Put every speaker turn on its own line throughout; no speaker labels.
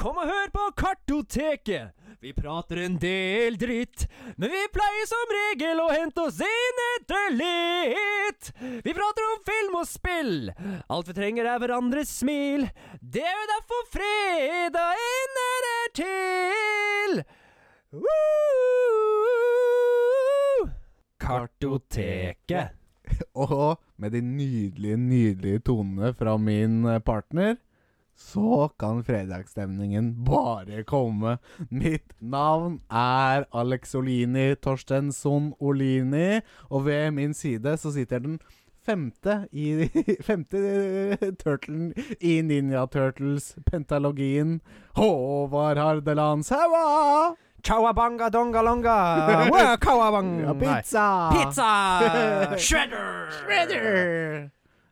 Kom og hør på Kartoteket! Vi prater en del dritt, men vi pleier som regel å hente oss inn etter litt. Vi prater om film og spill. Alt vi trenger er hverandres smil. Det er jo derfor fredagen er til. Woo! Kartoteket.
Og med de nydelige, nydelige tonene fra min eh, partner, så kan fredagsstemningen bare komme. Mitt navn er Alex Olini Torstensson Olini, og ved min side så sitter den femte i femte eh, turtlen i Ninja Turtles pentalogien, Håvard Hardeland Saua!
Chowabanga dongalonga. Wow,
Ja,
Kawabang. Mm, Nei.
pizza!
Pizza! Shredder!
Shredder!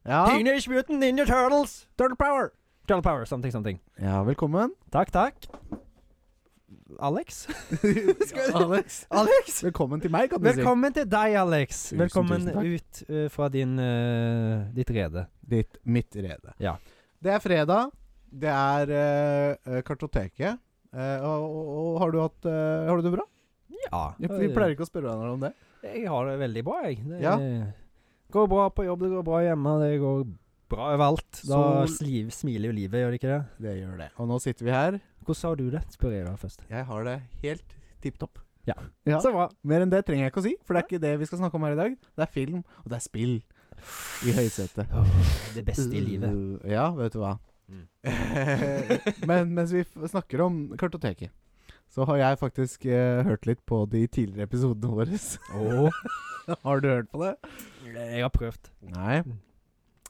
Ja,
Teenage Mutant Ninja Turtles!
Turtle Power!
Turtle Power, something, something.
Ja, velkommen.
Takk, takk. Alex?
Alex.
Alex?
Velkommen til meg, kan du
Velkommen til deg, Alex.
Tusen,
Velkommen
tusen takk.
ut eh, fra din, eh, ditt rede.
si. Ditt mitt rede.
Ja.
Det er fredag. Det er eh, eh, Kartoteket. Eh, og, og, og har du hatt eh, Har du det bra?
Ja.
Vi, vi pleier ikke å spørre hverandre om det.
Jeg har det veldig bra, jeg. Det
Ja.
går bra på jobb, det går bra hjemme, det går bra overalt. Da
Sol.
sliv, smiler jo livet, gjør det ikke det?
Det gjør det. Og nå sitter vi her.
Hvordan har du det? spør jeg da først.
Jeg har det helt tipp topp.
Ja.
ja.
Så bra.
Mer enn det trenger jeg ikke å si, for det er ikke det vi skal snakke om her i dag. Det er film, og det er spill i høysetet.
Det beste i livet.
Uh, Ja, vet du hva.
Mm.
Men mens vi f- snakker om kartoteket, så har jeg faktisk eh, hørt litt på de tidligere episodene våre.
Åh,
har du hørt på det?
jeg har prøvd.
Nei.
Mm.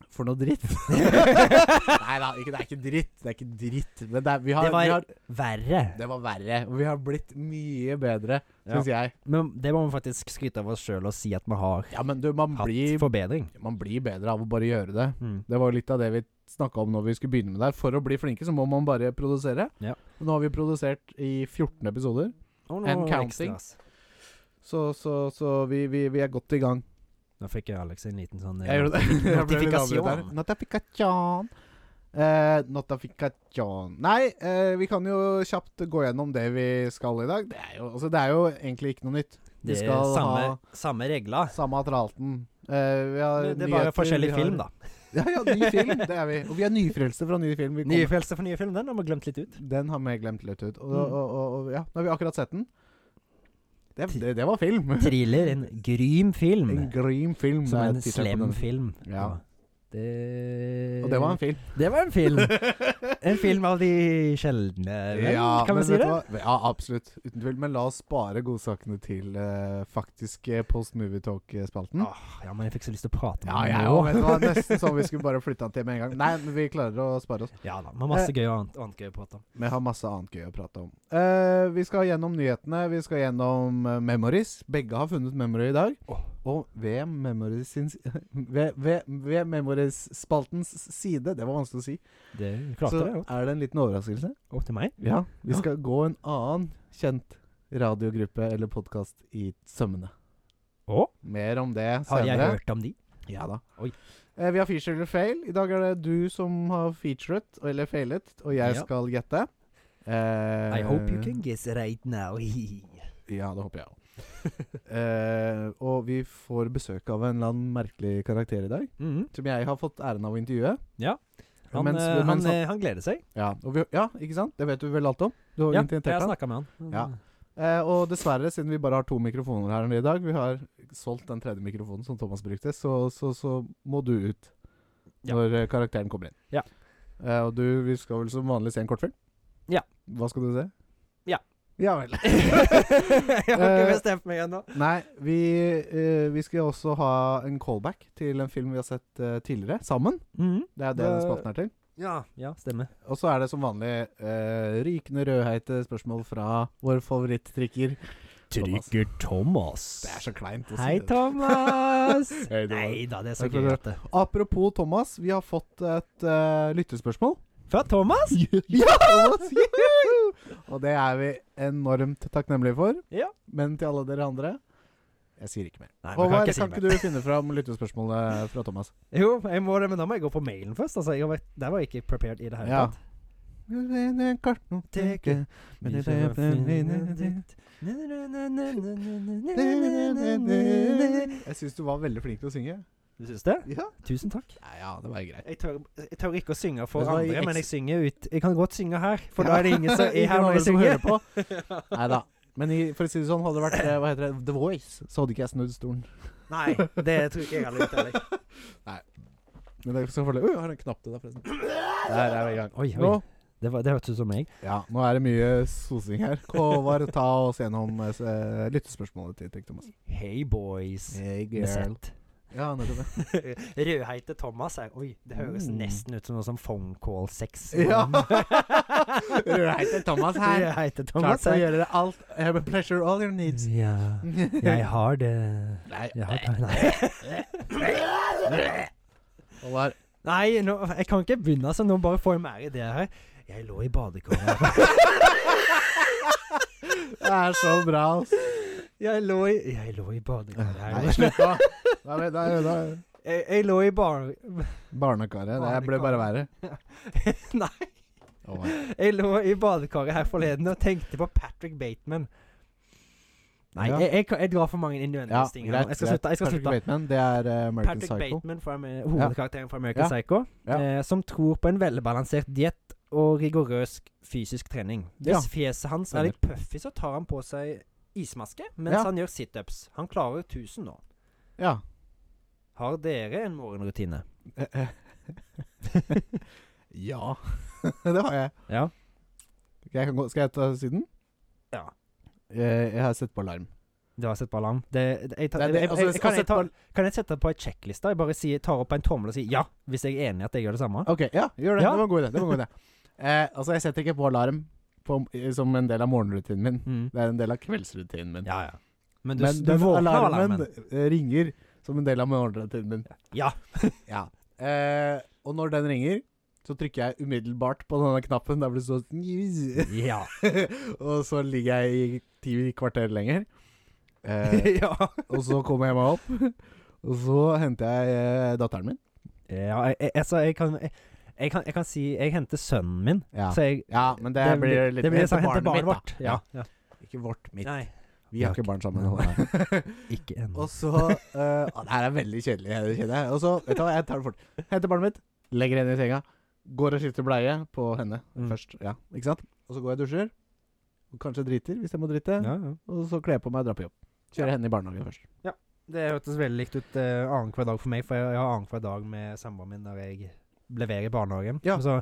For noe dritt. Nei da, ikke, det er ikke dritt. Det er ikke dritt. Men det, er, vi har,
Det var-
vi har,
Verre.
det var verre. Og vi har blitt mye bedre,
Ja.
syns jeg.
Men det må vi faktisk skryte av oss sjøl og si at vi har
Ja, men du, man
hatt
blir,
forbedring.
man blir bedre av å bare gjøre det.
Mm.
Det var jo litt av det vi snakka om når vi skulle begynne med det her. For å bli flinke, så må man bare produsere.
Ja.
Og Nå har vi produsert i 14 episoder,
Og
And
noe
counting.
ekstras.
så, så, så vi, vi, vi er godt i gang.
Nå fikk jeg Alex en liten sånn eh,
Jeg gjorde det. Jeg ble litt
notifikasjon.
avbrutt her. Notifikasjon. Eh, notifikasjon Nei, eh, vi kan jo kjapt gå gjennom det vi skal i dag. Det er jo, altså, det er jo egentlig ikke noe nytt. Vi
eh, Det er
skal
samme,
ha-
samme regler.
Samme tralten. Eh, vi har
Det er bare
nyheter,
forskjellig
vi har-
film, da.
Ja, ja, ny film. Det er vi. Og vi er nyfrelste fra ny film. Vi kommer-
Nyfølelse for nye film, den har vi glemt litt ut.
Den har vi glemt litt ut. Og,
Mm.
og, og, og ja, nå har vi akkurat sett den. Det, det, det var film.
Thriller, en grym film.
En grim film.
Som
det er
en
tittelen på
slem
den.
film.
Ja.
Det
Og det var en film.
Det var en film. En film av de sjeldne, vel? kan vi
men
si
vet
det?
du hva? Ja, absolutt. Uten tvil. Men la oss spare godsakene til eh, faktisk eh, Post Movie Talk-spalten.
Åh, ja, men jeg fikk så lyst til å prate
Mm.
med
Ja, ja,
den
ja,
nå.
vet du hva? Nesten sånn vi skulle bare flytta den til med en gang. Nei, men vi klarer å spare oss.
Ja da, med
Eh.
masse gøy og annet, annet gøy å prate om.
Vi har masse annet gøy å prate om. Eh, vi skal gjennom nyhetene. Vi skal gjennom eh, Memories. Begge har funnet Memory i dag.
Åh.
Og ved Memories sin ved, ved, ved Memories-spaltens side Det var vanskelig å si.
Det klarte
så
det jo.
er det en liten overraskelse.
Opp til meg.
Ja. Vi
Ja.
skal gå en annen kjent radiogruppe eller podkast i sømmene.
Å,
Mer om det senere.
har jeg hørt om de?
Ja da.
Oi.
Eh, vi har feature eller fail. I dag er det du som har featuret, eller failet, og jeg
Ja.
skal gjette. Eh,
I hope you can guess right now.
Ja, det håper jeg òg. eh, og vi får besøk av en eller annen merkelig karakter i dag,
Mhm.
som jeg har fått æren av å intervjue.
Ja. han,
Mens-
eh, han,
mens han-
eh, han gleder seg.
ja, og vi, ja, ikke sant? Det vet du vel alt om? Du har
Ja, jeg
orientert
har
han.
snakka med han.
Ja. Eh, og dessverre, siden vi bare har to mikrofoner her i dag, vi har solgt den tredje mikrofonen som Thomas brukte, så, så, så må du ut
Ja.
når eh, karakteren kommer inn.
Ja.
Eh, og du, vi skal vel som vanlig se en kortfilm?
Ja.
Hva skal du se?
Ja.
Ja vel.
jeg har ikke
Eh,
bestemt meg ennå.
Nei, vi, eh, vi skal også ha en callback til en film vi har sett eh, tidligere, sammen.
Mhm.
Det er det den
Det-
spalten er til.
Ja, ja, stemmer.
Og så er det som vanlig eh, rykende rødheite spørsmål fra vår favoritttrikker. Thomas.
Thomas.
Det er så kleint å si
Hei,
det.
Thomas.
Hei, Thomas.
Nei da, det er så
Takk for
gøy
det.
at det
Apropos Thomas, vi har fått et eh, lyttespørsmål.
Fra Thomas?
ja! Thomas, juhu! Og det er vi enormt takknemlige for.
Ja.
Men til alle dere andre jeg sier ikke mer.
Nei, man
Håvard,
si
kan
mer.
ikke du finne fram lyttespørsmålet fra Thomas?
Jo, jeg må det, men da må jeg gå på mailen først. Altså, jeg har vært, der var jeg ikke prepared i det hele
Ja.
tatt.
Kartoteket
Men det er det
Jeg syns du var veldig flink til å synge.
Du syns det?
Ja,
Tusen takk.
ja det var greit.
Jeg tør, jeg tør ikke å synge for
Vet du hva, i
andre, men
eks-
jeg synger ut Jeg kan godt synge her, for da er det ingen som er her når jeg synger.
Ingen andre som hører på. Neida. Men i, for å si det sånn, hadde det vært eh, hva heter det, The Voice, så hadde ikke jeg snudd stolen.
Nei, det tror ikke jeg hadde gjort heller.
Men det er selvfølgelig Oi, jeg har en knapp til deg, forresten. Der er vi i gang.
Oi,
Nå,
oi. Det, var- det hørtes ut som meg.
ja, nå er det mye sosing her. Håvard, ta oss gjennom eh, lyttespørsmålet til Tek Thomas.
Hey boys.
Hey,
Med sett.
Ja, nettopp det.
Rødheite Thomas her. Oi, det høres
Mm.
nesten ut som noe som phone call sex.
Ja. Rødheite Thomas her.
Rødheite
Klart
Thomas
å
her.
gjøre det alt. Have a pleasure all your needs.
Ja, jeg har det.
Nei.
Jeg har det. Nei.
Håvard.
Nei, nå, jeg kan ikke begynne sånn. Nå bare får jeg mer i det her. Jeg lå i badekaret.
Det er så bra, altså.
Jeg lå i Jeg lå i badekaret
Nei,
her.
slutt nå. Da er vi- da er vi- da er vi-
Jeg, jeg lå i bar...
Barnekaret. Det ble bare verre.
Nei.
Håvard.
Jeg lå i badekaret her forleden og tenkte på Patrick Bateman. Nei,
Ja.
jeg, jeg, kan- jeg drar for mange innvendige ting. her nå. Jeg skal slutte. Jeg skal
Patrick
slutte.
Bateman, det er eh, American
Patrick
Psycho.
Bateman, fra, Amer- hovedkarakteren fra American
Ja.
Psycho,
Ja.
eh, som tror på en velbalansert diett og rigorøs fysisk trening.
Ja.
Hvis fjeset hans er litt puffy, så tar han på seg ismaske mens
Ja.
han gjør situps. Han klarer 1000 nå.
Ja.
Har dere en morgenrutine?
ja. det har jeg.
Ja.
Jeg kan gå, skal jeg ta siden?
Ja.
Jeg, jeg har sett på alarm.
Du har sett på alarm? Det, det, jeg, tar-
Nei, det-
jeg, jeg,
altså, jeg
jeg,
skal
kan, jeg
sette
ta,
på-
kan jeg sette på en sjekkliste? Jeg bare sier, tar opp en tommel og sier ja, hvis jeg er enig i at jeg gjør det samme?
Ok, ja, gjør det.
Ja.
Det var en god idé. Det var en god idé. Eh, altså, jeg setter ikke på alarm på, som en del av morgenrutinen min.
Mm.
Det er en del av kveldsrutinen min.
Ja, ja. Men du,
Men
du
den
våkner av
alarmen,
alarmen?
eh, ringer som en del av morgenrutinen min.
Ja.
Ja. Eh, og når den ringer, så trykker jeg umiddelbart på denne knappen der hvor det står
Ja.
Og så ligger jeg i ti kvarter lenger. Eh,
ja.
og så kommer jeg meg opp. Og så henter jeg eh, datteren min.
Ja, jeg, jeg, altså, jeg kan jeg, jeg kan, jeg kan si Jeg henter sønnen min,
Ja,
så jeg
ja men det, blir litt
det blir
hente
sånn, hente barnet
barnet mitt,
vårt.
da.
Ja. ja.
Ikke vårt, mitt.
Nei.
Vi har ikke barn sammen. nå.
Nei. Ikke ennå.
Og så eh, å, Det her er veldig kjedelig, jeg kjenner jeg. Og så, vet du hva, jeg tar det fort. Henter barnet mitt, legger henne i senga. Går og skifter bleie på henne
Mm.
først. Ja, ikke sant? Og så går jeg og dusjer. Og kanskje driter, hvis jeg må drite.
Ja, ja.
Og så kler jeg på meg og drar på jobb. Kjører henne i barnehagen først.
Det hørtes veldig likt ut eh, annenhver dag for meg, for jeg, jeg har annenhver dag med samboeren min når jeg leverer i barnehagen.
Ja.
Så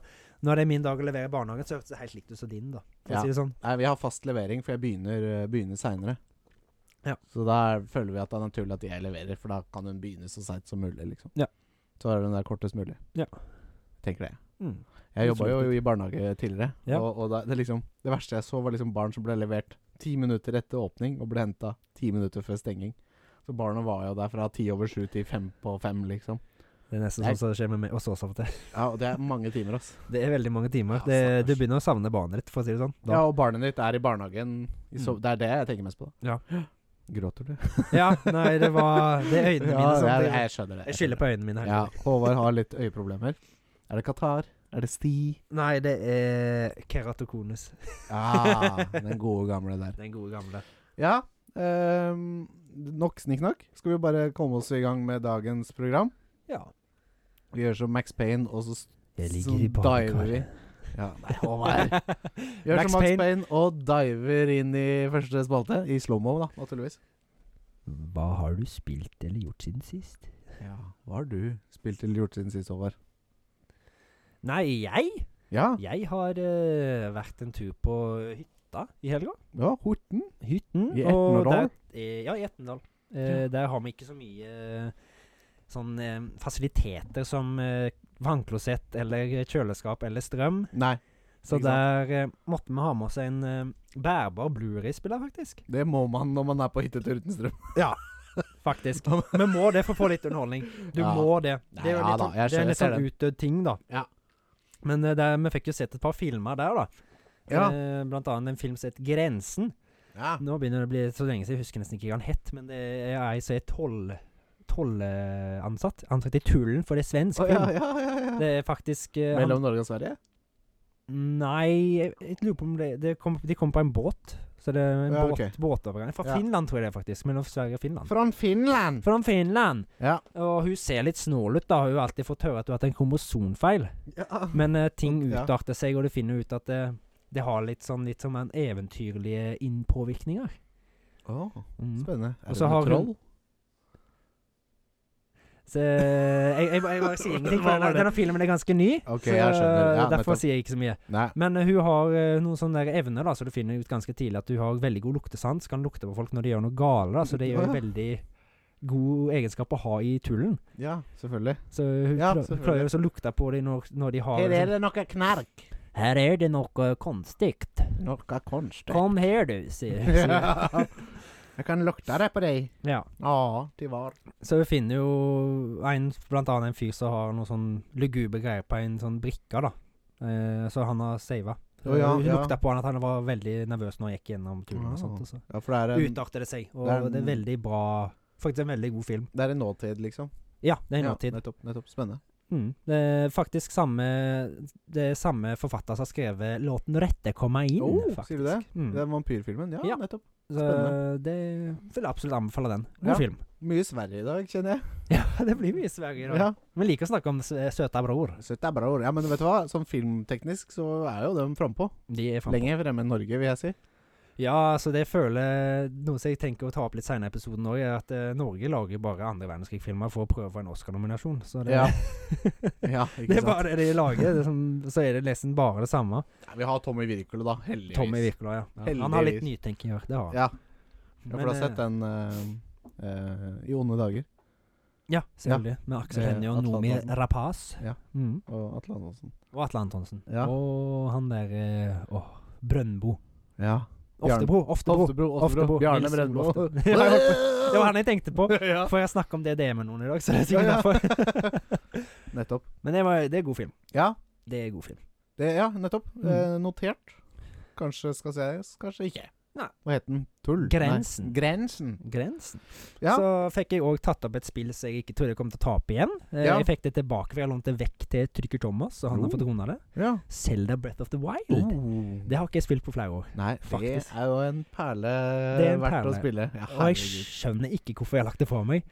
når det er min dag å levere i barnehagen, så hørtes det helt likt ut som din, da. For
Ja.
å si det sånn.
Nei, vi har fast levering, for jeg begynner, eh, begynner seinere.
Ja.
Så da er- føler vi at det er naturlig at jeg leverer, for da kan hun begynne så seint som mulig. liksom
Ja.
Så er hun der kortest mulig.
Ja.
Tenker det.
Mm.
Jeg jobba
Utrolig
jo i barnehage tidligere,
Ja.
og, og da, det, liksom, det verste jeg så, var liksom barn som ble levert ti minutter etter åpning, og ble henta ti minutter før stenging. Så barna var jo der fra ti over sju til fem på fem, liksom.
Det er nesten
Jeg-
sånn som det skjer med meg også så ofte.
Ja, Og det er mange timer, ass.
Det er veldig mange timer.
Ja,
Det,
stakkars.
du begynner å savne barnet ditt, for å si det sånn.
Ja,
Da.
og barnet ditt er i barnehagen. I sov-
Mm.
Det er det jeg tenker mest på.
Ja.
Gråter du?
Ja, nei, det var Det er øynene mine som
ja, jeg,
det-
jeg skjønner det.
Jeg skylder på øynene mine. her.
Ja, Håvard har litt øyeproblemer. Er det Qatar? Er det Sti?
Nei, det er keratokonus.
Ja, Ah, den gode gamle der.
Den gode gamle.
Ja, ehm, nok snikk-nakk. Skal vi bare komme oss i gang med dagens program?
Ja.
Vi gjør som Max Payne, og så s-
Jeg
så
ligger i
diver vi.
badekaret.
Ja, nei, Håvard. Vi Gjør
Max
som Max
Payne.
Payne. og diver inn i første spalte. I slow-mo, da, naturligvis.
Hva har du spilt eller gjort siden sist?
Ja, Hva har du spilt eller gjort siden sist, Håvard?
Nei, jeg?
Ja,
Jeg har eh, vært en tur på hytta i helga.
ja Horten.
Hytten.
I
og
Etnedal?
der- eh, ja, i Etnedal. Eh, Der har vi ikke så mye eh, sånn eh, fasiliteter som eh, vannklosett eller kjøleskap eller strøm.
Nei,
Så
Ikke sant.
der eh, måtte vi ha med oss en eh, bærbar Blu-ray-spiller, faktisk.
det må man når man er på hyttetur uten strøm.
Faktisk. Vi må det for å få litt underholdning. Du
Ja.
må det. Det er jo
Ja
litt
da,
sånn, det
jeg ser-
er litt
jeg ser
sånn utdødd ting, da.
Ja.
Men eh, der, vi fikk jo sett et par filmer der, da.
Ja.
Eh, blant annet en film som het 'Grensen'.
Ja.
Nå begynner det å bli så lenge siden, jeg husker nesten ikke hva den het. Men det er ei som er toll- tollansatt. Ansatt i Tullen, for det er svensk
Å,
film.
ja, ja, ja, ja.
Det er faktisk eh, han-
Mellom Norge og Sverige?
Nei, jeg, jeg lurer på om det, det kom, De kom på en båt. Så det er en
Ja,
båt,
ok.
båtovergang. Fra
Ja.
Finland, tror jeg det er, faktisk. Mellom Sverige og Finland.
Fra Finland!
Fra Finland.
Ja.
Og hun ser litt snål ut, da. Hun har jo alltid fått høre at hun har hatt en kromosonfeil. Men eh, ting
Ja.
utarter seg, og du finner ut at det, det har litt sånn litt som en eventyrlige innpåvirkninger.
Åh,
Mm.
spennende.
Og
Er
så
det
har
noe troll?
hun- Så eh, jeg, jeg, jeg bare sier ingenting, for
Hva var
denne,
det?
denne filmen er ganske ny.
Ok,
så,
jeg skjønner. Ja,
eh, derfor
nettopp.
sier jeg ikke så mye.
Nei.
Men eh, hun har eh, noen sånne der evner, da, så du finner ut ganske tidlig at hun har veldig god luktesans. Kan lukte på folk når de gjør noe gale, da, så det er jo
Å,
en
ja.
veldig god egenskap å ha i tullen.
Ja, selvfølgelig.
Så hun
Ja,
prø-
selvfølgelig.
prøver også å lukte på dem når, når de har liksom-
det noe knark.
Her er det noe konstig.
Noe konstig.
Kom her, du, sier sier-
Ja. Jeg kan lukte det på deg.
Ja.
Ja, de var
Så hun finner jo en, blant annet en fyr som har noe sånn lugubre greier på en sånn brikke, da. Eh, så han har sava.
Å, ja,
hun
ja.
lukta på han at han var veldig nervøs når han gikk gjennom turen og sånt.
Ah.
Og så.
Ja, for det er en,
utarter det seg. Og
det
det
er
er,
en-
veldig bra Faktisk en veldig god film.
det er en nåtid, liksom.
Ja, det er en
Ja,
nåtid.
nettopp, nettopp. Spennende.
Mm. Det er faktisk samme Det er samme forfatter som har skrevet låten 'Rette komme inn'.
Oh, sier
faktisk.
du det?
Mm.
Det er vampyrfilmen. Ja,
Ja.
nettopp.
Så det vil jeg absolutt anbefale den. God
Ja.
film.
Mye Sverige i dag, kjenner jeg.
Ja, det blir mye Sverige i dag.
Ja.
Vi liker å snakke om s- søta bror.
Søtt er bra ord. Ja, men vet du hva? Sånn filmteknisk så er jo den frampå.
De er frampå.
Lenger fremme enn Norge, vil jeg si.
Ja, så det føler Noe som jeg tenker å ta opp litt senere i episoden òg, er at eh, Norge lager bare andre verdenskrig-filmer for å prøve å få en Oscar-nominasjon. Så det,
Ja, ja ikke
det er
sant.
bare det de lager. Det er som, så er det nesten bare det samme.
Ja, vi har Tommy Wirkola, da. Heldigvis.
Tommy Wirkola, ja.
Heldigvis.
Han har litt nytenking i år, det har han.
Ja, ja, for
Men,
du har
eh,
sett den eh, eh, I onde dager.
Ja, selvfølgelig. Med Aksel
Eh,
Hennie og
Atle
Nomi
Antonsen.
Rapaz.
Ja.
Mm.
Og Atle Antonsen.
Og Atle Antonsen.
Ja.
Og han der eh, Åh, Brøndbo.
Ja. Bjarne-
Oftebro. Oftebro.
Oftebro.
Oftebro.
Oftebro. Bjarne
Nils
Brøndbo.
Oftebro. Ja, jeg Det var han jeg tenkte på.
Ja.
For jeg snakka om DDE med noen i dag, så det er sikkert
Ja, ja.
derfor.
Nettopp.
Men det, var, det er god film.
Ja,
Det er god film.
det, ja nettopp.
Mm.
Eh, notert. Kanskje skal ses, kanskje ikke.
Nei.
Hva het den? Tull?
Grensen.
Nei. Grensen.
Grensen.
Ja.
Så fikk jeg òg tatt opp et spill som jeg ikke trodde jeg kom til å ta opp igjen. Eh,
Ja.
Jeg fikk det tilbake, for jeg lånte det vekk til Trykker Thomas, og han har
Oh.
fått runda det.
ja. Oh.
Selda Breath of the Wild. Det har ikke jeg spilt på flere år.
Nei,
faktisk.
det er jo en perle
Det er en
verdt
perle.
å spille. Ja,
Og jeg
herregud.
skjønner ikke hvorfor jeg har lagt det fra meg.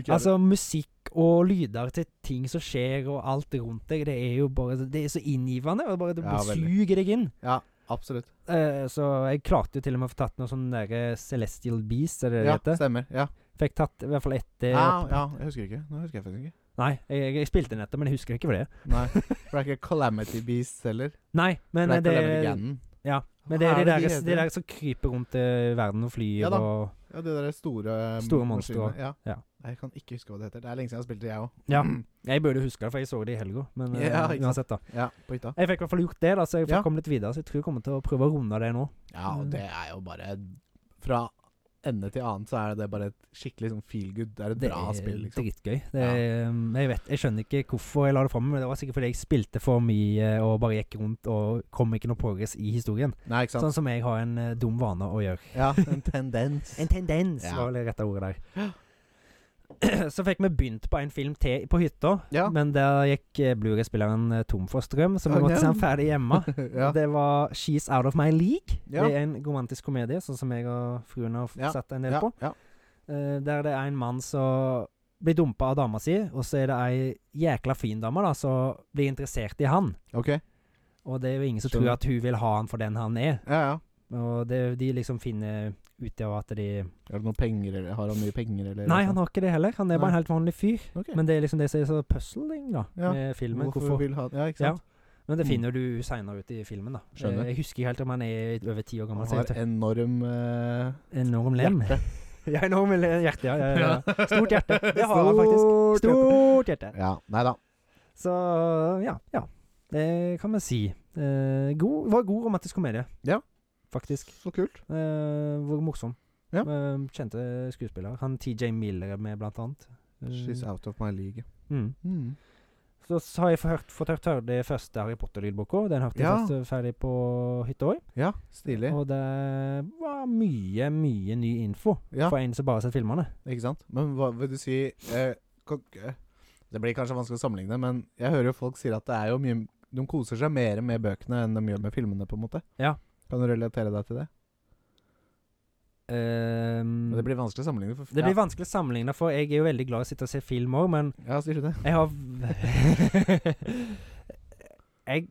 Ikke
Altså, musikk og lyder til ting som skjer, og alt rundt deg, det er jo bare Det er så inngivende. Og bare, det
Ja,
bare
veldig.
suger deg inn.
Ja, absolutt.
Eh, så jeg klarte jo til og med å få tatt noe sånn derre Celestial Beast, er det det
Ja,
heter?
stemmer. Ja.
Fikk tatt i hvert fall ett eh,
ja,
opp-
ja, jeg husker ikke. Nå husker jeg faktisk ikke.
Nei, jeg, jeg spilte nettopp, men jeg husker ikke for det.
Nei, for det er ikke Calamity Beast heller.
Nei, men
det
eh,
er
det,
Calamity Ganon.
ja, men
Hva
det er,
er
de,
det de
der, de
heter?
der som kryper rundt i verden og flyr
Ja da.
og
Ja, de der store eh,
Store monstre
maskinene.
også.
Ja.
Ja.
Nei, Jeg kan ikke huske hva det heter. Det er lenge siden jeg har spilt det, jeg òg.
Ja. Jeg burde huske det, for jeg så det i helga, men eh,
Mm. Ja, ikke sant.
uansett, da.
Ja, på hytta.
Jeg fikk i hvert fall gjort det, da, så jeg fikk
Ja.
komme litt videre. Så jeg tror jeg kommer til å prøve å runde det nå.
Ja, og
Mm.
det er jo bare Fra ende til annen så er det bare et skikkelig sånn feel good. Det er et
Det
bra
er
spill, liksom.
dritgøy. Det er, mm, jeg, vet, jeg skjønner ikke hvorfor jeg la det fram, men det var sikkert fordi jeg spilte for mye eh, og bare gikk rundt og kom ikke noe progress i historien.
Nei, ikke sant?
Sånn som jeg har en eh, dum vane å gjøre.
Ja, en tendens.
En tendens,
Ja.
var vel det rette ordet der. Så fikk vi begynt på en film til på hytta,
Ja.
men der gikk eh, Blu-ray-spilleren eh, tom for strøm, så vi
Å,
måtte
nei.
se den ferdig hjemme.
ja.
Det var 'She's Out of My League'.
Ja.
Det er en romantisk komedie, sånn som jeg og fruen har f-
Ja.
sett en del
Ja,
på.
ja.
Eh, der det er en mann som blir dumpa av dama si, og så er det ei jækla fin dame da, som blir interessert i han.
OK.
Og det er jo ingen som
Skjønner.
tror at hun vil ha han for den han er.
Ja, ja.
Og det, de liksom finner ut av at de
Er det noen penger, eller har han mye penger, eller
Nei, han har ikke det heller. Han er bare en helt vanlig fyr.
Ok.
Men det er liksom det som er så puzzling, da,
Ja.
med filmen.
Hvorfor,
Hvorfor?
vil han Ja, ikke
Ja,
sant?
Men det
Mm.
finner du seinere ut i filmen, da.
Skjønner.
Eh, Jeg husker ikke helt om han er over ti år gammel.
han
så jeg
har
tør-
enorm eh,
Enorm lem.
hjerte.
Ja, enorm le- hjerte, ja, ja, ja. Stort hjerte. Det har han
Stort
faktisk. Stort hjerte.
Ja. Nei da.
Så ja, ja. Det kan man si. Eh, god, var god romantisk komedie.
Ja.
Faktisk.
Så kult.
Eh, hvor morsom.
Ja.
Eh, kjente skuespiller. Han TJ Miller er med, blant annet. Eh,
She's out of my league.
mm.
Mm.
Så s- har jeg fått hørt, fått hørt høre det første Harry Potter-lydboka. Den hørte jeg
Ja.
først eh, ferdig på hytta òg.
Ja, stilig.
Og det var mye, mye ny info
Ja.
for en som bare har sett filmene.
Ikke sant? Men hva vil du si eh, kan- eh, Det blir kanskje vanskelig å sammenligne, men jeg hører jo folk sier at det er jo mye de koser seg mer med bøkene enn de gjør med filmene, på en måte.
Ja. Mm.
Kan du relatere deg til det?
Ehm,
Men det blir vanskelig å sammenligne. For,
det blir vanskelig å sammenligne, for jeg er jo veldig glad i å sitte og se film òg, men
ja, ja, sier du det?
jeg har Jeg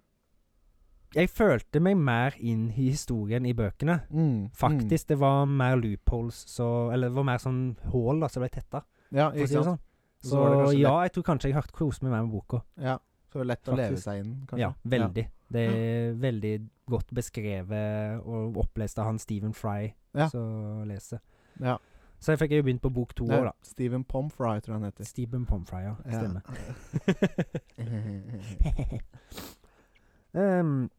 Jeg følte meg mer inn i historien i bøkene.
Mm,
Faktisk. Det var mer loopholes, så Eller det var mer sånn hull da, som ble tetta.
Mm. Ja,
For å
ikke
si det
sant?
sånn.
Så
Så
var det kanskje
ja, jeg tror kanskje jeg har kost meg mer med boka.
Ja. Så det er lett å leve
Faktisk.
seg inn, kanskje.
Ja, veldig. Det er veldig godt beskrevet og opplest av han Stephen Fry
Ja.
som leser.
Ja.
Så jeg fikk jo begynt på bok to
Det er
òg, da.
Stephen Pomfry, tror jeg han heter.
Stephen Pomfry, ja.
Ja.
Stemmer. um,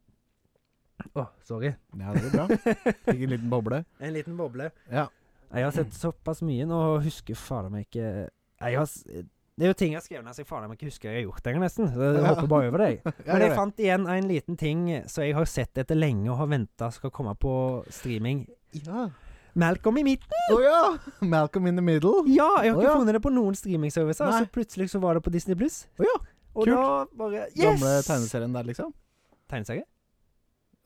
Å, sorry.
Ehm. ja, det blir bra. Fikk en liten boble.
En liten boble.
Ja.
Jeg har sett såpass mye nå og husker fader meg ikke jeg har, s- Det er jo ting jeg har skrevet ned som jeg fader meg ikke husker jeg har gjort engang, nesten. Så jeg
Ja.
hopper bare over det. jeg.
Ja,
Men
gjør
jeg
det.
fant igjen en liten ting som jeg har sett etter lenge og har venta skal komme på streaming.
ja.
Malcolm i midten!
Å ja! Malcolm in the middle.
Ja, jeg har
Å
ikke
ja.
funnet det på noen streamingservicer.
Nei.
Så plutselig så var det på Disney Pluss.
Å ja,
Og
kult.
da bare Yes!
Gamle tegneserien der, liksom.
Tegneserie?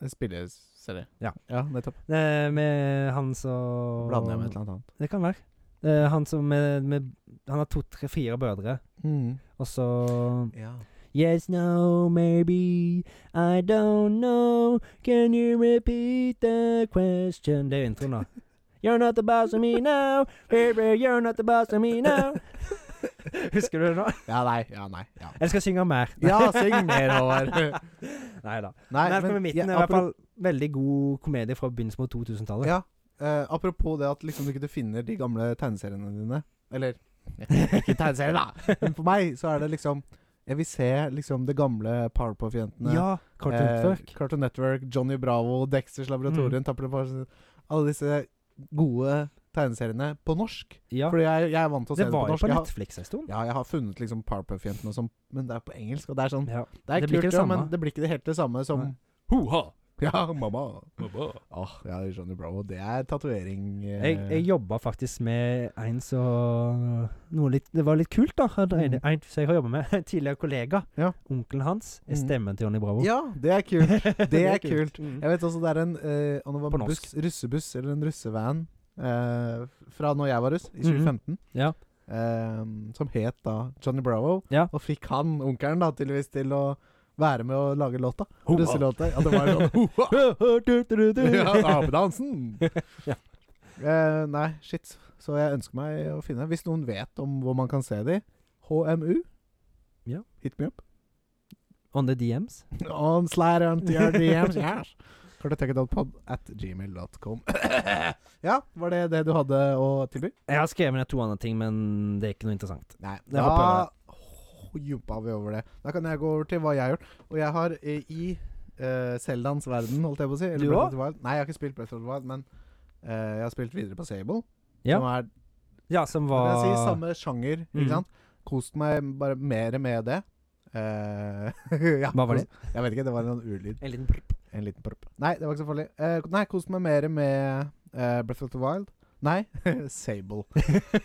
Spilleserie.
Ja.
ja, nettopp.
Eh, med han som
Blander jeg med et eller annet annet.
Det kan være. Eh, han som med, med Han har to-tre-fire brødre,
Mm.
og så
Ja.
Yes, no, maybe I don't know Can you repeat the question Det er jo introen, da. You're not the boss of me now Baby, you're not the boss of me now Husker du det nå?
ja, nei. Ja, nei. Ja,
Jeg skal synge mer.
ja syng mer, Håvard.
Nei da.
Nei,
Malcolm i midten
ja,
er i hvert
apro-
fall veldig god komedie fra begynnelsen på 2000-tallet.
Ja. eh, apropos det at liksom du ikke finner de gamle tegneseriene dine. Eller ikke tegneserie, da! Men for meg så er det liksom Jeg vil se liksom det gamle Powerpuff-jentene.
Ja, Cartoon
eh,
Network. Mm.
Cartoon Network, Johnny Bravo, Dexters Laboratorium, Tapper Leppard- Alle disse gode tegneseriene på norsk.
Ja,
Fordi jeg, jeg er vant til å se
det
det,
var
på
jo
norsk.
på
Jeg har-
Netflix en stund.
ja, jeg har funnet liksom Powerpuff-jentene og sånn, men det er på engelsk, og det er sånn
Ja.
Det er
Det blir
kult,
ikke det
ja,
samme.
men det blir ikke det helt det samme som
Nei.
Ja, mamma. Åh, ja, Johnny Bravo. Det er tatovering eh,
Jeg, jeg jobba faktisk med en som noe litt, Det var litt kult, da. Han- En,
Mhm.
en som jeg har jobba med. En tidligere kollega.
Ja.
Onkelen hans er
Mhm.
stemmen til Johnny Bravo.
Ja, det er kult. Det er kult.
Mhm.
Jeg vet også det er en eh, om det var
På
en
norsk.
buss, russebuss eller en russevan eh, fra når jeg var russ, i
Mhm.
2015,
Ja.
eh, som het da Johnny Bravo.
Ja.
Og fikk han, onkelen, da tydeligvis til å være med å lage låta.
Hoa.
Russelåta. Ja, det var jo sånn hoa.
Du, du, du, du.
ja, apedansen!
Ja.
Eh, nei, shit. Så jeg ønsker meg å finne Hvis noen vet om hvor man kan se de HMU.
Ja.
Hit me up.
On the DMs.
On slide on to your DMs. Yes. Kartoteket.pod at gmail.com. ja, var det det du hadde å tilby?
Jeg har skrevet ned to andre ting, men det er ikke noe interessant.
Nei.
Jeg
Da
hopper
Åh, jumpa vi over det. Da kan jeg gå over til hva jeg har gjort. Og jeg har eh, i uh, Zeldans verden, holdt jeg på å si eller
Du
Breath of the Wild. Nei, jeg har ikke spilt Breath of the Wild, men eh, jeg har spilt videre på Sable.
Ja.
Som er
Ja, som
Hva kan jeg si?
var
Samme sjanger,
Mm.
ikke sant? Kost meg bare mer med det. Eh, ja,
Hva var det?
kost- Jeg vet ikke, det var en sånn urlyd.
En liten prp.
En liten prop. Nei, det var ikke så farlig. Eh, nei, kost meg mer med eh, Breath of the Wild. Nei, Sable.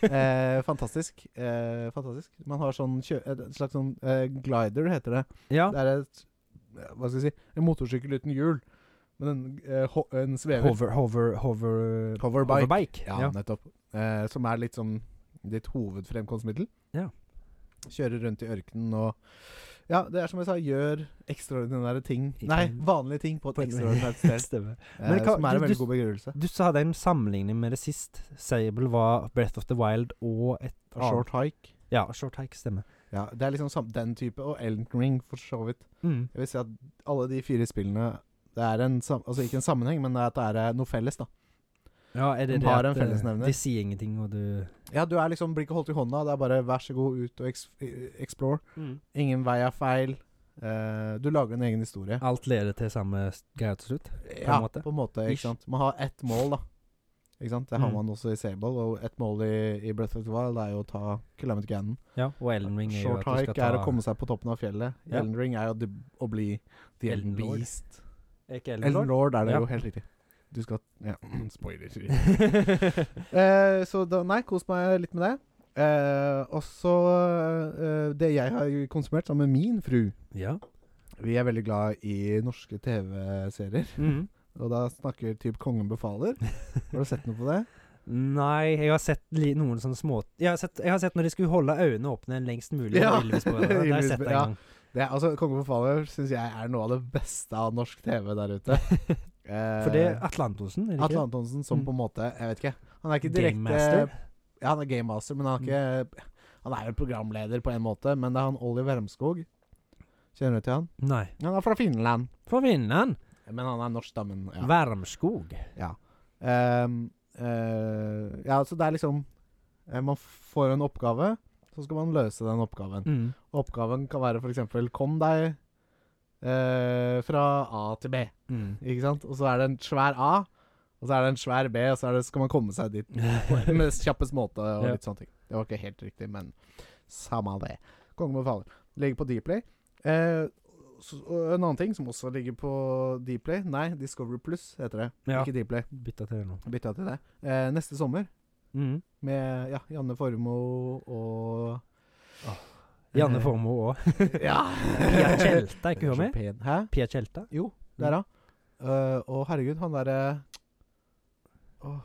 Eh, fantastisk. Eh, fantastisk. Man har sånn kjø... Et slags sånn eh, glider, heter det.
Ja.
Det er et eh, Hva skal jeg si? En motorsykkel uten hjul. Men en, eh, ho en svever.
Hover, hover, hover
Hoverbike. Ja,
Ja. ja.
nettopp. Eh, som er litt sånn ditt hovedfremkomstmiddel.
Ja.
Kjøre rundt i ørkenen og Ja, det er som jeg sa, gjør ekstraordinære ting
I-
Nei, vanlige ting på et
på et-
ekstraordinært sted.
Stemmer.
Eh,
Men hva-
som er en
du-
veldig
du-
god begrunnelse.
Du sa hadde en sammenligning med det sist. Sable var Breath of the Wild og et
Og Short hike.
Ja, Short Hike stemmer.
Ja, Det er liksom sam den type, og Elden Ring for så vidt.
Mm.
Jeg vil si at alle de fire spillene Det er en sam Altså ikke en sammenheng, men det er at det er eh, noe felles, da.
Ja, er det
De
det
har
at,
en
eh,
fellesnevner.
De sier ingenting, og du
Ja, du er liksom blir ikke holdt i hånda. Det er bare vær så god, ut og eks- e-, explore. Ingen vei er feil. Eh, du lager en egen historie.
Alt leder til samme s- greie til slutt. en
Ja,
måte.
på en måte.
Ish.
Ikke sant? Man har ett mål, da. Ikke sant? Det har
Mm.
man også i Sable. Og ett mål i, i Breath of the Wild er jo å ta Calamity Cannon.
Ja, og Elden Ring er jo at
Short
du skal
Hike
ta
er å komme seg på toppen av fjellet.
Ja.
Elden Ring er jo det- å bli The Elden
Elden Lord.
Beast.
Er ikke Elden Lord?
Elden Lord er det
Ja.
jo, helt riktig. Du skal Ja, spoiler. Eh, så da, nei, kos meg litt med det. Eh, også eh, det jeg har konsumert sammen med min fru.
ja.
Vi er veldig glad i norske TV-serier,
Mhm.
og da snakker typ Kongen befaler. Har du sett noe på det?
Nei, jeg har sett li noen sånne små jeg har, sett, jeg har sett når de skulle holde øynene åpne lengst mulig.
Ja.
Ja. Ylvis på det. Det har jeg sett en
Ja.
gang.
det er- altså, Kongen befaler syns jeg er noe av det beste av norsk TV der ute. Eh,
For det er Atle Antonsen, er det
Atle
ikke? Mm.
Antonsen som på en måte Jeg vet ikke. Han er ikke direkte
Game Master.
Ja, han er game master, men han er ikke Han er jo programleder på en måte, men det er han Oliver Remskog. Kjenner du til han?
Nei.
Han er fra Finland.
Fra Vinland.
Men han er norsk, da, men ja.
Værmskog.
Ehm, eh, ja, så det er liksom eh, Man får en oppgave, så skal man løse den oppgaven.
Mm.
Oppgaven kan være f.eks.: Kom deg eh, fra A til B.
Mm.
Ikke sant? Og så er det en svær A, og så er det en svær B, og så er det, skal man komme seg dit på- med kjappest måte og
Ja.
litt sånne ting. Det var ikke helt riktig, men samme det. Kongen befaler. Ligger på Dplay. Eh, så, og en annen ting som også ligger på Dplay Nei, Discovery Pluss heter det.
Ja.
Ikke Dplay.
Bytta til det nå.
Bytta til det. Eh, neste sommer
Mm.
med ja, Janne Formoe og
Janne Formoe òg.
Ja!
Eh, Pia Tjelta, er ikke Mm. hun
Så
med?
pen. Hæ?
Pia Tjelta?
Jo, der, ja. Eh, og herregud, han derre Åh.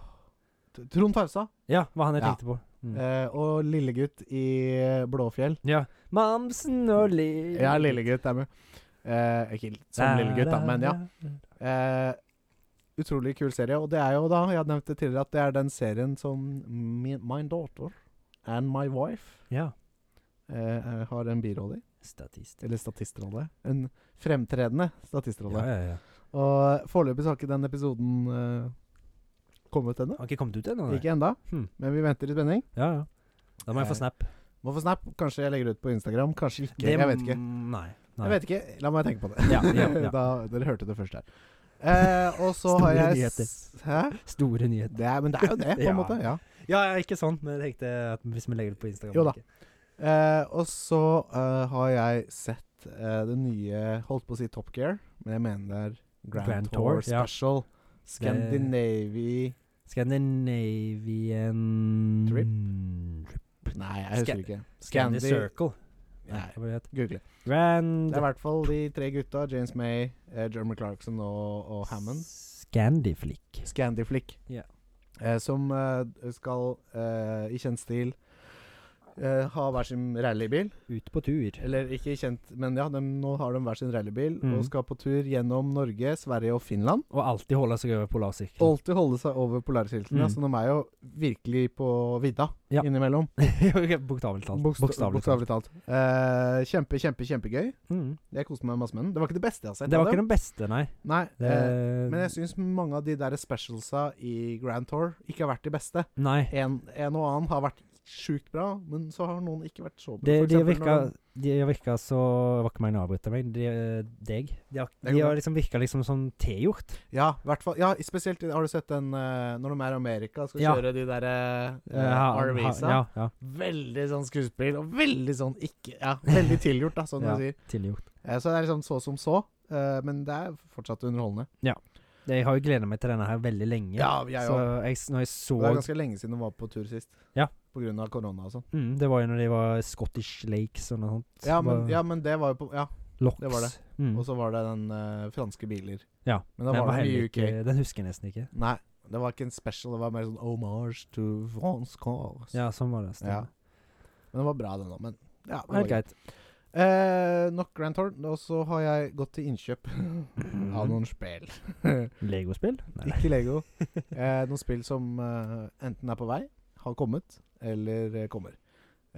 T- Trond Fausa.
Ja, hva han jeg
Ja.
tenkte på. Mm.
eh, og Lillegutt i Blåfjell.
Ja. Mamsen og Lill...
Ja, Lillegutt er med. Eh, ikke som Lillegutt, da, men ja. Eh, utrolig kul serie. Og det er jo da, jeg nevnte tidligere, at det er den serien som mi- My Daughter and My Wife
Ja.
eh, eh, har en birolle i.
Statist.
Eller statistrolle. En fremtredende statistrolle.
Ja, ja, ja.
Og foreløpig så har ikke den episoden eh, kommet ennå.
Har ikke kommet ut ennå, nei.
Ikke enda,
Hmm.
men vi venter i spenning.
Ja, ja. Da må jeg
Eh,
få snap.
Må få snap. Kanskje jeg legger ut på Instagram, kanskje ikke. jeg vet ikke.
Nei. nei.
Jeg vet ikke, La meg tenke på det.
Ja, ja, ja.
da, dere hørte det først her. Eh, og så
Store
har jeg s- Hæ?
Store nyheter.
Det er, men det er jo det, på en
Ja.
måte. ja
Ja, ja, ikke sånn, men jeg tenkte at hvis vi legger det på Instagram
Jo da.
ikke-
eh, Og så eh, har jeg sett eh, det nye Holdt på å si Top Gear, men jeg mener det er Grand,
Grand
Tour,
Tour, ja.
Special. Scandinavia
Scandinavian
Trip?
Trip.
Nei, jeg husker
Scan-
ikke.
Scandi
Scandi-
Circle.
Nei,
Nei, hva det heter.
google.
Grand
Det er i hvert fall de tre gutta, James May, eh, Jeremy Clarkson og, og Hammond.
Scandiflick.
Scandiflick.
Ja.
Eh, som eh, skal, eh, i kjent stil, eh, ha hver sin rallybil.
Ut på tur.
Eller ikke i kjent, men ja, dem- nå har de hver sin rallybil
Mhm.
og skal på tur gjennom Norge, Sverige og Finland.
Og alltid holde seg over polarsirkelen.
Alltid holde seg over polarsirkelen, ja,
Mhm.
så de er jo virkelig på vidda
Ja.
innimellom.
Ok, Bokstavelig talt.
Boksta-
Bokstavelig talt.
Bokstavelig talt. Eh, kjempe, kjempe, kjempegøy.
Mm.
Jeg koste meg masse med den. Det var ikke det beste jeg har sett.
Det var
av
ikke
dem.
den beste, nei.
Nei, eh,
Det-
Men jeg syns mange av de der specialsa i Grand Tour ikke har vært de beste.
nei.
En, en og annen har vært sjukt bra, men så har noen ikke vært så bra.
Det,
For
de
eksempel
virka,
når-
de virka så Det var ikke meningen å avbryte meg. De, eh, deg. De, har-
Det går
de har
bra.
liksom virka liksom som tegjort.
Ja, i hvert fall. Ja, spesielt i- har du sett den eh, når de er i Amerika og skal
Ja.
kjøre de der eh,
Ja,
eh, RVs-a.
Ja, ja,
Veldig sånn skuespill, og veldig sånn ikke Ja, veldig tilgjort, da, som
Ja.
du sier.
tilgjort.
Eh, så det er liksom så som så, eh, men det er fortsatt underholdende.
Jeg har jo gleda meg til denne her veldig lenge.
Ja, jeg
så
òg.
jeg, s- når jeg så
Det er ganske lenge siden de var på tur sist.
Ja.
På grunn av korona og sånn.
mm, Det var jo når de var Scottish Lakes og noe sånt.
Ja, men,
Var-
ja, men det var jo på Ja,
Locks.
det var det.
Mm.
Og så var det den eh, franske biler.
Ja,
Men da
Den
var
var
det
heller
i UK.
ikke Den husker jeg nesten ikke.
Nei, det var ikke en special, det var mer sånn homage to France cars.
Ja, sånn var det. stemmer.
Ja. Men det var bra, den òg. Men ja, det
Helt
var greit.
greit.
Eh, nok Grand Tour. Og så har jeg gått til innkjøp av
Mm.
noen spill.
Legospill? Nei.
ikke Lego. Eh, noen spill som eh, enten er på vei, har kommet, eller eh, kommer.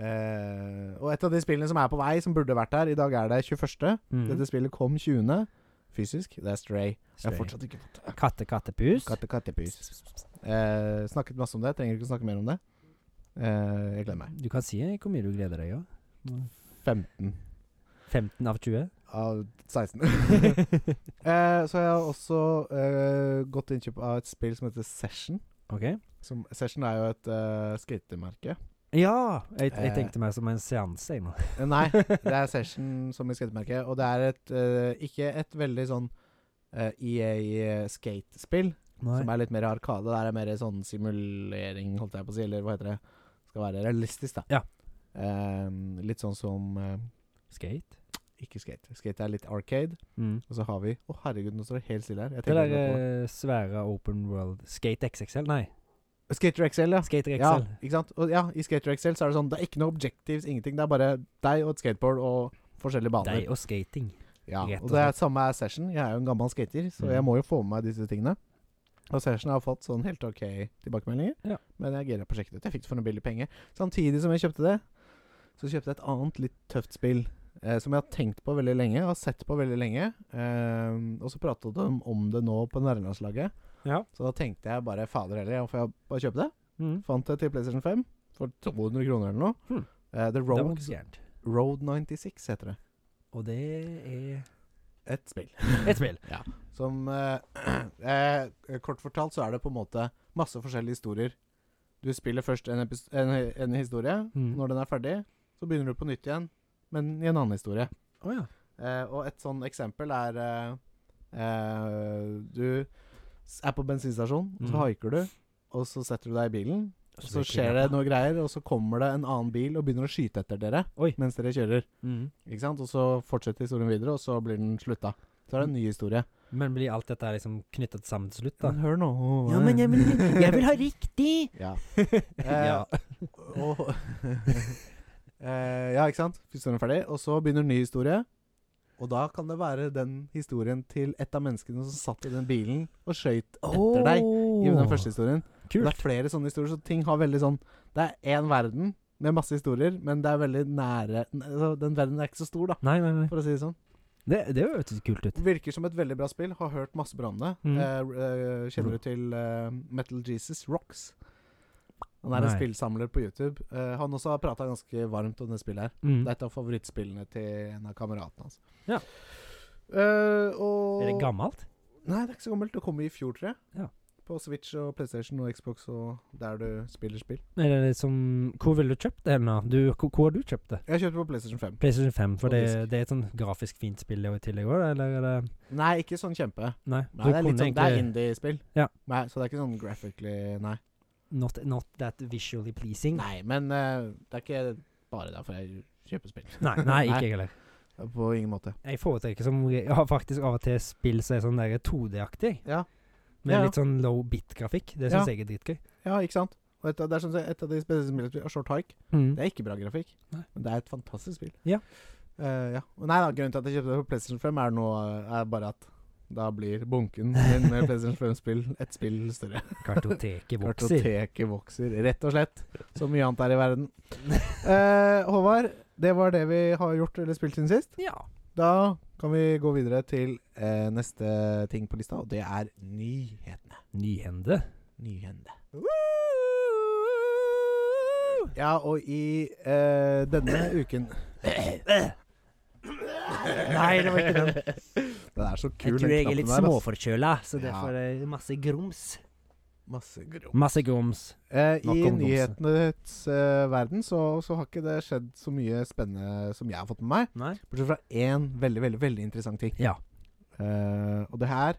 Eh, og et av de spillene som er på vei, som burde vært der, i dag er det 21.
Mm.
Dette spillet kom 20. fysisk. Det er Stray. Jeg har
Stray.
fortsatt ikke fått det.
Katte, kattepus?
Katte, kattepus. Eh, snakket masse om det. Trenger ikke å snakke mer om det. Eh, jeg gleder meg.
Du kan si hvor mye du gleder deg, ja.
15
15 av 20?
av 16. eh, så jeg har også eh, gått til innkjøp av et spill som heter Session.
OK.
Som, Session er jo et eh, skatemerke.
Ja! Jeg, jeg
Eh.
tenkte meg som en seanse, jeg nå.
Eh, nei, det er Session som i skatemerke. Og det er et, eh, ikke et veldig sånn eh, EA Skate-spill, som er litt mer arkade. Det er mer sånn simulering, holdt jeg på å si, eller hva heter det? Skal være realistisk, da.
Ja.
Eh, litt sånn som eh,
Skate?
ikke skate. Skate er litt arcade.
Mm.
Og så har vi Å, herregud, nå står det helt stille her. Jeg
Det
tenker
der
ikke på
eh, svære open world Skate XXL? Nei,
det. Skater XL, ja.
Skater
Ja,
XL.
ikke sant? Og ja, I Skater XL så er det sånn Det er ikke noe objectives, ingenting. Det er bare deg og et skateboard og forskjellige baner.
Deg og skating.
Ja,
Rett
og
og
det er samme er Session. Jeg er jo en gammel skater, så
Mm.
jeg må jo få med meg disse tingene. Og Session har fått sånn helt ok tilbakemeldinger,
Ja.
men jeg gira prosjektet ut. Jeg fikk det for noen billige penger. Samtidig som jeg kjøpte det, så kjøpte jeg et annet litt tøft spill. Eh, som jeg har tenkt på veldig lenge, og har sett på veldig lenge. Eh, og så pratet de om det nå på nærlandslaget.
Ja.
Så da tenkte jeg bare fader heller, jeg får jeg bare kjøpe det.
Mm.
Fant det til PlayStation 5 for 200 kroner eller noe.
Hmm.
Eh, The
Det var
Road,
ikke så gærent.
Road 96 heter det.
Og det er
Et spill.
et spill.
Som eh, eh, Kort fortalt så er det på en måte masse forskjellige historier. Du spiller først en, epis- en, en historie.
Mm.
Når den er ferdig, så begynner du på nytt igjen, men i en annen historie.
Å ja.
Eh, og et sånn eksempel er eh, eh, Du s- er på bensinstasjon, og
Mm.
så haiker du, og så setter du deg i bilen. Og så
blir
skjer
kidnappet.
det noe greier, og så kommer det en annen bil og begynner å skyte etter dere
Oi.
mens dere kjører.
Mm.
Ikke sant? Og så fortsetter historien videre, og så blir den slutta. Så er det en ny historie.
Men blir alt dette her liksom knyttet sammen til slutt, da?
Men hør nå.
ha riktig!
Ja. Eh,
ja.
Og, eh, ja, ikke sant? Historien er ferdig, og så begynner en ny historie. Og da kan det være den historien til et av menneskene som satt i den bilen og skøyt etter deg. I den første historien. Det er
Kult.
flere sånne historier, så ting har veldig sånn Det er én verden med masse historier, men det er veldig nære n- altså, Den verden er ikke så stor, da,
Nei, nei, nei.
for å si det sånn.
Det, det hørtes kult ut.
Virker som et veldig bra spill. Har hørt masse bra om det.
Mm.
Eh, eh, kjenner du til eh, Metal Jesus Rocks? Han er en
Nei.
spillsamler på YouTube. Eh, han også har prata ganske varmt om det spillet her.
Mm.
Det er et av favorittspillene til en av kameratene hans.
Ja.
Eh, og
Er det gammelt?
Nei, det er ikke så gammelt. Det kom i fjor, tror jeg.
Ja.
På Switch og PlayStation og Xbox og der du spiller spill.
Er det liksom Hvor ville du kjøpt det hen, da? Du, hvor- hvor har du kjøpt det?
Jeg kjøpte på PlayStation 5.
PlayStation 5, for
På
det, det er et sånn grafisk fint spill i tillegg òg, eller er det
Nei, ikke sånn kjempe.
Nei.
Nei, det er litt sånn, det er
egentlig-
indie-spill.
Ja.
Nei, Så det er ikke sånn graphically Nei.
not, not that visually pleasing.
Nei, men eh, det er ikke bare derfor jeg kjøper spill.
Nei, nei ikke jeg heller.
På ingen måte.
Jeg foretrekker som re- ja, faktisk av og til spill som er sånn der 2D-aktig,
Ja,
med
Ja, ja.
litt sånn low bit-grafikk. Det
Ja.
syns jeg er dritgøy.
ja ikke sant? Og et, av- det er sånn som sagt et av de spesielle spillene som er Short Hike.
Mm.
Det er ikke bra grafikk,
Nei.
men det er et fantastisk spill.
Ja.
Eh, ja. Og Nei da, grunnen til at jeg kjøpte det på PlayStation 5, er, nå, eh, er bare at da blir bunken min med PlayStation 5-spill et spill større.
Kartoteket vokser.
Kartoteket vokser, rett og slett. Så mye annet er i verden. Eh, Håvard, det var det vi har gjort eller spilt siden sist.
Ja.
Da kan vi gå videre til eh, neste ting på lista, og det er nyhetene.
Nyhende.
Nyhende. Ja, og i eh, denne uken Nei, det var ikke den. Den er så kul,
Jeg tror jeg
den
er litt
knappen der, ass.
småforkjøla, så
Ja.
derfor er det eh, masse grums.
Masse grom.
Masse grums.
Eh,
Nok om
I
grumse.
nyhetenes eh, verden så, så har ikke det skjedd så mye spennende som jeg har fått med meg.
Nei?
Bortsett fra én veldig, veldig veldig interessant ting.
Ja.
Eh, og det her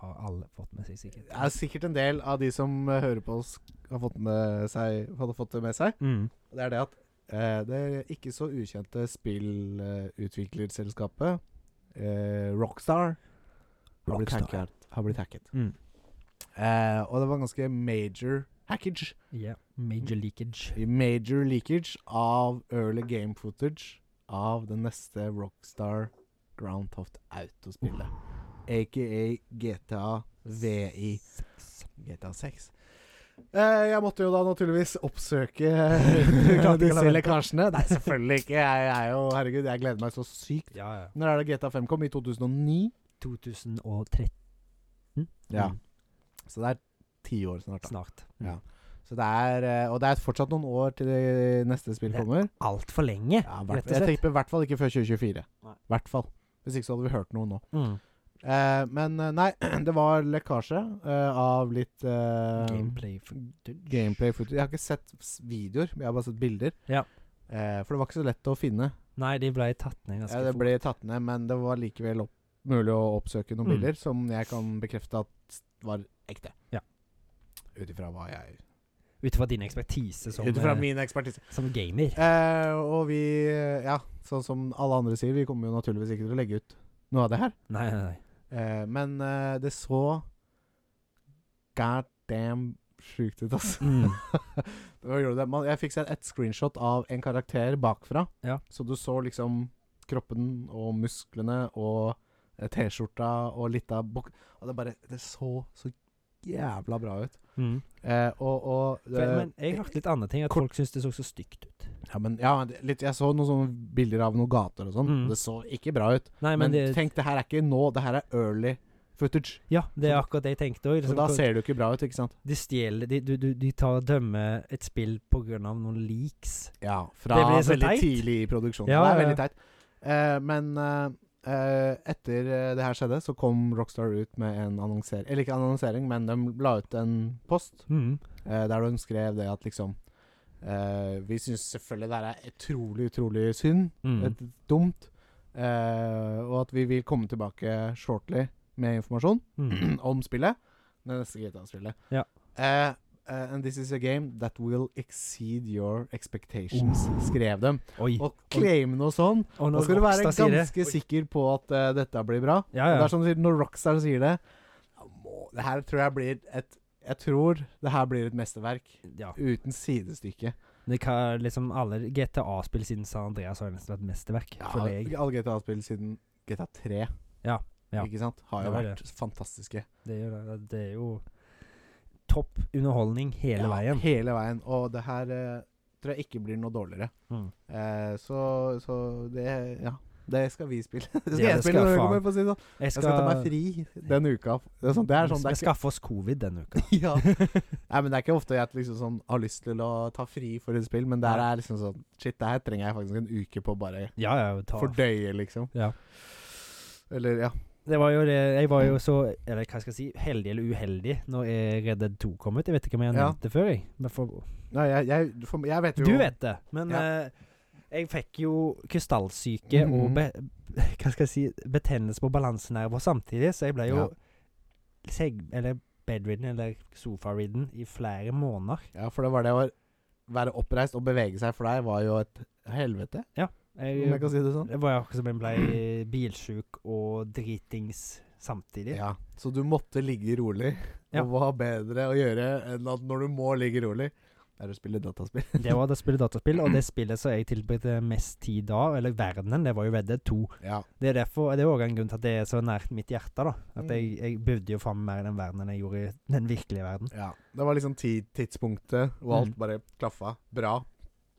Har alle fått med seg, sikkert.
er sikkert en del av de som eh, hører på oss, har fått, med seg, hadde fått det med seg.
Mm.
Det er det at eh, det ikke så ukjente spillutviklerselskapet eh, Rockstar har blitt
Rockstar.
hacket. Har blitt hacket.
Mm.
Eh, og det var ganske major hackage.
Ja. Major leakage.
Major leakage av early game footage av det neste Rockstar Grand Theft Auto-spillet. Aka GTA VI. GTA 6. Eh, jeg måtte jo da naturligvis oppsøke eh,
klarte ikke å la
disse
være.
lekkasjene. Nei, selvfølgelig ikke. Jeg, jeg er jo Herregud, jeg gleder meg så sykt.
Ja, ja.
Når er det GTA 5 kom? I 2009?
2013.
Ja.
Mm.
Så det er ti år snart, da.
Snart.
Ja. Så det er, eh, og det er fortsatt noen år til det neste spill
Det-
kommer.
Altfor lenge,
Ja, hvert,
rett og
jeg
slett.
tenker i hvert fall ikke før 2024.
Nei.
Hvert fall. Hvis ikke så hadde vi hørt noe nå.
Mm.
Eh, men eh, nei, det var lekkasje eh, av litt eh,
Gameplay footage.
gameplay footage. Jeg har ikke sett s- videoer, men jeg har bare sett bilder.
Ja.
Eh, for det var ikke så lett å finne.
Nei, de ble tatt ned ganske
Ja, det
fort.
ble tatt ned, men det var likevel opp, mulig å oppsøke noen
Mm.
bilder som jeg kan bekrefte at var ekte.
Ja.
Ut ifra hva jeg
Ut ifra din ekspertise som,
Ut fra
eh,
min ekspertise.
som gamer.
Eh, og vi eh, Ja, sånn som alle andre sier, vi kommer jo naturligvis ikke til å legge ut noe av det her.
Nei, nei, nei.
Eh, men eh, det så God damn sjukt ut, altså.
Mm.
Hva gjorde det? Man, jeg fikk se et screenshot av en karakter bakfra.
Ja.
Så du så liksom kroppen og musklene og eh, T-skjorta og litt av bok... Og det bare Det så så jævla bra ut.
Mm.
Eh, og og
Men,
eh,
men jeg hørte litt andre ting, at folk syntes det så så stygt ut.
Ja, men, ja, men det- litt, jeg så noen sånne bilder av noen gater og sånn.
Mm.
Det så ikke bra ut.
Nei,
Men,
men det,
tenk, det her er ikke nå. Det her er early footage.
ja, det er akkurat det jeg tenkte òg.
Så da ser det jo ikke bra ut, ikke sant?
De stjeler de, du, du, de tar og dømmer et spill på grunn av noen leaks.
Ja, fra
Det blir så
veldig
teit.
tidlig i produksjonen.
Ja,
det er
ja, ja.
veldig teit. Eh, men eh, eh, etter eh, det her skjedde, så kom Rockstar ut med en annonsering Eller ikke en annonsering, men de la ut en post
Mm.
eh, der de skrev det at liksom eh, Vi syns selvfølgelig det her er utrolig, utrolig synd.
Mm.
Et, dumt. eh, og at vi vil komme tilbake shortly med informasjon
Mm.
om spillet. Det neste GTA-spillet.
Ja.
Eh, eh, and this is a game that will exceed your expectations,
Oh.
skrev dem.
Oi.
Og claim noe sånn.
Og
Da
når
skal du være
Rockstar sier det
ganske sikker på at eh, dette blir bra.
Ja,
Og Det
ja.
er som du sier, Når Rockstar sier det ja, må, Det her tror jeg blir et Jeg tror det her blir et mesterverk
ja.
uten sidestykke.
Det kan liksom alle GTA-spill siden San Andreas har nesten vært mesterverk,
Ja,
føler jeg.
alle GTA-spill siden GTA 3
Ja, ja.
Ikke sant? har jo
Det var
vært fantastiske.
Det er, jo, det er jo topp underholdning hele
Ja,
veien.
Hele veien. Og det her eh, tror jeg ikke blir noe dårligere.
Mm.
Eh, så, så det Ja. Det skal vi spille. Det skal
Ja,
jeg
det
spille
skal
når jeg
faen.
kommer, for å si det sånn.
Jeg Mm,
Jeg skal ta meg fri den uka. Det er sånn, det er sånn, det er
Vi
ikke,
skaffer oss covid denne uka.
ja. Nei, men det er ikke ofte jeg liksom sånn, har lyst til å ta fri for et spill, men der er liksom sånn Shit, det her trenger jeg faktisk en uke på å bare
Ja, ja, ta.
fordøye, liksom.
Ja.
Eller, ja.
Det var jo det Jeg var jo så Eller hva skal jeg si Heldig eller uheldig når eh, Red Dead 2 kom ut. Jeg vet ikke om jeg har
Ja.
nevnt det før, jeg. Men for,
Nei, jeg, jeg, for, jeg vet jo
du vet det. Men
Ja.
eh, jeg fikk jo krystallsyke og
Mhm.
be, Hva skal jeg si betennelse på balansenerver samtidig, så jeg ble jo
Ja.
seg, Eller bedridden, eller sofaridden, i flere måneder.
Ja, for det var det å være oppreist og bevege seg for deg var jo et helvete, om jeg
Jeg,
kan si det sånn.
det var jo akkurat som jeg ble bilsjuk og dritings samtidig.
Ja, så du måtte ligge rolig.
Ja.
Og hva bedre å gjøre enn at når du må ligge rolig, det er å spille dataspill.
Det var det å spille dataspill, og det spillet som jeg tilbrakte mest tid av, eller verdenen, det var jo Red Dead 2.
Ja.
Det er derfor, det er også en grunn til at det er så nært mitt hjerte, da. At jeg,
Mm.
jeg bevde jo faen meg mer i den verden enn jeg gjorde i den virkelige verden.
ja. Det var liksom ti tidspunktet, og alt
Mm.
bare klaffa bra.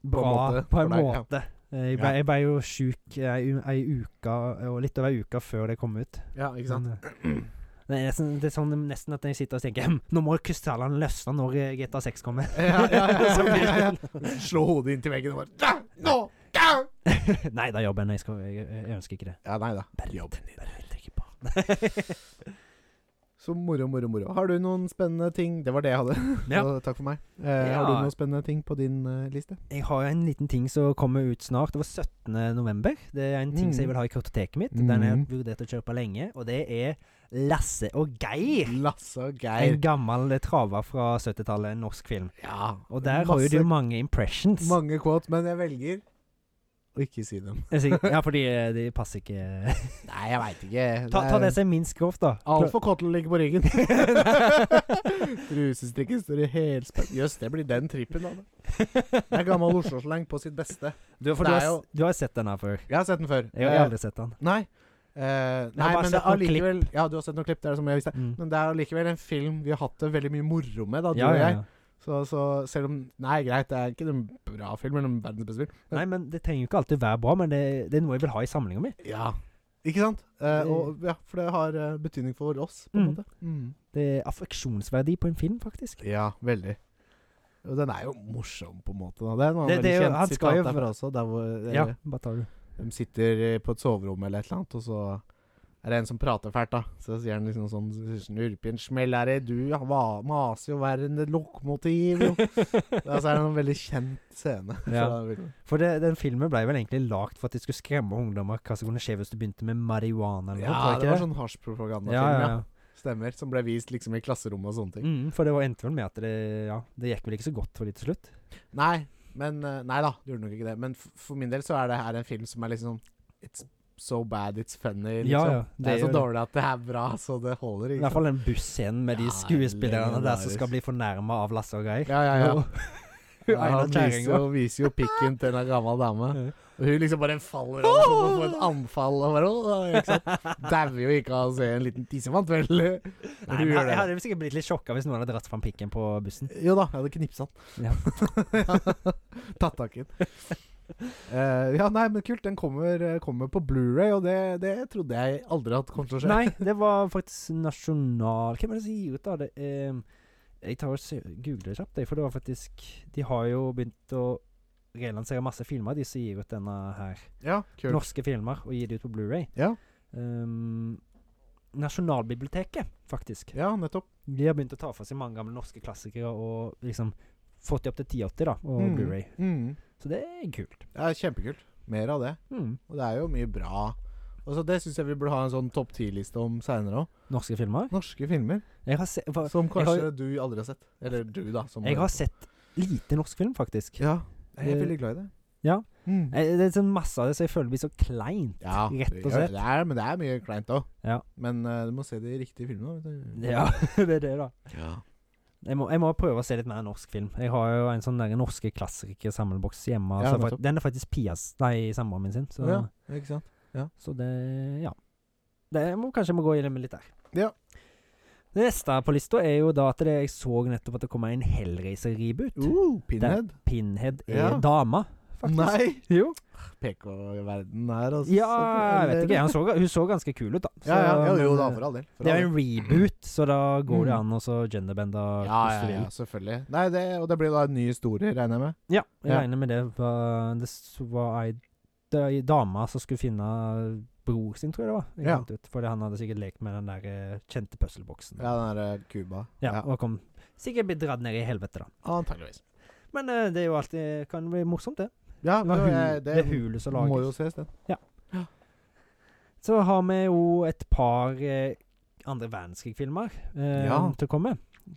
Bra, på en måte.
for deg, ja.
Jeg, ble,
Ja.
jeg ble jo sjuk ei, u- ei uke, og litt over ei uke før det kom ut.
Ja, ikke sant?
Men, eh, det er, nesten, det er sånn, nesten at jeg sitter og tenker «Hm, Nå må krystallene løsne når eh, GTA 6 kommer.
Ja, ja, ja,
Så
ja,
blir
ja, ja.
det-
Slå hodet inntil veggen og bare «Ja, Nå! Ja,
Nei, det er jobben. Jeg, skal, jeg, jeg ønsker ikke det.
ja nei da.
Bare
Jobb.
vent, bare vent, jeg er ikke på.
Så moro, moro, moro. Har du noen spennende ting Det var det jeg hadde.
Ja.
Så takk for meg. Eh,
Ja.
Har du noen spennende ting på din eh, liste?
Jeg har en liten ting som kommer ut snart. Det var 17. november. Det er en ting som jeg
Mm.
vil ha i kartoteket mitt. Den har jeg
Mhm.
vurdert å kjøpe lenge, og det er Lasse og Geir.
Lasse og
En
Geir.
gammel eh, traver fra 70-tallet, en norsk film.
Ja.
Og der har jo
masse-
du mange impressions.
Mange quotes, men jeg velger å ikke si dem.
Jeg sier- ja, fordi eh, de passer ikke
Nei, jeg veit ikke.
ta, ta det som er minst grovt, da.
Altfor kort til å ligge på ryggen. Rusestrikken står i helspenn. Jøss, det blir den trippen, da. Det er gammel Oslo-slang på sitt beste.
Du, for
Det
du,
er
har,
jo-
s- du har sett den her før.
Jeg har sett den før.
Jeg har aldri sett den.
Eh, nei. Eh,
Jeg har
nei,
bare
men det
sett
er
noen
allikevel Ja, du har sett noen klipp, det er det som jeg visste.
Mm.
Men det er allikevel en film vi har hatt det veldig mye moro med, da, du
Ja,
og
ja,
jeg.
ja.
Så, så selv om Nei, greit, det er ikke en bra film, men en verdens beste film.
Nei, men det trenger jo ikke alltid være bra, men det, det er noe jeg vil ha i samlinga mi.
Ja. Ikke sant? Eh,
Det-
og, ja, for det har eh, betydning for oss, på en
Mm.
måte. Mm.
Det er affeksjonsverdi på en film, faktisk.
Ja, veldig. Og den er jo morsom, på en måte. Da. Det er noe
Det-
veldig
det er jo- han
kjent
skal
sitat
jo-
derfra også. Der hvor eh,
Ja, bare tar du.
de sitter eh, på et soverom eller et eller annet, og så er det en som prater fælt, da. Så sier han liksom sånn Snurpin smell er det, du ja, va- maser jo verre enn et lokomotiv, jo. ja, så er det en veldig kjent scene.
Ja.
fra filmen.
For det, den filmen ble vel egentlig lagd for at de skulle skremme ungdommer hva som kunne skje hvis du begynte med marihuana. eller noe,
ja
tror jeg
det
ikke
var sånn hasjpropagandafilm,
ja, ja,
ja,
ja.
Stemmer. Som ble vist liksom i klasserommet og sånne ting.
Mm, for det var endte vel med at det, ja, det gikk vel ikke så godt for de til slutt.
Nei, men eh, Nei da, det gjorde nok ikke det. Men f for min del så er det her en film som er liksom It's so bad it's funny, liksom.
Ja, ja,
det,
det
er så
gjør det.
dårlig at det er bra, så det holder.
I
Ikke
hvert fall den busscenen med de
Ja,
skuespillerne der som skal
legendarisk.
bli fornærma av Lasse og Geir.
Ja, ja, ja.
Og-
Ja,
Einar
han viser
Kjerringa.
jo, viser jo pikken til en gammel dame.
Ja.
Og hun liksom bare faller over som om hun får et anfall. Og bare, «Åh», ikke sant? Dauer jo ikke av å se en liten tissemann, vel.
Nei,
Du
men
gjør
jeg,
det.
jeg hadde jo sikkert blitt litt sjokka hvis noen hadde dratt fram pikken på bussen.
Jo da, jeg hadde knipsa
Ja.
han. Tatt tak i den. Eh, ja, nei, men kult. Den kommer, eh, kommer på Blu-ray og det, det trodde jeg aldri at kom til å skje.
Nei, det var faktisk nasjonal Hvem er det som gir ut, da? Det er, eh, jeg tar og sø- googler det kjapt, jeg, for det var faktisk De har jo begynt å relansere masse filmer, de som gir ut denne her.
Ja, kult.
Norske filmer, og gir det ut på Blu-ray.
Ja.
Ehm, Nasjonalbiblioteket, faktisk.
ja, nettopp.
De har begynt å ta for seg mange gamle norske klassikere og liksom fått de opp til 1080, da, og
Mm.
Blu-ray.
Mm.
Så det er kult.
Ja, kjempekult. Mer av det.
Mm.
Og det er jo mye bra. Og så Det syns jeg vi burde ha en sånn topp ti-liste om seinere òg.
Norske filmer.
Norske filmer
Jeg har, se, hva,
som
jeg har-
kanskje du aldri har sett. Eller du, da. Som
jeg har sett lite norsk film, faktisk.
Ja, jeg er
Eh,
veldig glad i det.
ja.
Mm.
Eh, Det er sånn masse av det, så jeg føler det blir så kleint.
ja
rett og
ja,
slett.
Det er, men det er mye kleint òg.
Ja.
Men eh, du må se de riktige filmene. vet du.
Ja, det er det, da.
ja.
Jeg må, jeg må prøve å se litt mer norsk film. Jeg har jo en sånn der norske klassikersamleboks hjemme.
Ja,
så fakt-
nettopp.
den er faktisk Pias Nei, samboeren min sin. Så,
ja, ikke sant.
så det Ja. Det jeg må, kanskje jeg må gå i det med litt der.
Ja.
Det neste på lista er jo da at det, jeg så nettopp at det kommer en Hellraiser-reboot.
Uh, Pinhead.
Pinhead er
Ja.
dama, faktisk.
Nei!
Jo.
PK-verden her, altså.
Ja, jeg vet ikke. Hun så, hun så ganske kul ut, da. Så,
Ja, ja, ja, jo
men,
da,
eh,
for all del. For
Det er
all
jo
del.
en reboot, så da går det
Mm.
an å så genderbende
Ja, ja, ja, selvfølgelig. Nei, det, og det blir da en ny historie, regner jeg med.
ja, jeg
Ja.
regner med det. var- Det s- var ei da- ei dame som skulle finne bror sin, tror jeg det var. Jeg
Ja.
fant ut, fordi han hadde sikkert lekt med den der eh, kjente puzzleboksen.
Ja, den derre Cuba.
Ja, Og kom sikkert blitt dratt ned i helvete, da.
Antakeligvis.
Men eh, det er jo alltid kan bli morsomt, det.
Ja,
Det, var
det,
hu,
det,
det er hulet som
må jo
lages.
ses, den.
Så har vi jo et par eh, andre verdenskrig-filmer eh,
Ja.
til å komme.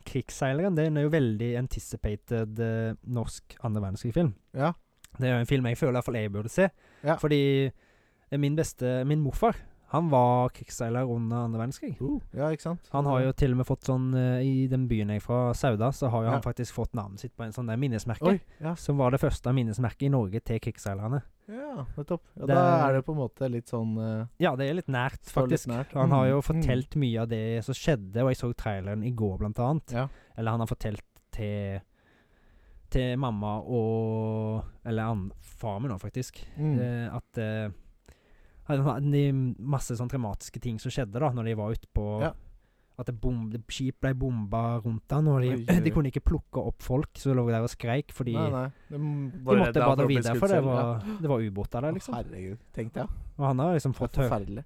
'Krigsseileren' den er jo veldig anticipated eh, norsk andre verdenskrig-film.
Ja.
Det er jo en film jeg føler i hvert fall jeg burde se.
Ja.
Fordi eh, min beste, min morfar, han var krigsseiler under andre verdenskrig.
Ja, ikke sant?
Han har jo til og med fått sånn eh, I den byen jeg er fra, Sauda, så har jo
Ja.
han faktisk fått navnet sitt på en sånn der minnesmerke.
Oi, ja.
Som var det første minnesmerket i Norge til krigsseilerne.
ja nettopp. Ja,
Det
da
er-
er det på en måte litt sånn eh,
Ja, det er litt nært,
Står litt
faktisk.
nært.
Han har jo
Mm, mm.
fortalt mye av det som skjedde, og jeg så traileren i går, blant annet.
Ja.
Eller han har fortalt til til mamma og Eller an, far min òg, faktisk.
Mm.
Eh, at eh, han hadde de masse sånn traumatiske ting som skjedde da Når de var utpå.
Ja.
At det bom, det- skip ble bomba rundt han, og de,
Oi, oi, oi.
de kunne ikke plukke opp folk som lå der og skreik, fordi
Nei, nei.
de
De,
måtte bare videre, for det var, det var ubåter der, liksom.
Herregud, tenkte jeg.
Og han har liksom fått høre
Forferdelig.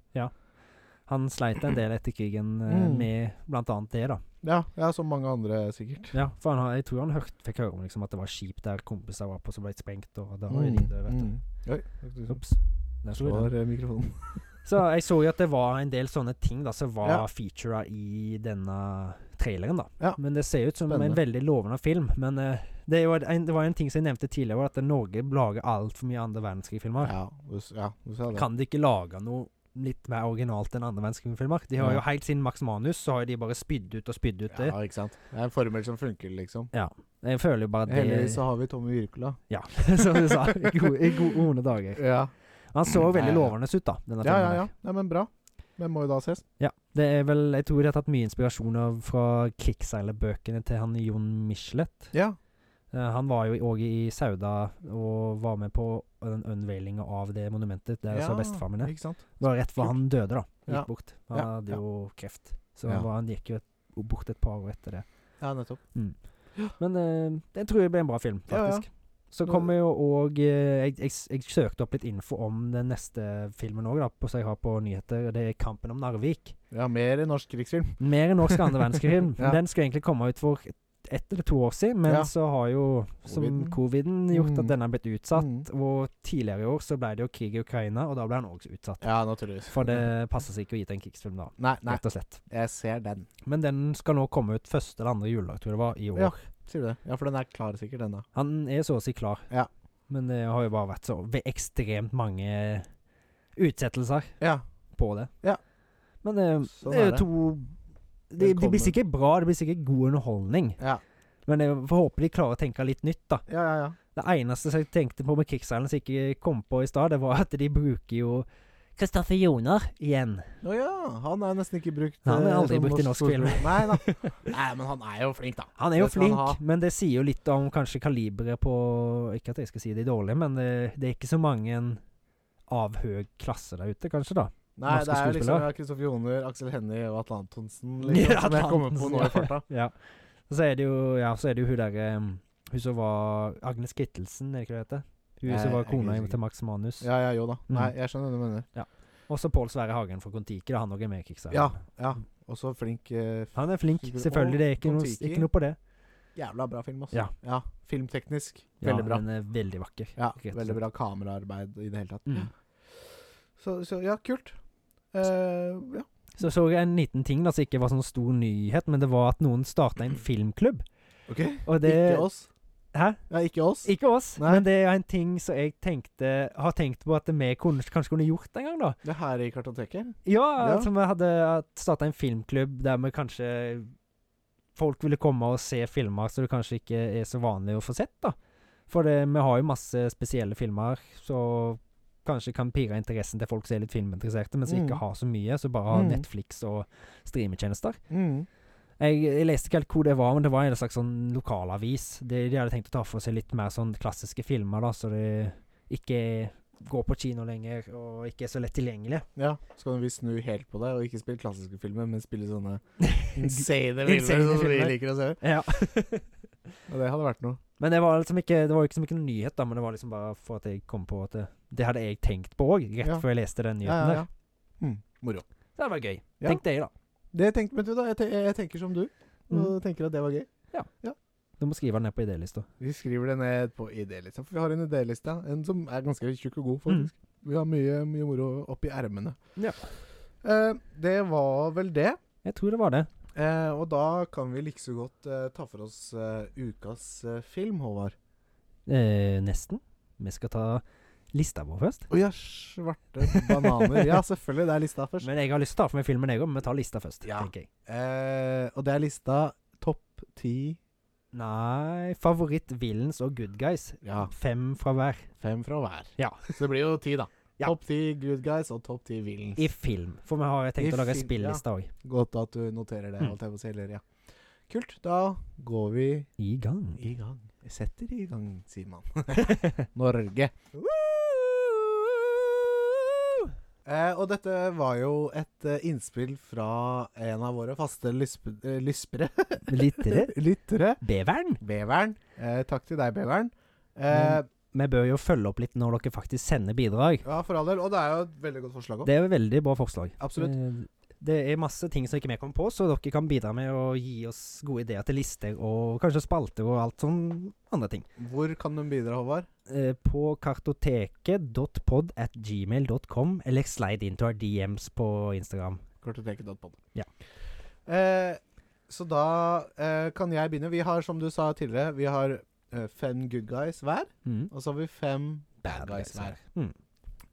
Han sleit en del etter krigen eh,
Mm.
med blant annet det, da.
Ja, ja, som mange andre, sikkert.
Ja, for han, har- jeg tror han hørt, fikk høre om liksom, at det var skip der kompiser var på som ble sprengt, og da var jo de døde, vet du.
Mm. Oi,
Ops. Der slo jeg den.
slår eh, mikrofonen.
Så jeg så jo at det var en del sånne ting da som var
Ja.
featura i denne traileren, da.
Ja.
Men det ser ut som en
Spennende. veldig
veldig lovende film. Men eh, det, var en, ting som jeg nevnte tidligere, var at Norge lager altfor mye andre verdenskrig-filmer.
Ja, du, s- ja, du sa det.
Ah. Kan de ikke lage noe litt mer originalt enn andre verdenskrig-filmer? De har
Ja.
jo helt siden Max Manus, så har jo de bare spydd ut og spydd ut det.
Ja, ikke sant. Det er en formel som funker, liksom.
Jeg føler jo bare at det
Heldigvis så har vi Tommy Wirkola.
Ja, som du sa. I gode, i gode onde dager.
Ja.
Han så
Ja, ja.
veldig lovende ut, da. Denne
ja,
filmen
ja,
her.
ja. Nei, men bra. Den må jo da ses.
Ja, det er vel Jeg tror de har tatt mye inspirasjon av fra krigsseilerbøkene til han Jon Michelet.
Ja.
Eh, han var jo òg i Sauda og var med på den unveilinga av det monumentet der
ja.
så bestefar min er.
Ikke sant.
Det var rett før han døde, da. Gikk
Ja.
bort. Han
Ja,
hadde
ja.
jo kreft. Så
Ja.
han, var, han gikk jo et, bort et par år etter det.
Ja, nettopp.
Men eh, det tror jeg ble en bra film,
Ja, ja.
faktisk. Så kommer jo òg jeg, jeg, jeg søkte opp litt info om den neste filmen òg, som jeg har på nyheter. Det er 'Kampen om Narvik'.
Ja, mer i norsk krigsfilm.
Mer enn norsk andre verdenskrig-film.
Ja.
Den skulle egentlig komme ut for ett eller to år siden, men
Ja.
så har jo som
Coviden.
coviden gjort
Mm.
at denne er blitt utsatt.
Mm.
Og tidligere i år så ble det jo krig i Ukraina, og da ble han også utsatt.
Ja, naturligvis.
For det passer seg ikke å gi til en krigsfilm da,
Nei, nei,
rett og slett.
jeg ser den.
Men den skal nå komme ut første eller andre juledag, tror jeg det var, i år.
Ja. Sier du det? Ja, for den er klar sikkert, den da.
Han er så å si klar.
Ja.
Men det har jo bare vært så ve- ekstremt mange utsettelser
Ja.
på det.
Ja.
Men eh,
Sånn
det er
er
jo
det.
to det, det
Velkommen.
blir sikkert bra, det blir sikkert god underholdning.
Ja,
Men jeg får håpe de klarer å tenke litt nytt, da.
ja, ja. ja.
Det eneste jeg tenkte på med Krigsseilerne som jeg ikke kom på i stad, det var at de bruker jo Kristoffer Joner igjen.
Å ja, han er jo nesten ikke brukt
Han er
eh,
aldri
som
brukt i norsk film.
skuespiller. Nei da. Nei, men han er jo flink, da.
Han er jo
Det skal han
flink,
ha.
men det sier jo litt om kanskje kaliberet på Ikke at jeg skal si de dårlige, men det, det er ikke så mange av høy klasse der ute, kanskje, da.
Nei,
Norske
det er jo liksom
skuespillere.
ja, Kristoffer Joner, Aksel Hennie og Atle Antonsen liksom,
Ja,
som jeg kommer på
Antonsen,
nå i farta.
Ja. Og så er det jo, ja, så er det jo hun derre Hun som var Agnes Kittelsen, er det ikke det det heter? Hun
Jeg-
som var
jeg er
kona
ikke sikker.
til Max Manus.
Ja, ja, jo da.
Mm.
Nei, jeg skjønner hva du mener.
Og så Pål Sverre Hagen fra Kon-Tiki, da han òg er med i Krigsseilerne.
Ja, ja. Og så flink eh, f-
Han er flink,
Sikkert.
selvfølgelig. Det er ikke,
Og
noe,
Kon-Tiki.
ikke noe på det.
Jævla bra film, altså.
Ja.
Filmteknisk.
Ja,
Veldig bra.
Den er veldig vakker.
Ja,
rett og
veldig
slett.
bra kameraarbeid i det hele tatt.
Mm.
Så, så ja, kult. Eh, ja.
Så så jeg en liten ting da, som ikke var sånn stor nyhet, men det var at noen starta en filmklubb.
Ok.
Og det,
Ikke oss.
Hæ?
Ja, ikke oss.
Ikke oss,
Nei.
men det er en ting som jeg tenkte, har tenkt på at vi kunne, kanskje kunne gjort en gang, da.
Det her i kartoteket.
Ja,
Ja.
altså vi hadde starta en filmklubb der vi kanskje Folk ville komme og se filmer som det kanskje ikke er så vanlig å få sett, da. For det, vi har jo masse spesielle filmer, så kanskje kan pire interessen til folk som er litt filminteresserte, men som
Mm.
ikke har så mye, som bare har
Mm.
Netflix og streametjenester.
Mm.
Jeg, jeg leste ikke helt hvor det var, men det var en slags sånn lokalavis. De, de hadde tenkt å ta for seg litt mer sånn klassiske filmer, da, så det ikke går på kino lenger, og ikke er så lett tilgjengelig.
Ja, så kan vi snu helt på det og ikke spille klassiske filmer, men spille sånne insane
Insane
filmer som vi
filmer.
liker å se.
Ja.
Og det hadde vært noe.
men det var liksom ikke Det var jo ikke så mye nyhet, da, men det var liksom bare for at jeg kom på at det, det hadde jeg tenkt på òg, rett
Ja.
før jeg leste den nyheten
ja. Mm, moro.
der. Så det var gøy.
Ja.
Tenk det, da.
Det tenkte men du, da. Jeg, te jeg tenker som du, og
Mm.
tenker at det var gøy.
Du må skrive den ned på idélista.
Vi skriver det ned på idélista, for vi har en idéliste. En som er ganske tjukk og god, faktisk.
Mm.
Vi har mye, mye moro oppi ermene.
Ja.
Eh, det var vel det.
Jeg tror det var det.
Eh, og da kan vi like så godt eh, ta for oss eh, ukas eh, film, Håvard.
Eh, nesten. Vi skal ta lista vår først.
Å ja, svarte bananer. Ja, selvfølgelig. Det er lista først.
Men jeg har lyst til å ta for meg filmen, jeg òg, men vi tar lista først,
Ja.
tenker jeg.
Eh, og det er lista topp ti
Nei Favoritt villains og good guys.
Ja.
Fem fra hver.
Fem fra hver.
Ja.
Så det blir jo ti, da.
Ja.
Topp ti good guys og topp ti villains.
I film. For vi har tenkt
I
å lage ei
film, ja.
spilleliste òg.
Godt at du noterer det.
Mm.
Alt jeg må si, eller, ja. Kult. Da går vi
I gang.
i gang. Jeg setter i gang, sier man. Norge. Eh, og dette var jo et eh, innspill fra en av våre faste lysp eh, lyspere
Littere.
lyttere.
Beveren.
Beveren. Eh, takk til deg, Beveren. Eh,
Vi bør jo følge opp litt når dere faktisk sender bidrag.
ja, for all del. Og det er jo et veldig godt forslag òg.
Det er jo et veldig bra forslag.
Absolutt.
Eh, Det er masse ting som ikke vi kom på, så dere kan bidra med å gi oss gode ideer til lister og kanskje spalter og alt sånn andre ting.
Hvor kan de bidra, Håvard?
eh, på kartoteket.pod at gmail.com, eller slide into our DMs på Instagram.
Kartoteket.pod.
Ja.
Eh, så da eh, kan jeg begynne. Vi har, som du sa tidligere, vi har eh, fem good guys hver.
Mm.
Og så har vi fem
Bad guys her. Mm.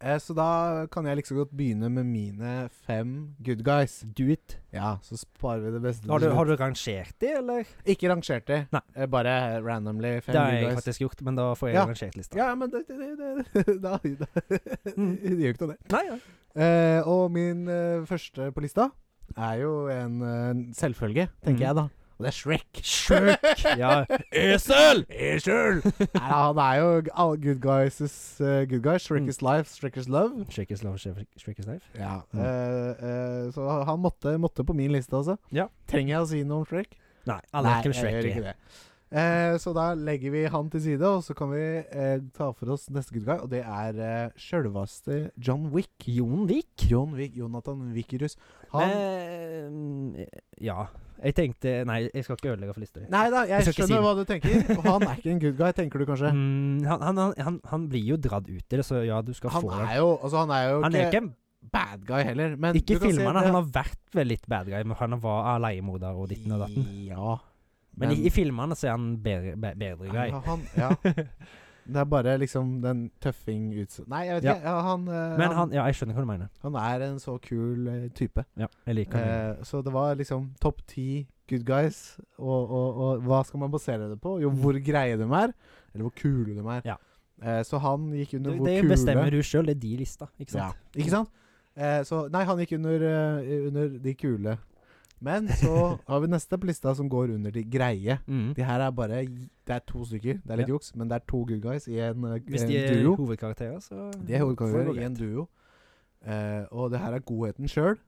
Eh, så da kan jeg like så godt begynne med mine fem good guys.
Do it.
Ja, så sparer vi det beste.
Har du,
til slutt.
har du rangert de, eller?
Ikke rangert de.
Nei.
Eh, bare randomly fem
Det har jeg
good guys.
faktisk gjort, men da får jeg
Ja.
rangert lista.
Ja, men det, det, det, det, da, da
Mm.
Det gjør ikke noe, det.
Nei, ja.
Eh, og min eh, første på lista er jo en eh, selvfølge, tenker
Mhm.
jeg da. Og det er Shrek.
Shrek! Ja. Esel!
Esel! Nei, han er jo g- all good guys is eh, good guys. Shrek
Mm.
is life, Shrek is love.
Shrek is love, Shrek Shrek is life.
Ja.
Mm.
Eh, eh, så han måtte, måtte på min liste, altså.
Ja.
Trenger jeg å si noe om Shrek?
Nei, alle er ikke med
jeg
Shrek
gjør
i.
ikke det. Eh, så da legger vi han til side, og så kan vi eh, ta for oss neste good guy, og det er eh, sjølveste John Wick.
Jon Vik?
John Wick, Jonathan Wickerus. Han
Eh, ja. Jeg tenkte Nei, jeg skal ikke ødelegge for Lister.
Nei da, jeg,
Jeg skal ikke si
skjønner hva du tenker. Og han er ikke en good guy, tenker du kanskje?
Mm, han, han, han, han, han blir jo dratt ut i det, så ja, du skal
Han
få det.
er jo altså, han er jo
Han er
ikke,
ikke en
bad guy heller, men
Ikke
du kan si
filmerne.
det-
Han har vært vel litt bad guy, men han var leiemorder og ditten og datten.
Ja.
Men i, i filmene så er han bedre, be- bedre guy.
Ja, han, ja. Det er bare liksom den tøffing utse... Nei, jeg vet
Ja.
ikke. Ja, han, eh,
Men han Ja, jeg skjønner hva du mener.
han er en så kul eh, type.
Ja, jeg liker han.
Eh, så det var liksom topp ti good guys. Og, og, og hva skal man basere det på? Jo, hvor greie de er, eller hvor kule de er.
Ja.
Eh, så han gikk under
Det,
hvor
det
kule
bestemmer du sjøl, det er de lista, ikke sant?
Ja, ikke sant? Eh, så Nei, han gikk under, eh, under de kule. Men så har vi neste på lista som går under de greie.
Mm.
De her er bare Det er to stykker. Det er litt juks, men det er to good guys i en, eh,
Hvis
en
de er
duo.
hovedkarakterer, så
De er
får det
hovedkarakterer
gå
i en
greit.
duo. Eh, og det her er godheten sjøl.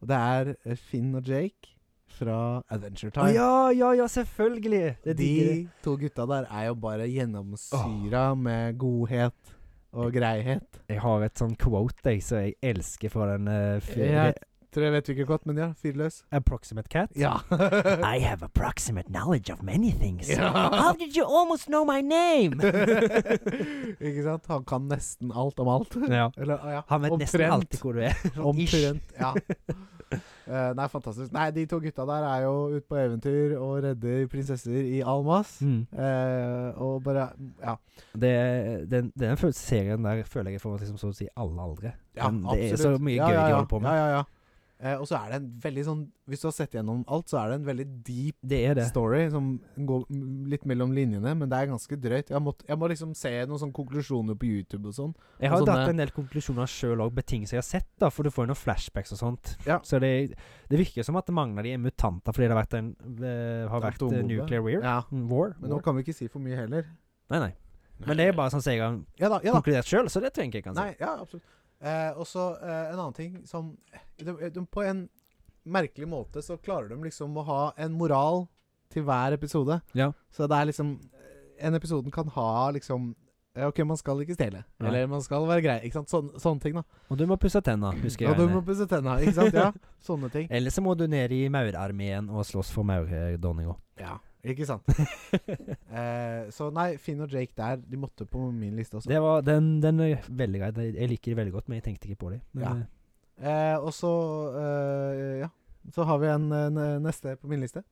Og det er eh, Finn og Jake fra Adventure
Å,
Time.
ja, ja, ja, selvfølgelig! Det
De
digger jeg.
to gutta der er jo bare gjennomsyra med godhet og greihet.
Jeg har et sånn quote jeg, som jeg elsker fra den eh, fyr-
Jeg tror jeg vet hvilken godt, men ja. Fyrløs.
Approximate Cat.
Ja.
I have approximate knowledge of many things.
Ja.
did you almost know my name?
Ikke sant? Han kan nesten alt om alt.
ja.
Eller, ah, ja.
Han vet nesten
Omtrent.
alltid hvor du er. Sånn ish.
Omtrent. Ja. Eh, nei, fantastisk. Nei, de to gutta der er jo ute på eventyr og redder prinsesser i Almas.
Mm.
Eh, og bare Ja.
Det, den, den føl- serien der føler jeg får liksom, så å si alle aldre.
ja
Men det
absolutt.
er så mye
Ja,
gøy
ja,
de
ja.
holder på med.
Ja, ja, ja. Eh, og så er det en veldig sånn Hvis du har sett gjennom alt, så er det en veldig deep
Det er det.
story som går mm, litt mellom linjene, men det er ganske drøyt. Jeg, måtte, jeg må liksom se noen sånne konklusjoner på YouTube og sånn.
Jeg har jo
Og sånne-
dratt en del konklusjoner sjøl òg, betingelser jeg har sett, da, for du får jo noen flashbacks og sånt.
Ja.
Så det, det virker som at mange av de er mutanter fordi det har vært en eh, Har vært eh,
Atombombe.
nuclear weird.
Ja.
Mm, War.
Men nå
War.
kan vi ikke si for mye heller.
Nei, nei. Men det er bare sånn som jeg har
Ja da, ja da.
konkludert sjøl, så det trenger jeg ikke å si.
Nei, ja, absolutt. Eh, og så eh, en annen ting som eh, de, de, På en merkelig måte så klarer de liksom å ha en moral til hver episode.
Ja.
Så det er liksom eh, En episoden kan ha liksom eh, OK, man skal ikke stjele.
Nei.
Eller man skal være grei. Ikke sant? Sånn, sånne ting, da.
Og du må pusse tenna, husker
Ja,
jeg.
du
Reine.
må pusse tenna, ikke sant? Ja, sånne ting.
Eller så må du ned i maurarmeen og slåss for maurdronninga.
Ja, ikke sant. Eh, så nei, Finn og Jake der, de måtte på min liste også.
Det var den, den er veldig grei. Den- Jeg liker det veldig godt, men jeg tenkte ikke på det. Men,
Ja.
eh,
Eh, og så eh, Ja. Så har vi en, eh, ne- neste på min liste.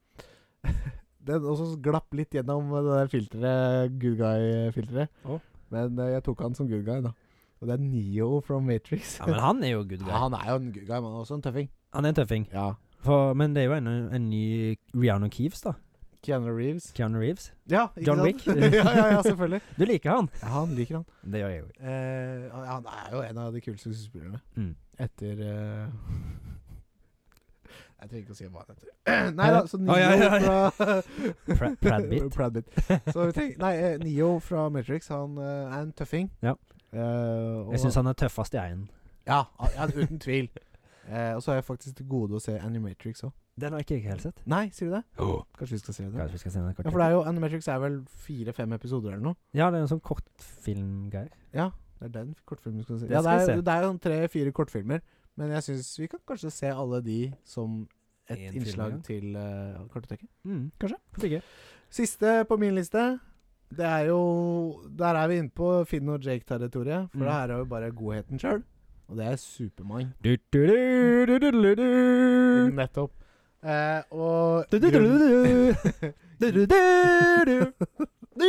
Den også glapp litt gjennom det der filteret, good guy-filteret.
Å.
Men eh, jeg tok han som good guy, da. Og det er Neo from Matrix.
ja, men han er jo good
Ja,
guy.
han er jo en good guy, men også en tøffing.
Han er en tøffing.
Ja.
For, men det er jo en, en ny Rihanna Keeves, da.
Keanu Reeves.
Keanu Reeves.
Ja, ikke
John
sant?
Wick.
ja, ja, ja, selvfølgelig.
Du liker han?
Ja, han liker han.
Det gjør jeg jo.
Eh, han er jo en av de kuleste skuespillerne.
Mm.
Etter eh, Jeg trenger ikke å si hva han heter. Nei da, så
Å,
Neo
ja, ja, ja.
fra
Pra- Brad Pitt.
Brad Pitt. Så vi tenker, nei, eh, Neo fra Matrix han eh, er en tøffing.
Ja.
Eh, og,
Jeg syns han er tøffest i én.
Ja, han- ja, uten tvil. Eh, og så har jeg faktisk til gode å se Animatrix òg.
Den har ikke jeg helt sett.
Nei, sier du det? Kanskje vi skal se det?
Kanskje vi skal se den
Ja, for det er jo, Animatrix er vel fire-fem episoder eller noe?
Ja, det er en sånn kortfilmgreie.
Ja, det er den kortfilmen vi skal se.
Det
Ja, det
skal vi
er,
se.
det er jo tre-fire kortfilmer, men jeg syns vi kan kanskje se alle de som et
En film,
innslag
ja.
til uh, kartoteket.
Mm, kanskje. Hvorfor ikke?
Siste på min liste Det er jo Der er vi inne på Finn og Jake-territoriet. For
Mm.
det her er jo bare godheten sjøl. Og det er Supermann.
Du, du, du, du, du, du, du.
Nettopp. Eh, og
Mm. Du, du, du, du, du. Du,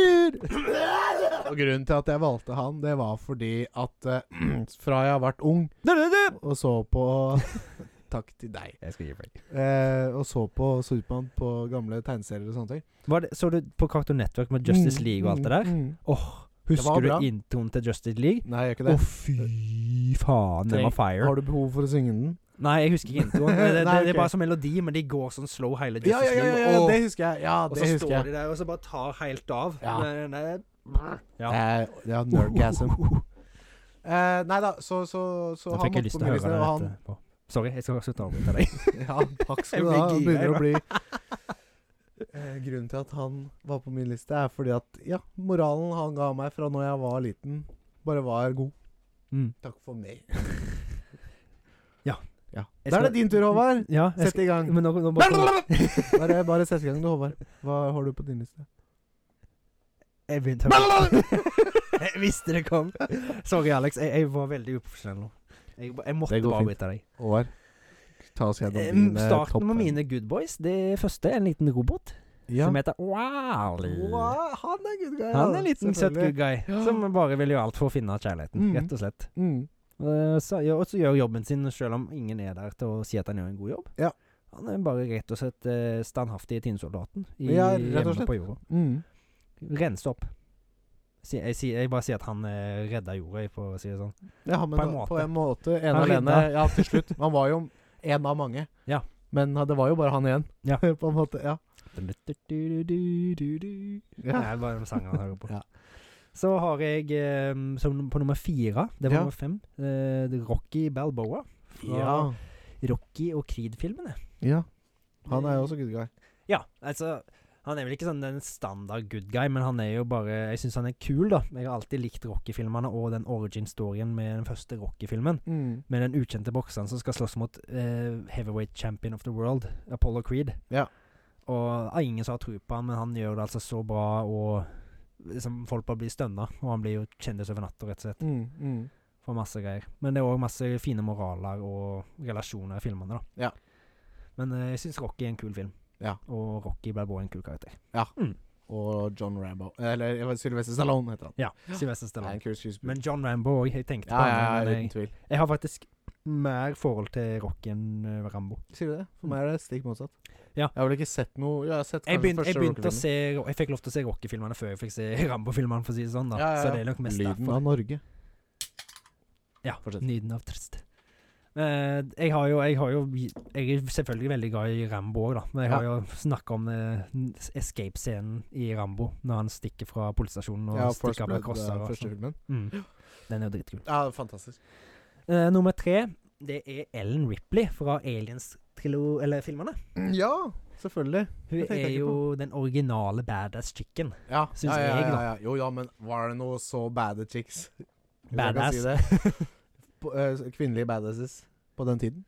du, du, du.
Og grunnen til at jeg valgte han, det var fordi at eh, fra jeg har vært ung
Du, du, du.
og så på Takk til deg.
Jeg skal gi break.
Eh, og så på Supermann på gamle tegneserier og sånne ting.
Var det, så du på Cartoon Network med Justice League og alt det der?
Mm, mm. var
Husker
bra.
du introen til Justice League?
Nei, jeg gjør
Å,
ikke det.
fy faen, den var fire.
Har du behov for å synge den?
Nei, jeg husker ikke introen. Det, det,
Nei,
det
ok.
er bare som melodi, men de går sånn slow hele
Ja, ja,
Justice
ja, ja,
League.
ja,
Åh.
det husker jeg. Ja,
og så
det husker
står
jeg.
de der og så bare tar helt av.
Ja.
Nei, nei, ja.
Eh, ja, nerdgasm. Eh, nei da, så, så, så
Nå
han
fikk jeg lyst
måtte på
til å høre
minusene,
det
og han
etterpå. Sorry, jeg skal slutte å avbryte deg.
Ja, takk skal
Jeg
du
blir gira
ha. Han begynner å bli Eh, grunnen til at han var på min liste, er fordi at ja, moralen han ga meg fra når jeg var liten, bare var god.
Mm.
Takk for meg.
Ja.
ja.
Jeg
Da er
skal-
det din tur, Håvard.
Ja, jeg
Sett i gang.
skal, men nå, nå bare,
Bare, bare sett i gang, du, Håvard. Hva har du på din liste?
jeg begynte Jeg visste det kom. Sorry, Alex. Jeg, jeg var veldig uprofesjonell nå. Jeg, ba- jeg måtte
Det går
bare
fint.
avbryte deg.
Håvard, ta oss gjennom
Em,
dine topp
Starten med
fem.
mine good boys. Det første er en liten robot
ja.
som heter Wally.
Wow, Han er good guy.
Han er
ja.
en liten søt
Selvfølgelig.
good guy
Ja.
som bare vil gjøre alt for å finne kjærligheten,
Mhm.
rett og slett.
Mm.
Eh, så- ja, Og så gjør jobben sin selv om ingen er der til å si at han gjør en god jobb.
Ja.
Han er bare rett og slett eh, standhaftig tinnsoldaten i-
Ja, rett og
hjemme
slett.
på jorda.
Mm.
Rense opp. Si- Jeg, sier- jeg bare sier at han eh, redda jorda, for å si det sånn.
Ja, men
På en
da-
måte.
på en måte. En
Han
alene.
rydda.
Ja, til slutt. Han var jo en av mange.
Ja.
Men det var jo bare han igjen,
Ja.
på en måte. Ja.
Du-du-du-du-du-du.
Ja.
Det er bare den sangen han hører på.
Ja.
Så har jeg eh, som på nummer fire, det var
Ja.
nummer fem, eh, det er Rocky Balboa. Fra
Ja.
Rocky og Creed-filmene.
ja. Han er jo også good guy.
Ja, altså Han er vel ikke sånn den standard good guy, men han er jo bare Jeg syns han er kul, da. Jeg har alltid likt Rocky-filmene og den origin-storyen med den første Rocky-filmen.
Mm,
Med den ukjente bokseren som skal slåss mot eh, heavyweight champion of the world, Apollo Creed.
Ja.
Og det er ingen som har tro på han, men han gjør det altså så bra, og liksom, folk bare blir stønna. Og han blir jo kjendis over natta, rett og slett.
Mm, mm.
For masse greier. Men det er òg masse fine moraler og relasjoner i filmene, da.
Ja.
Men eh, jeg syns Rocky er en kul film.
Ja.
Og Rocky Balboa er en kul karakter.
Og John Rambo Eller jeg vet, Sylvester Stallone heter han.
Ja, Sylvester
Det er
Stallone.
en kul skuespiller.
Men John Rambo òg. Jeg tenkte
Ja,
på
ja,
han.
ja,
men
uten
jeg,
tvil.
jeg har faktisk mer forhold til Rocky enn eh, Rambo.
Sier du det? For meg er det stikk motsatt.
Ja.
Jeg har vel ikke sett noe Jeg har sett
Jeg,
kanskje
begynte- jeg
første
begynte å
rockefilmen.
se Jeg fikk lov til å se Rocky-filmene før jeg fikk se Rambo-filmene, for å si det sånn. da
Ja, ja,
Så
ja.
det er nok mest
Lyden
derfor.
av Norge.
Ja,
Fortsett.
Lyden av trist. Eh, jeg har jo Jeg har jo Jeg er selvfølgelig veldig glad i Rambo òg, da. Men jeg har jo snakka om eh, escape-scenen i Rambo, når han stikker fra politistasjonen og
Ja, First
stikker av med
Blood,
crosser.
eh,
og
første
sånn.
filmen.
Mm. Den er jo dritkul.
Ja, fantastisk.
Eh, nummer tre, det er Ellen Ripley fra Aliens-filmene.
Ja, selvfølgelig.
Hun
Det tenkte jeg
er
ikke
jo den originale badass chicken.
Ja,
Syns
ja, ja,
jeg, da.
ja, ja. Jo da, men var det noe så bad chicks? Hvis jeg kan
Badass.
si det. På, eh, kvinnelige badasses på den tiden?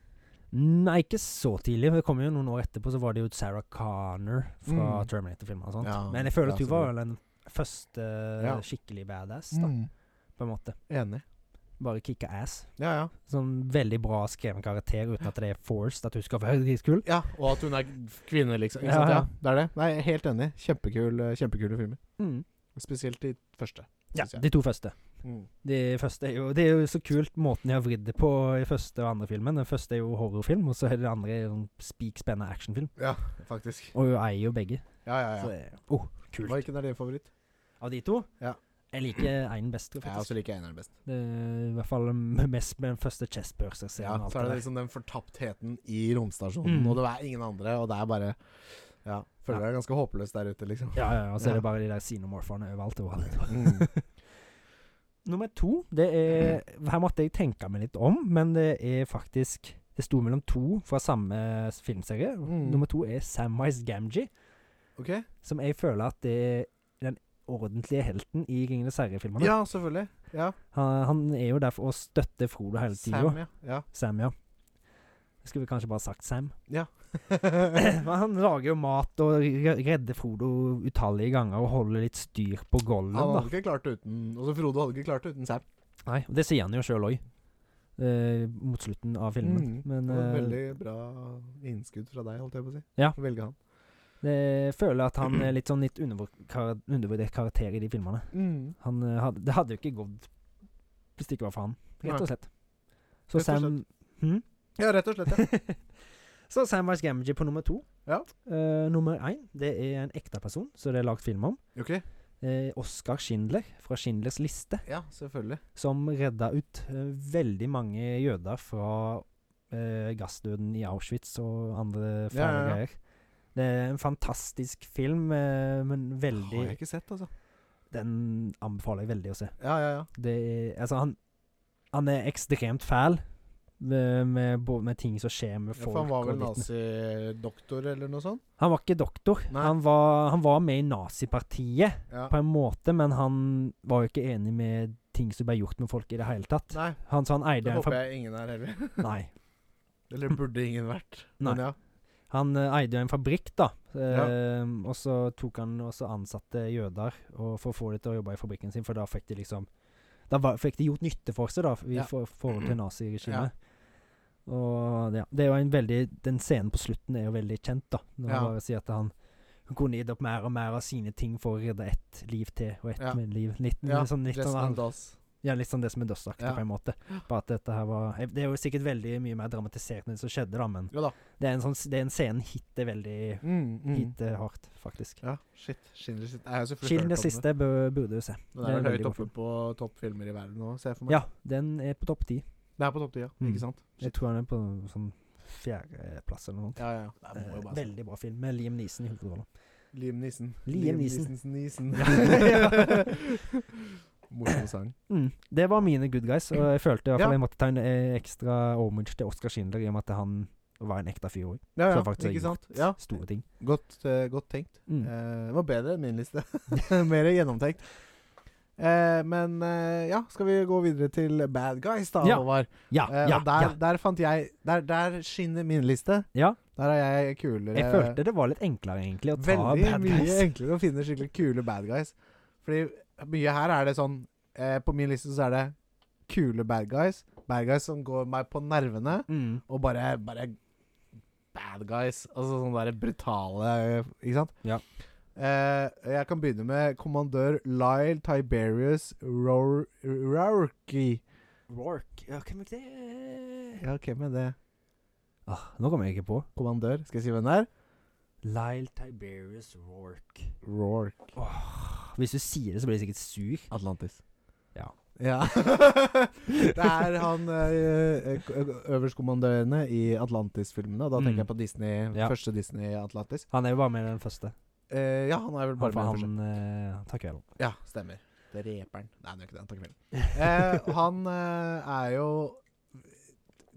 Nei, ikke så tidlig. Det kom jo noen år etterpå, så var det jo Sarah Connor fra
Mm.
Terminator-filmene og sånt.
Ja,
Men jeg føler at
ja,
hun var den første
Ja. Mm.
skikkelig badass, da, på en måte.
Enig.
Bare kicka ass.
Ja, ja.
Sånn veldig bra skreven karakter, uten at det er forced at hun skal være dritkul.
ja. Og at hun er kvinne, liksom. Ikke
Ja,
sant?
ja.
Ja, det er det. Nei, jeg er helt enig. Kjempekul, eh, kjempekule filmer.
Mm.
Spesielt de første.
Ja,
synes jeg.
de to første.
Mm.
Det første er jo Det er jo så kult måten jeg har vridd det på i første og andre filmen. Den første er jo horrorfilm, og så er det andre er en spik spennende actionfilm.
Ja, faktisk.
Og hun eier jo begge.
Ja, ja,
Så
ja.
det er oh, kult.
Hvilken er din favoritt?
Av de to
Ja. altså,
Jeg liker einen best,
Jeg også
faktisk.
liker eneren best.
Det er I hvert fall m- mest med den første
Ja,
chestburser-scenen. og alt
så er
det
det
der.
liksom den fortaptheten i romstasjonen,
Mm.
og det er ingen andre, og det er bare Ja. Føler
Ja.
deg ganske håpløs der ute, liksom.
Ja, ja, ja, og så er
Ja.
det bare de der xenomorphene overalt. overalt.
Mm.
Nummer to, det er Her måtte jeg tenke meg litt om, men det er faktisk Det sto mellom to fra samme filmserie.
Mm.
Nummer to er Samwise Gamgee.
OK?
Som jeg føler at det er den ordentlige helten i Ringenes herre-filmene.
Ja, selvfølgelig. Ja.
Han, han er jo der for å støtte Frodo hele tida.
Sam,
Sam,
ja. ja.
ja. Jeg skulle kanskje bare sagt Sam.
ja,
Men han lager jo mat og re- redder Frodo utallige ganger og holder litt styr på Gollum,
Han
da.
hadde ikke klart det uten Også Frode hadde ikke klart det uten Sam.
Nei, og det sier han jo sjøl òg. Eh, mot slutten av filmen.
Mm.
Men
Det var et
eh,
veldig bra innskudd fra deg, holdt jeg på å si.
Ja.
Å velge han.
jeg føler at han er litt sånn litt undervur- kar- undervurdert karakter i de filmene.
Mm.
Han, eh, hadde, det hadde jo ikke gått hvis det ikke var for han, rett
Nei.
og slett. Så
Rett og
Sam Hm?
Ja, rett og slett. Ja.
Så Samwise Gamgee på nummer to.
Ja.
Eh, nummer én, det er en ekte person som det er lagd film om.
Ok.
Eh, Oskar Schindler fra Schindlers liste,
Ja, selvfølgelig.
som redda ut eh, veldig mange jøder fra eh, gassdøden i Auschwitz og andre fæle
Ja, ja, ja.
greier. Det er en fantastisk film, eh, men veldig
Har jeg ikke sett, altså.
Den anbefaler jeg veldig å se.
Ja, ja, ja.
Det er Altså, han, han er ekstremt fæl, med, med, bo- med ting som skjer med
Ja,
folk.
for han var
og
vel
ditt-
nazidoktor eller noe sånt?
han var ikke doktor.
Nei.
Han var, han var med i nazipartiet
Ja.
på en måte, men han var jo ikke enig med ting som ble gjort med folk i det hele tatt.
Nei,
Han sa han eide
det
en
håper
fabri-
jeg ingen er heller.
Nei.
Eller burde ingen vært. Men
Nei.
ja.
Han eh, eide jo en fabrikk, da.
Ja.
Ehm, og så tok han også ansatte jøder og for å få dem til å jobbe i fabrikken sin, for da fikk de liksom Da var, fikk de gjort nytte for seg, da, i
Ja.
for, forhold til naziregimet. Og ja, det er jo en veldig Den scenen på slutten er jo veldig kjent, da. Når
Ja.
han bare sier at han kunne gitt opp mer og mer av sine ting for å redde ett liv til og ett
Ja.
med liv. Litt,
ja.
litt, sånn, litt,
Just
sånn,
and us.
ja, litt sånn det som er dødsaktig,
Ja.
på en måte. Bare at dette her var Det er jo sikkert veldig mye mer dramatisert enn det som skjedde, da, men
Jo da.
det er en, sånn, s- det er en scene hit er veldig
Mm, mm.
hit er hardt, faktisk.
Ja, shit. Schindler sitt. Jeg har jo selvfølgelig hørt om
Schindlers
det.
siste bø- burde du se. Det
Men det er
er
vel
veldig
høyt
god
oppe
film.
på toppfilmer i verden nå, ser jeg for meg.
Ja, den er på topp ti.
Det er på topp ti, ja.
Mm.
Ikke sant?
Jeg tror den er på sånn fjerdeplass eller noe. sånt.
Ja, ja. ja. Det må jo
Eh,
bare se.
Veldig bra film med Liam Neeson i hovedrollen.
Liam Neeson.
Liam Neeson.
Neesons Neeson. Morsom sang.
Mm. Det var mine good guys, og jeg følte i hvert
Ja.
fall jeg måtte ta en eh, ekstra homage til Oskar Schindler, i og med at han var en ekte fyr òg.
Ja,
Så
ja.
faktisk har
Ikke
jeg
sant? Ja.
Store ting.
Godt, eh, godt tenkt.
Mm.
Eh, det var bedre enn min liste. Mer gjennomtenkt. Eh, men eh, ja, skal vi gå videre til Bad Guys, da,
Ja.
Håvard?
Ja,
Eh, og
ja,
der,
ja.
der fant jeg Der, der skinner min liste.
Ja.
Der er jeg kulere.
Jeg følte det var litt enklere, egentlig, å ta
Veldig
bad
mye
guys.
enklere å finne skikkelig kule bad guys. Fordi mye her er det sånn eh, På min liste så er det kule bad guys. Bad guys som går meg på nervene,
Mm.
og bare, bare bad guys. Altså sånne der brutale eh, Ikke sant?
Ja.
Eh, jeg kan begynne med kommandør Lyle Tiberius Rour- Rourke.
Rorke Ja, hvem er det?
Ja, hvem er det?
Ah, nå kommer jeg ikke på.
Kommandør? Skal jeg si hvem det er?
Lyle Tiberius Rorke.
Rourke.
Hvis du sier det, så blir jeg sikkert sur.
Atlantis.
Ja.
Ja. det er han eh, eh, ø- øverstkommanderende i Atlantis-filmene. og Da
Mm.
tenker jeg på Disney,
Ja.
første Disney Atlantis.
Han er jo bare med i den første.
Eh, ja, han er vel bare
Bare
med i
han,
den første.
han eh, han tar kvelden.
Ja, stemmer. Det er reperen. Nei, han gjør ikke det. Han tar kvelden. Eh, han eh, er jo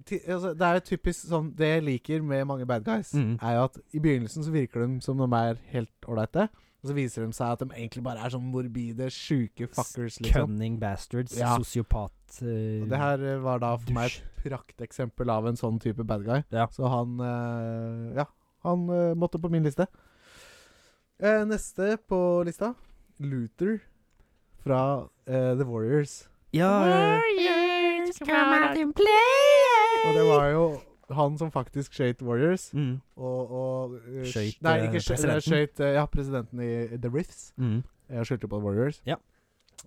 ti, altså, Det er jo typisk sånn Det jeg liker med mange bad guys,
Mm.
er jo at i begynnelsen så virker de som de er helt ålreite. Og så viser de seg at de egentlig bare er sånn morbide, sjuke fuckers, liksom.
Cunning bastards.
Ja.
Sosiopat. eh,
Og det her eh, var da for meg
Dusj.
et prakteksempel av en sånn type bad guy.
Ja.
Så han eh, Ja, han eh, måtte på min liste. Eh, neste på lista Luther fra eh, The Warriors.
Ja, eh,
Warriors, come out and play!
Og det var jo han som faktisk skøyt Warriors.
mm,
Og, og eh,
Skjøt,
Nei,
eh,
ikke skøyt.
presidenten.
Skjøt eh, ja, presidenten i The Riffs.
mm.
Jeg skyldte på Warriors.
Ja.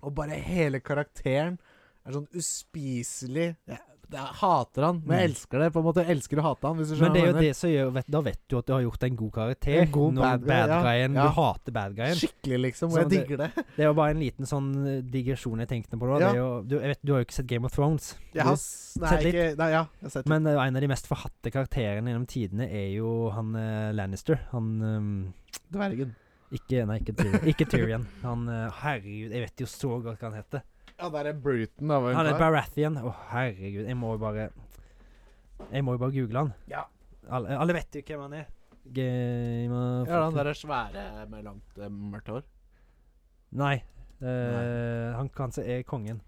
Og bare hele karakteren er sånn uspiselig. Jeg, jeg hater han, men jeg
Mm.
elsker det. på en måte Jeg elsker å hate han, hvis
Men
du skjønner
det er jo
hva jeg
det som gjør vet, Da vet du at du har gjort en god karakter.
En god
når
bad guy, ja.
guyen
Ja.
Du hater bad
mener.
guyen.
Skikkelig, liksom. Og
Så
jeg
Sånn det-
digger det.
Det er jo bare en liten sånn eh, digresjon jeg tenkte på. Da.
Ja.
Det er jo, du, jeg vet, du har jo ikke sett Game of Thrones.
Jeg har, s- nei,
Sett litt.
ikke, nei, ja, jeg har sett litt.
Men eh, en av de mest forhatte karakterene gjennom tidene er jo han eh, Lannister. Han ehm,
Dvergen.
Ikke, nei, ikke Tyrion. Ikke Tyrion. Han, eh, herregud, jeg vet jo så godt hva han heter.
Ja, der er Bruton. da, var hun
Han er
klar.
Baratheon. Å, herregud, jeg må jo bare Jeg må jo bare google han.
Ja.
Alle, alle vet jo hvem han er. Game of
Ja, han der er svære med langt eh, mørkt hår.
Nei. eh, han kan se er kongen.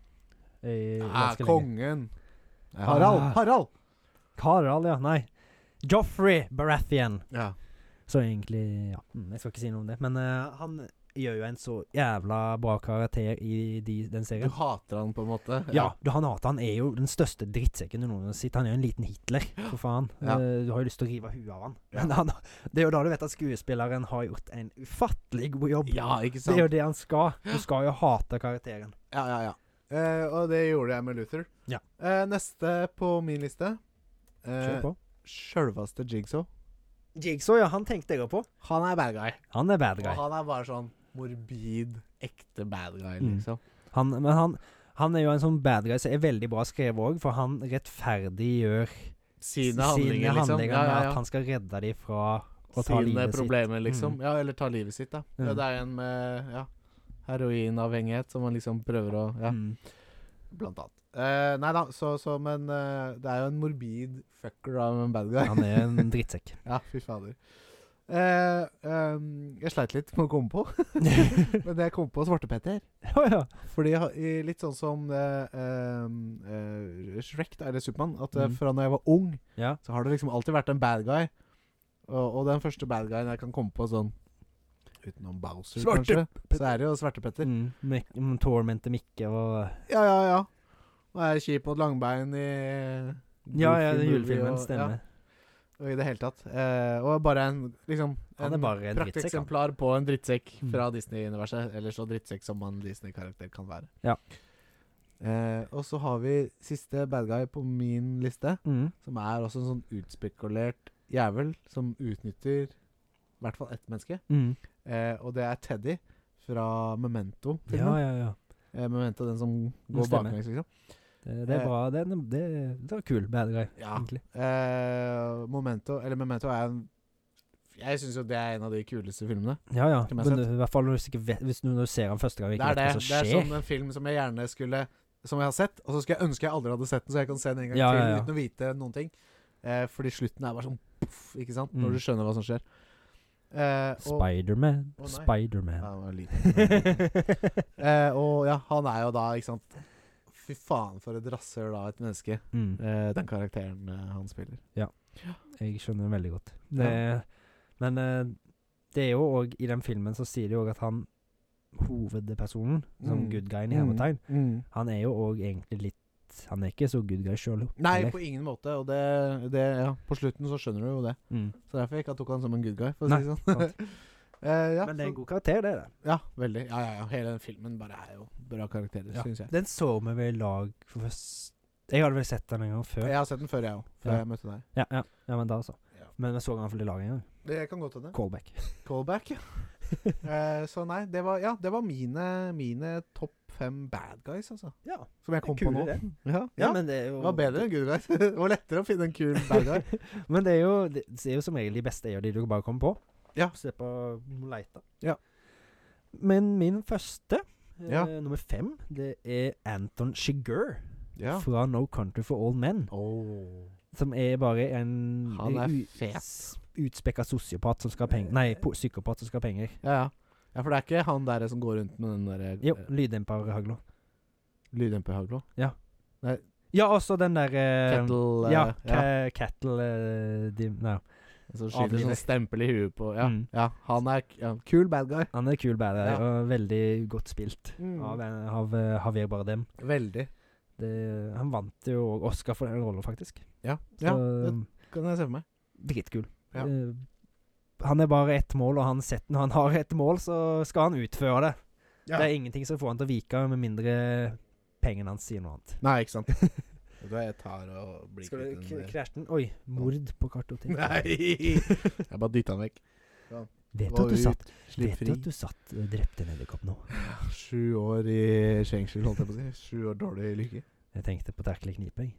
I
Ja,
ganske lenge.
Ah, kongen. Harald.
Ah.
Harald.
Karl, ja. Nei. Joffrey Baratheon.
Ja.
Så egentlig Ja, mm, jeg skal ikke si noe om det. Men eh, han gjør jo en så jævla bra karakter i de, den
Du
serien.
hater han på en måte?
Ja, du, han hater han er jo den største drittsekken du noensinne har sett. Han er jo en liten Hitler, for faen.
Ja.
Eh, Du har jo lyst til å rive huet av han.
Ja.
Men han, det er jo da du vet at skuespilleren har gjort en ufattelig god jobb.
Ja, ikke
Det
sant?
er jo det han skal. Du skal jo hate karakteren.
Ja, ja, ja. Eh, og det gjorde jeg med Luther.
Ja.
Eh, neste på min liste
Kjør på.
uh, Sjølveste Jigsaw.
Eh, Jigsaw, ja, han tenkte jeg òg på.
Han er bad guy.
Han er bad
Og
guy.
han er bare sånn morbid, ekte bad guy,
Mm.
liksom.
Han, men han, han er jo en sånn bad guy som er veldig bra skrevet òg, for han rettferdiggjør
Sine handlinger, liksom.
handlinger
Ja, ja,
med
ja.
at han skal redde dem fra å ta
Sine
livet sitt.
problemer, liksom.
Mm.
Ja, eller ta livet sitt, da.
Mm.
Ja, det er en med ja, heroinavhengighet som han liksom prøver å ja.
Mm.
Blant annet. Eh, nei da, så, så men eh, det er jo en morbid fucker av en bad guy.
Han er en drittsekk.
Ja, fy fader. Eh, ehm, jeg sleit litt med å komme på, men det jeg kom på, Svarte-Petter.
Å ja.
Fordi ha- i- litt sånn som eh, ehm, eh, Shrek, da, eller Supermann, at eh,
Mm.
fra når jeg var ung,
ja.
så har det liksom alltid vært en bad guy. Og, og den første bad guyen jeg kan komme på sånn Utenom Bowser,
Svarte
kanskje, så er det jo Svarte-Petter.
Mm, Mek- mm, Tormente Mikke og
Ja, ja, ja. Og er kjip og langbein i
Ja, ja, den
Goofy Movie
julefilmen
og- ja.
stemmer.
Og I det hele tatt. Eh, og bare en liksom
Han er bare en drittsekk, han.
prakteksemplar på en drittsekk
Mm.
fra Disney-universet. Eller så drittsekk som en Disney-karakter kan være.
Ja.
Eh, og så har vi siste bad guy på min liste,
Mm.
som er også en sånn utspekulert jævel som utnytter i hvert fall ett menneske.
Mm.
Eh, og det er Teddy fra
Ja,
Memento-filmen.
ja, ja.
Eh, Memento, den som
Det
går
stemmer.
baklengs, liksom.
Det, det er
Eh.
bra. Det, er- det, det var kul Ah. bad guy,
Ja.
egentlig.
Eh, Momento, eller Memento er en Jeg syns jo det er en av de kuleste filmene.
Ja, ja.
Hvem har
Men
sett?
du, i hvert fall hvis, du ikke vet, hvis du når du ser han første gang,
Det
ikke
er det.
vet hva som
Det er
skjer.
sånn en film som jeg gjerne skulle Som jeg har sett, og så skulle jeg ønske jeg aldri hadde sett den, så jeg kan se den en gang
Ja,
til
ja, ja.
uten å vite noen ting. Eh, fordi slutten er bare sånn poff, ikke sant?
Mm.
Når du skjønner hva som skjer. Eh, og,
Spiderman.
Å, nei. ja,
Spiderman.
det var liten. eh, og ja, han er jo da, ikke sant Fy faen, for et rasshøl av et menneske.
mm.
Eh, den karakteren eh, han spiller.
Jeg skjønner den veldig godt. Det, Men eh, det er jo òg I den filmen så sier de jo òg at han hovedpersonen, som
Mm.
good guyen i hermetegn,
Mm.
han er jo òg egentlig litt Han er ikke så good guy sjøl, jo.
Nei,
Eller?
på ingen måte. Og det, det ja, På slutten så skjønner du jo det.
Mm.
Så derfor jeg ikke tok han som en good guy. For å
Nei,
si det sånn.
sant.
eh, ja,
Men det er
så-
en god karakter, det er det.
Ja, veldig. Ja, ja, ja. Hele den filmen bare er jo bra karakterer,
Ja.
syns jeg.
Den så vi vel i lag for først Jeg hadde vel sett den en gang før.
Jeg
Ja,
har sett den før, jeg òg. Før
Ja.
jeg møtte deg.
ja, ja, men da, altså.
Ja.
Men vi så den i hvert fall i lag en gang.
Det kan godt hende.
Callback.
Callback, ja. Eh, så nei, det var, ja, det var mine, mine topp fem bad guys, altså.
Ja,
Som jeg kom på nå.
det.
Ja,
Ja,
ja.
men det er jo
det var bedre enn good guys. det var lettere å finne en kul bad guy.
Men det er jo, det, det er jo som regel de beste er jo de du bare kommer på.
Ja.
Se på må leite.
Ja.
Men min første, eh,
Ja.
nummer fem, det er Anton Shigur
Ja.
fra No Country for All Men.
Oh.
Som er bare en
Han er
Mm, u-
fet.
s- Utspekka sosiopat som skal ha penger. Nei, po- psykopat som skal ha penger.
Ja, ja. Ja, For det er ikke han der som går rundt med den
Jo,
der eh,
lyddemperhagla.
lyddemperhagla?
Ja, også den der eh,
Kettle eh,
Ja,
ja.
ca- cattle eh, dim- nei.
Som skyter
avliver.
sånn stempel i huet på Ja,
Mm.
ja han er k- ja, kul bad guy.
Han er kul bad guy,
Ja. Mm.
og veldig godt spilt av, eh, av eh, Javier Bardem.
Veldig.
det, han vant jo også Oscar for den rollen, faktisk.
Ja,
Så um,
ja det kan jeg se for meg.
dritkul.
Ja.
Eh, han er bare ett mål, og han sett, når han har ett mål, så skal han utføre det. Det er ingenting som får han til å vike, med mindre pengene hans sier noe annet.
Nei, ikke sant. Vet du hva, jeg tar og blir
Skal du
kvitt
k-
den eh, der.
krasje den? Oi, mord på kartotek.
Nei! Jeg bare dytta den vekk.
Vet du
Og
at du
ut.
satt,
Slipp
vet du
fri.
at du satt og drepte en edderkopp nå?
Sju år i fengsel, holdt jeg på å si. Sju år dårlig lykke.
Jeg tenkte på Terkel Kniping.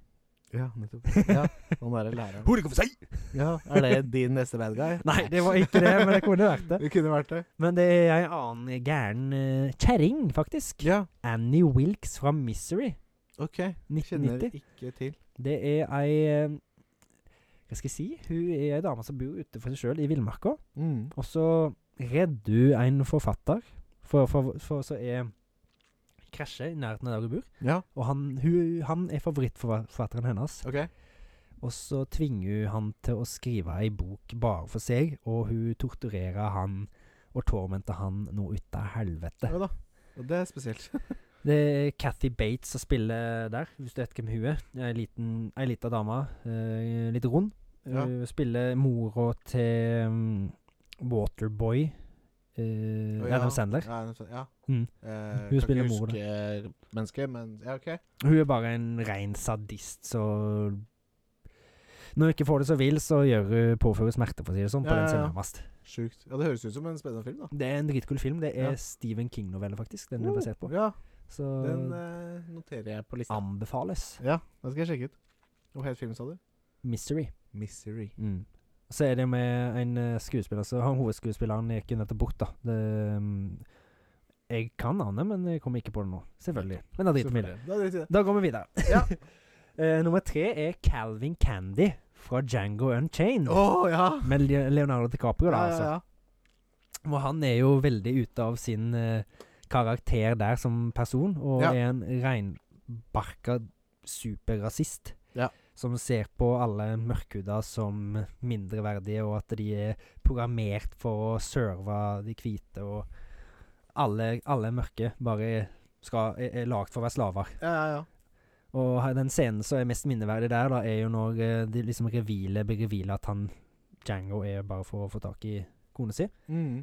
Ja, nettopp. Ja, Han derre læreren.
Hvor det kommer seg?
Ja, Er det din neste bad guy?
Nei, det var ikke det, men det kunne vært det.
Det kunne vært det.
Men det er ei annen gæren eh, kjerring, faktisk.
Ja,
Annie Wilkes fra Misery.
OK. Kjenner
1990.
ikke til.
Det er ei eh, Hva skal jeg si? Hun er ei dame som bor ute for seg sjøl i villmarka.
Mm.
Og så redder hun en forfatter, for, for, for så er krasjer i nærheten av der hun bor.
Ja,
Og han, hun, han er favorittforfatteren hennes.
OK.
Og så tvinger hun han til å skrive ei bok bare for seg, og hun torturerer han og tormenter han noe ut av helvete.
Ja da. Og det er spesielt.
Det er Kathy Bates som spiller der, hvis du vet hvem hun er. Ei liten- ei lita dame, eh, litt rund.
Ja.
Hun spiller mora til mm, Waterboy. Uh,
Å, ja.
Adam Sandler.
Ja, en sånn- ja.
Mm.
Eh,
Hun
kan
spiller
ikke
mor, da.
huske mennesket, men ja, OK.
Hun er bare en rein sadist, så Når hun ikke får det som vil, så gjør hun påfører hun smerte, for å si det sånn. På
Ja,
den
ja,
som
ja.
nærmest.
Sjukt. Ja, Det høres ut som en spennende film, da.
Det er en dritkul film. Det er
Ja.
Stephen King-novelle, faktisk. Den er basert på.
Ja,
Så
Den eh, noterer jeg på lista.
anbefales.
Ja, den skal jeg sjekke ut. Hva het filmen, sa du?
Misery.
Misery.
Mm. Så er det med en eh, skuespiller så han Hovedskuespilleren gikk jo nettopp bort, da. Det, mm, Jeg kan navnet, men jeg kommer ikke på det nå. Selvfølgelig. Men da driter vi i det.
Selvfølgelig. Da driter vi i det.
Da går vi videre.
Ja.
Eh, nummer tre er Calvin Candy fra Django Unchained.
Å ja.
Med Le- Leonardo DiCaprio, Mm. da,
Ja,
altså.
ja, ja.
Og han er jo veldig ute av sin eh, karakter der som person, og
Ja.
er en reinbarka superrasist.
Ja.
Som ser på alle mørkhuda som mindreverdige, og at de er programmert for å serve de hvite. Og alle, alle mørke bare skal, er, er lagd for å være slaver.
Ja, ja, ja.
Og her- den scenen som er mest minneverdig der, da, er jo når eh, det liksom revilet blir revilet at han Django er bare for å få tak i kona si.
Mm.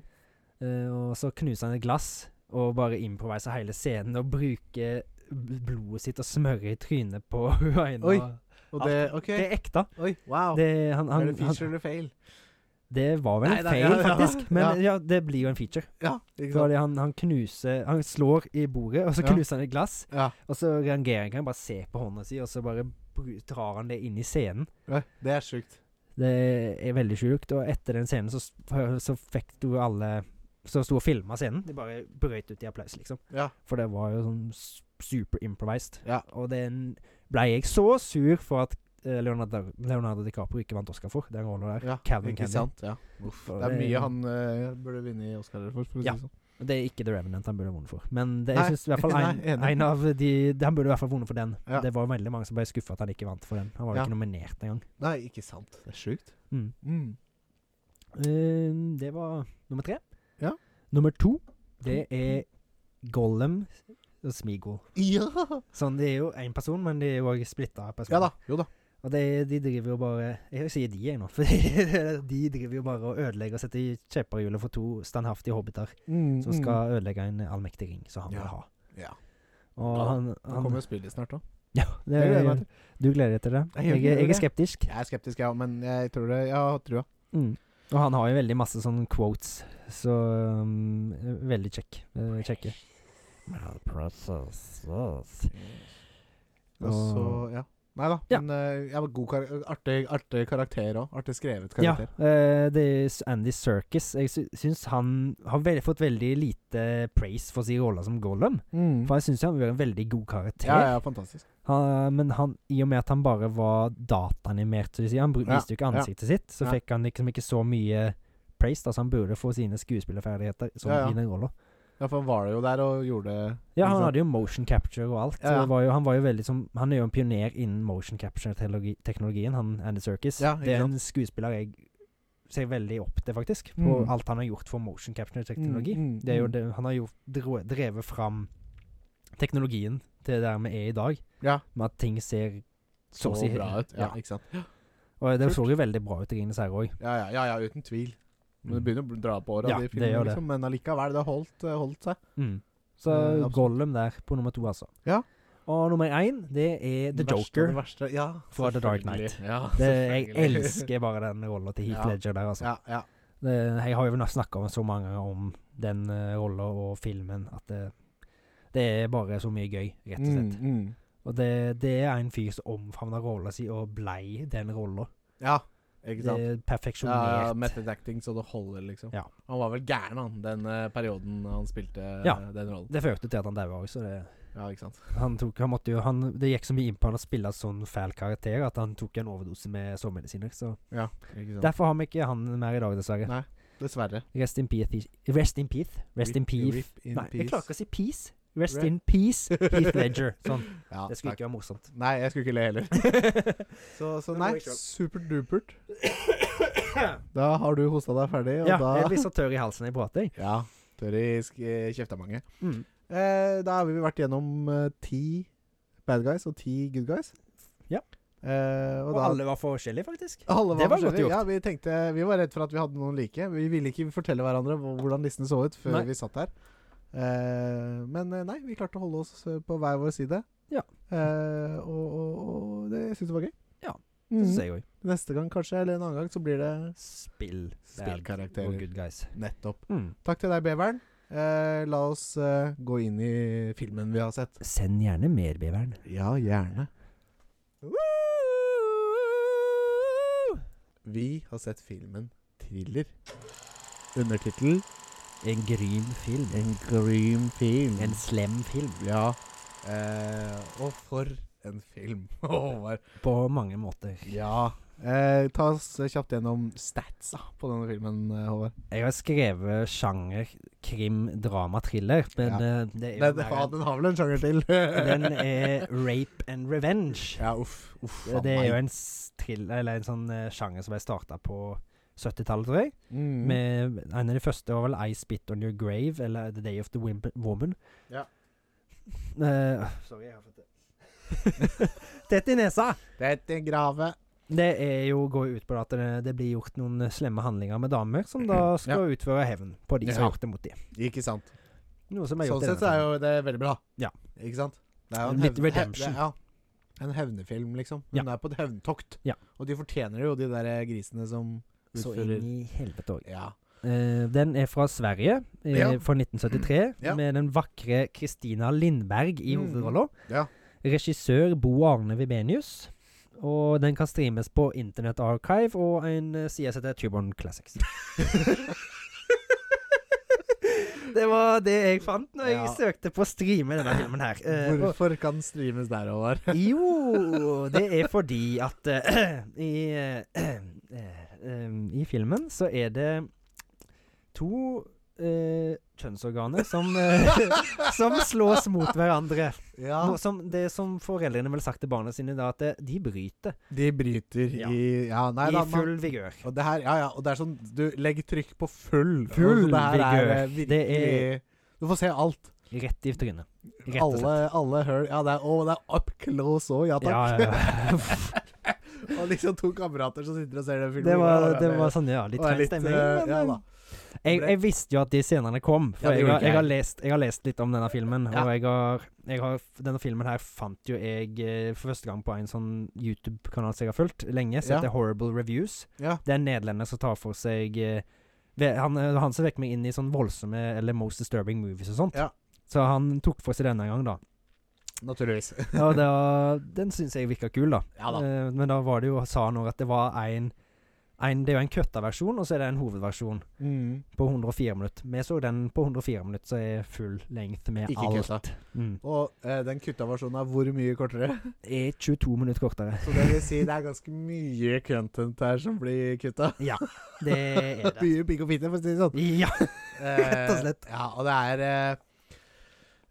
Eh, og så knuser han et glass og bare improviser hele scenen og bruker bl- blodet sitt og smører i trynet på Huaina.
Oi, Og
Alt-
det OK.
Altså, Det er ekte.
Oi, wow.
Det, han, han,
er det
han,
feature eller fail?
det var vel
Nei,
en
da-
feil,
ja, ja,
faktisk. Men
ja.
ja. det blir jo en feature.
Ja, ikke sant?
Fordi han, han knuser Han slår i bordet, og så
Ja.
knuser han et glass.
Ja.
Og så reagerer ikke han, bare ser på hånda si, og så bare bru- drar han det inn i scenen.
Oi, Det er sjukt.
Det er veldig sjukt. Og etter den scenen så, s- så fikk du alle som sto og filma scenen. De bare brøyt ut i applaus, liksom.
Ja.
For det var jo sånn s- super improvised.
Ja.
Og den ble jeg så sur for at eh, Leonardo, Leonardo DiCaprio ikke vant Oscar for. Den rollen der.
ja.
Calvin
ikke
Candy.
sant? Ja. Uff, det er
Det-
mye han eh, burde vinne i Oscar for. for å si
Ja.
det sånn.
Og Det er ikke The Revenant han burde vunnet for. Men det,
Nei.
jeg synes i hvert fall en,
Nei, enig.
en av de de- Han burde i hvert fall vunnet for den.
Ja.
Det var veldig mange som ble skuffa at han ikke vant for den. Han var jo
Ja.
ikke nominert engang.
Nei, ikke sant. Det er sjukt.
Mm.
Mm.
Eh, det var nummer tre.
Ja.
Nummer to, det er Gollum og Smeagol.
Ja.
Sånn, det er jo én person, men de er jo òg splitta personer.
ja da. Jo da.
Og de, de driver jo bare Jeg sier de, jeg nå. For de driver jo bare og ødelegger og setter kjepperhjulet for to standhaftige hobbiter
Mm,
som skal ødelegge en allmektig ring som han
Ja.
vil ha.
Ja.
Og
Ja,
han,
Nå
han
kommer spillet snart òg.
Ja, det,
Det gleder jeg meg til.
du gleder deg til det?
Jeg gjør
Jeg,
ikke
er- jeg
det.
er skeptisk.
Jeg er skeptisk, jeg ja, òg, men jeg tror det. Jeg har trua.
Mm. Og han har jo veldig masse sånne quotes, så um, Veldig kjekk. eh, Kjekke.
Og så,
Og-
ja. Nei da.
Ja.
Men eh, jeg var god kar artig, artig karakter òg. Artig skrevet
Ja,
karakter.
eh, det er s- Andy Serkis. Jeg sy syns han har vel- fått veldig lite praise for sin rolle som Gollum.
Mm.
For jeg syns han var en veldig god karakter.
Ja, ja, fantastisk.
Han, men han, i og med at han bare var dataanimert, så å si, han bru-
Ja,
viste jo ikke ansiktet sitt, så
Ja.
fikk han liksom ikke så mye praise. Altså han burde få sine skuespillerferdigheter som
Ja, ja.
i den rolla.
Ja, for han var jo der og gjorde
Ja, han
Ikke sant?
hadde jo motion capture og alt.
Ja,
så
ja.
det Var jo, han var jo veldig som Han er jo en pioner innen motion capture-teknologien, han Andy Serkis.
Ja, ikke
det er en skuespiller jeg ser veldig opp til, faktisk. På
Mm.
alt han har gjort for motion capture-teknologi.
Mm, mm,
Det er jo
mm.
det Han har jo dro- drevet fram teknologien til der vi er i dag,
Ja.
med at ting ser så
Så,
å si
bra ut. Ja,
Ja.
ikke sant.
Og det så jo veldig bra ut i Ringenes herre òg.
Ja, ja, ja, ja, uten tvil. Men det
Mm.
begynner å bl- dra på åra,
Ja,
de
det gjør
filmene,
det.
liksom. Men allikevel, det har holdt, eh, holdt seg.
Mm. Så
Eh, absolutt.
Gollum der på nummer to, altså.
Ja.
Og nummer én, det er The
Det verste av
Joker.
Det verste, ja.
fra The Dark
selvfølgelig.
Knight.
Ja,
Det, jeg
selvfølgelig.
elsker bare den rolla til Heath
Ja.
Ledger der, altså.
Ja, ja.
Det, jeg har jo snakka om så mange ganger om den uh, rolla og filmen at det, det er bare så mye gøy, rett og slett.
Mm, mm.
Og det, det er en fyr som omfavna rolla si og blei den rolla.
Ja, ikke
Det
sant.
er
Ja,
perfeksjonert.
method acting så det holder, liksom.
Ja.
Han var vel gæren, han, den eh, perioden han spilte eh,
Ja.
den rollen.
det førte til at han daua òg, så det
Ja, ikke sant.
han tok, han måtte jo, han, Det gikk så mye inn på han å spille sånn fæl karakter at han tok en overdose med sovemedisiner. Så
Ja, ikke sant.
Derfor har vi ikke han mer i dag, dessverre.
Nei. Dessverre.
Rest in peace. Rest in peace. Rest in
Rip-
peace.
rip in
Nei, jeg
peace.
klarer ikke å si peace. Rest
Re-
in peace, Heath Ledger. Sånn.
Ja,
Det skulle
takk.
ikke være morsomt.
Nei, jeg skulle ikke le heller. Så, så
Det
nei,
må jeg ikke.
superdupert. Da har du hosta deg ferdig, og
ja,
da
jeg blir så tørr i halsen når jeg prater. jeg.
Ja, tør i sk- eh, kjefta mange.
Mm.
Eh, da har vi vært gjennom eh, ti bad guys og ti good guys.
Ja.
Eh, og
Og
da, alle,
alle var forskjellige, faktisk.
var
det var godt
forskjellige.
gjort.
Ja, vi, tenkte, vi var redd for at vi hadde noen like. Vi ville ikke fortelle hverandre hva- hvordan listen så ut før
Nei.
vi satt her. Eh, men eh, nei, vi klarte å holde oss eh, på hver vår side.
Ja.
Eh, og, og, og det syns jeg var gøy.
Ja,
Mhm.
Så sier jeg òg.
Neste gang kanskje, eller en annen gang, så blir det
Spill.
Spillkarakterer.
Og good guys.
nettopp.
Mm.
Takk til deg, Beveren. Eh, la oss eh, gå inn i filmen vi har sett.
Send gjerne mer, beveren.
Ja, gjerne. Vi har sett filmen Thriller. Undertittel
En grym film.
En grym film.
En slem film.
Ja. Eh, og for en film, Håvard.
På mange måter.
Ja. Eh, ta oss kjapt gjennom statsa på denne filmen, eh, Håvard.
Jeg har skrevet sjanger krim, drama, thriller, men eh, det er jo
Nei, det,
mer
faen, den har vel en sjanger til?
en- Den er rape and revenge.
Ja, uff. uff
det er jo en, s- thrill- eller en sånn eh, sjanger som ble starta på 70-tallet, tror jeg.
mm.
Med, en av de første var vel I Spit On Your Grave, eller The Day of the Wim Woman.
Ja.
Eh, sorry, jeg har fått det. Tett i nesa!
Tett i grave.
Det er jo går jo ut på at det, det blir gjort noen eh, slemme handlinger med damer, som da skal utføre hevn på de som
Ja.
har gjort det mot dem.
Ikke sant.
Noe som er
Sånn
gjort i denne
sett så er jo det veldig bra.
Ja.
Ikke sant? Det er jo en
Litt
hevn- hev-
redemption.
det- Ja. En hevnefilm, liksom. Hun er på et hevntokt.
Ja.
Og de fortjener det jo, de der eh, grisene som
filmen. Så inn
utfører
i helvete òg.
Ja.
Eh, den er fra Sverige, eh,
Ja. Mm.
fra 1973,
Ja.
med den vakre Kristina Lindberg i
Mm.
hovedrolla.
Ja.
Regissør Bo Arne Vibenius. Og den kan streames på Internett Archive og en eh, side som heter Tuborn Classics. Det var det jeg fant når jeg
Ja.
søkte på å streame denne filmen her. Eh, og-
Hvorfor kan den streames der, Håvard?
Jo, det er fordi at eh, i, eh, eh, um, i filmen så er det to eh, kjønnsorganer som, eh, som slås mot hverandre.
Ja,
Noe Som, det som foreldrene ville sagt til barna sine da, at eh, de bryter
de bryter
Ja.
i Ja, nei da.
i
man-
full vigør.
Og det her, ja, ja, og det er sånn Du legger trykk på full.
Full
altså, det her er eh,
vigør. Det
virkelig Du får se alt.
Rett i trynet. Rett og
Alle,
slett.
alle høl. Ja, det er, å, det er up close òg, ja takk.
Ja, ja, ja.
og liksom to kamerater som sitter og ser den filmen.
Det var,
Ja,
det var sånn, ja, litt
og er
klein
litt,
stemning.
eh,
men,
ja
eh,
da.
Jeg, jeg visste jo at de scenene kom, for
Ja, det
jeg,
gjorde
har,
ikke
jeg, har
jeg.
lest, jeg har lest litt om denne filmen.
Ja.
Og jeg har, jeg har, denne filmen her fant jo jeg eh, for første gang på en sånn YouTube-kanal som jeg har fulgt lenge, som
Ja.
heter Horrible Reviews.
Ja.
Det er en nederlender som tar for seg eh, ve- han, eh, han som vekker meg inn i sånn voldsomme eller most disturbing movies og sånt.
Ja.
Så han tok for seg denne gang, da.
Naturligvis.
Og da, den syns jeg virka kul, da.
Ja da.
Eh, men da var det jo, sa han òg at det var en, en Det er jo en køtta-versjon, og så er det en hovedversjon
Mm.
på 104 minutter. Vi så den på 104 minutter, så er full length med
Ikke
alt.
kutta.
Mm.
Og eh, den kutta versjonen er hvor mye kortere?
Er 22 minutter kortere.
Så det vil si det er ganske mye content her som blir kutta.
Det er det.
Mye pikk og fitte, for å si det sånn.
Ja.
Rett
og slett.
Ja, og det er eh,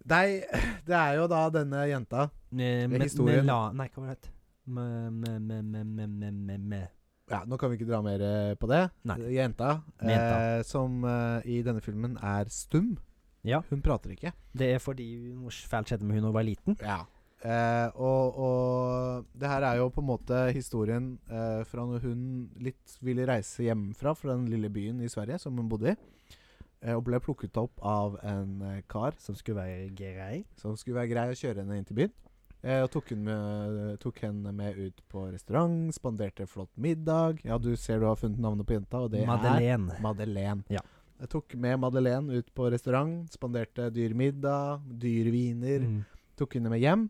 det er, det er jo da denne jenta
Med, med, med
historien.
la, nei, hva var det het? Med- med- med- med- med- med- med- med-
ja, Nå kan vi ikke dra mer eh, på det.
Nei.
Eh, Jenta,
Jenta.
Eh, som eh, i denne filmen er stum.
Ja.
Hun prater ikke.
Det er fordi noe fælt skjedde med hun da hun var liten.
Eh, og, og det her er jo på en måte historien eh, fra når hun litt ville reise hjemmefra, fra den lille byen i Sverige som hun bodde i, eh, og ble plukket opp av en eh, kar
Som skulle være grei.
som skulle være grei å kjøre henne inn til byen. Eh, og tok, hun med, tok henne med ut på restaurant, spanderte flott middag. Ja, du ser du har funnet navnet på jenta, og det
Madeleine.
er Madeleine.
Ja.
Jeg tok med Madeleine ut på restaurant, spanderte dyr middag, dyre viner.
Mm.
Tok henne med hjem,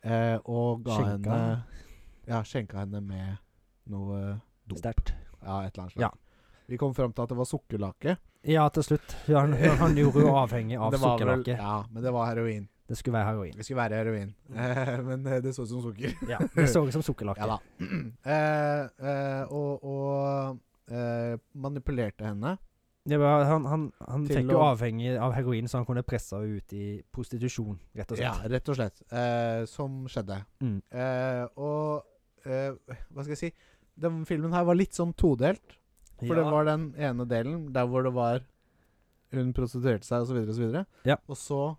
eh, og ga
Skjenka.
henne Ja, skjenka henne med noe Dop.
Sterkt.
Ja, et eller annet
Ja.
slags. Vi kom fram til at det var sukkerlake.
Ja, til slutt. Ja, Han, han, han gjorde jo avhengig av
Det var vel-
sukkerlake. Mm.
Ja, men det var heroin.
Det skulle være heroin.
Det skulle være heroin, eh, men eh, det så ut som sukker.
Ja, Det så ut som sukkerlake.
Ja da. eh, eh, og og eh, manipulerte henne.
Det var, han han, han
Til
fikk jo
å-
avhengig av heroin, så han kunne presse henne ut i prostitusjon, rett og
Ja,
slett.
rett og slett. Eh, som skjedde.
Mm.
Eh, og eh, hva skal jeg si Den filmen her var litt sånn todelt. For det var den ene delen der hvor det var Hun prostituerte seg, osv., osv.
Ja.
Og så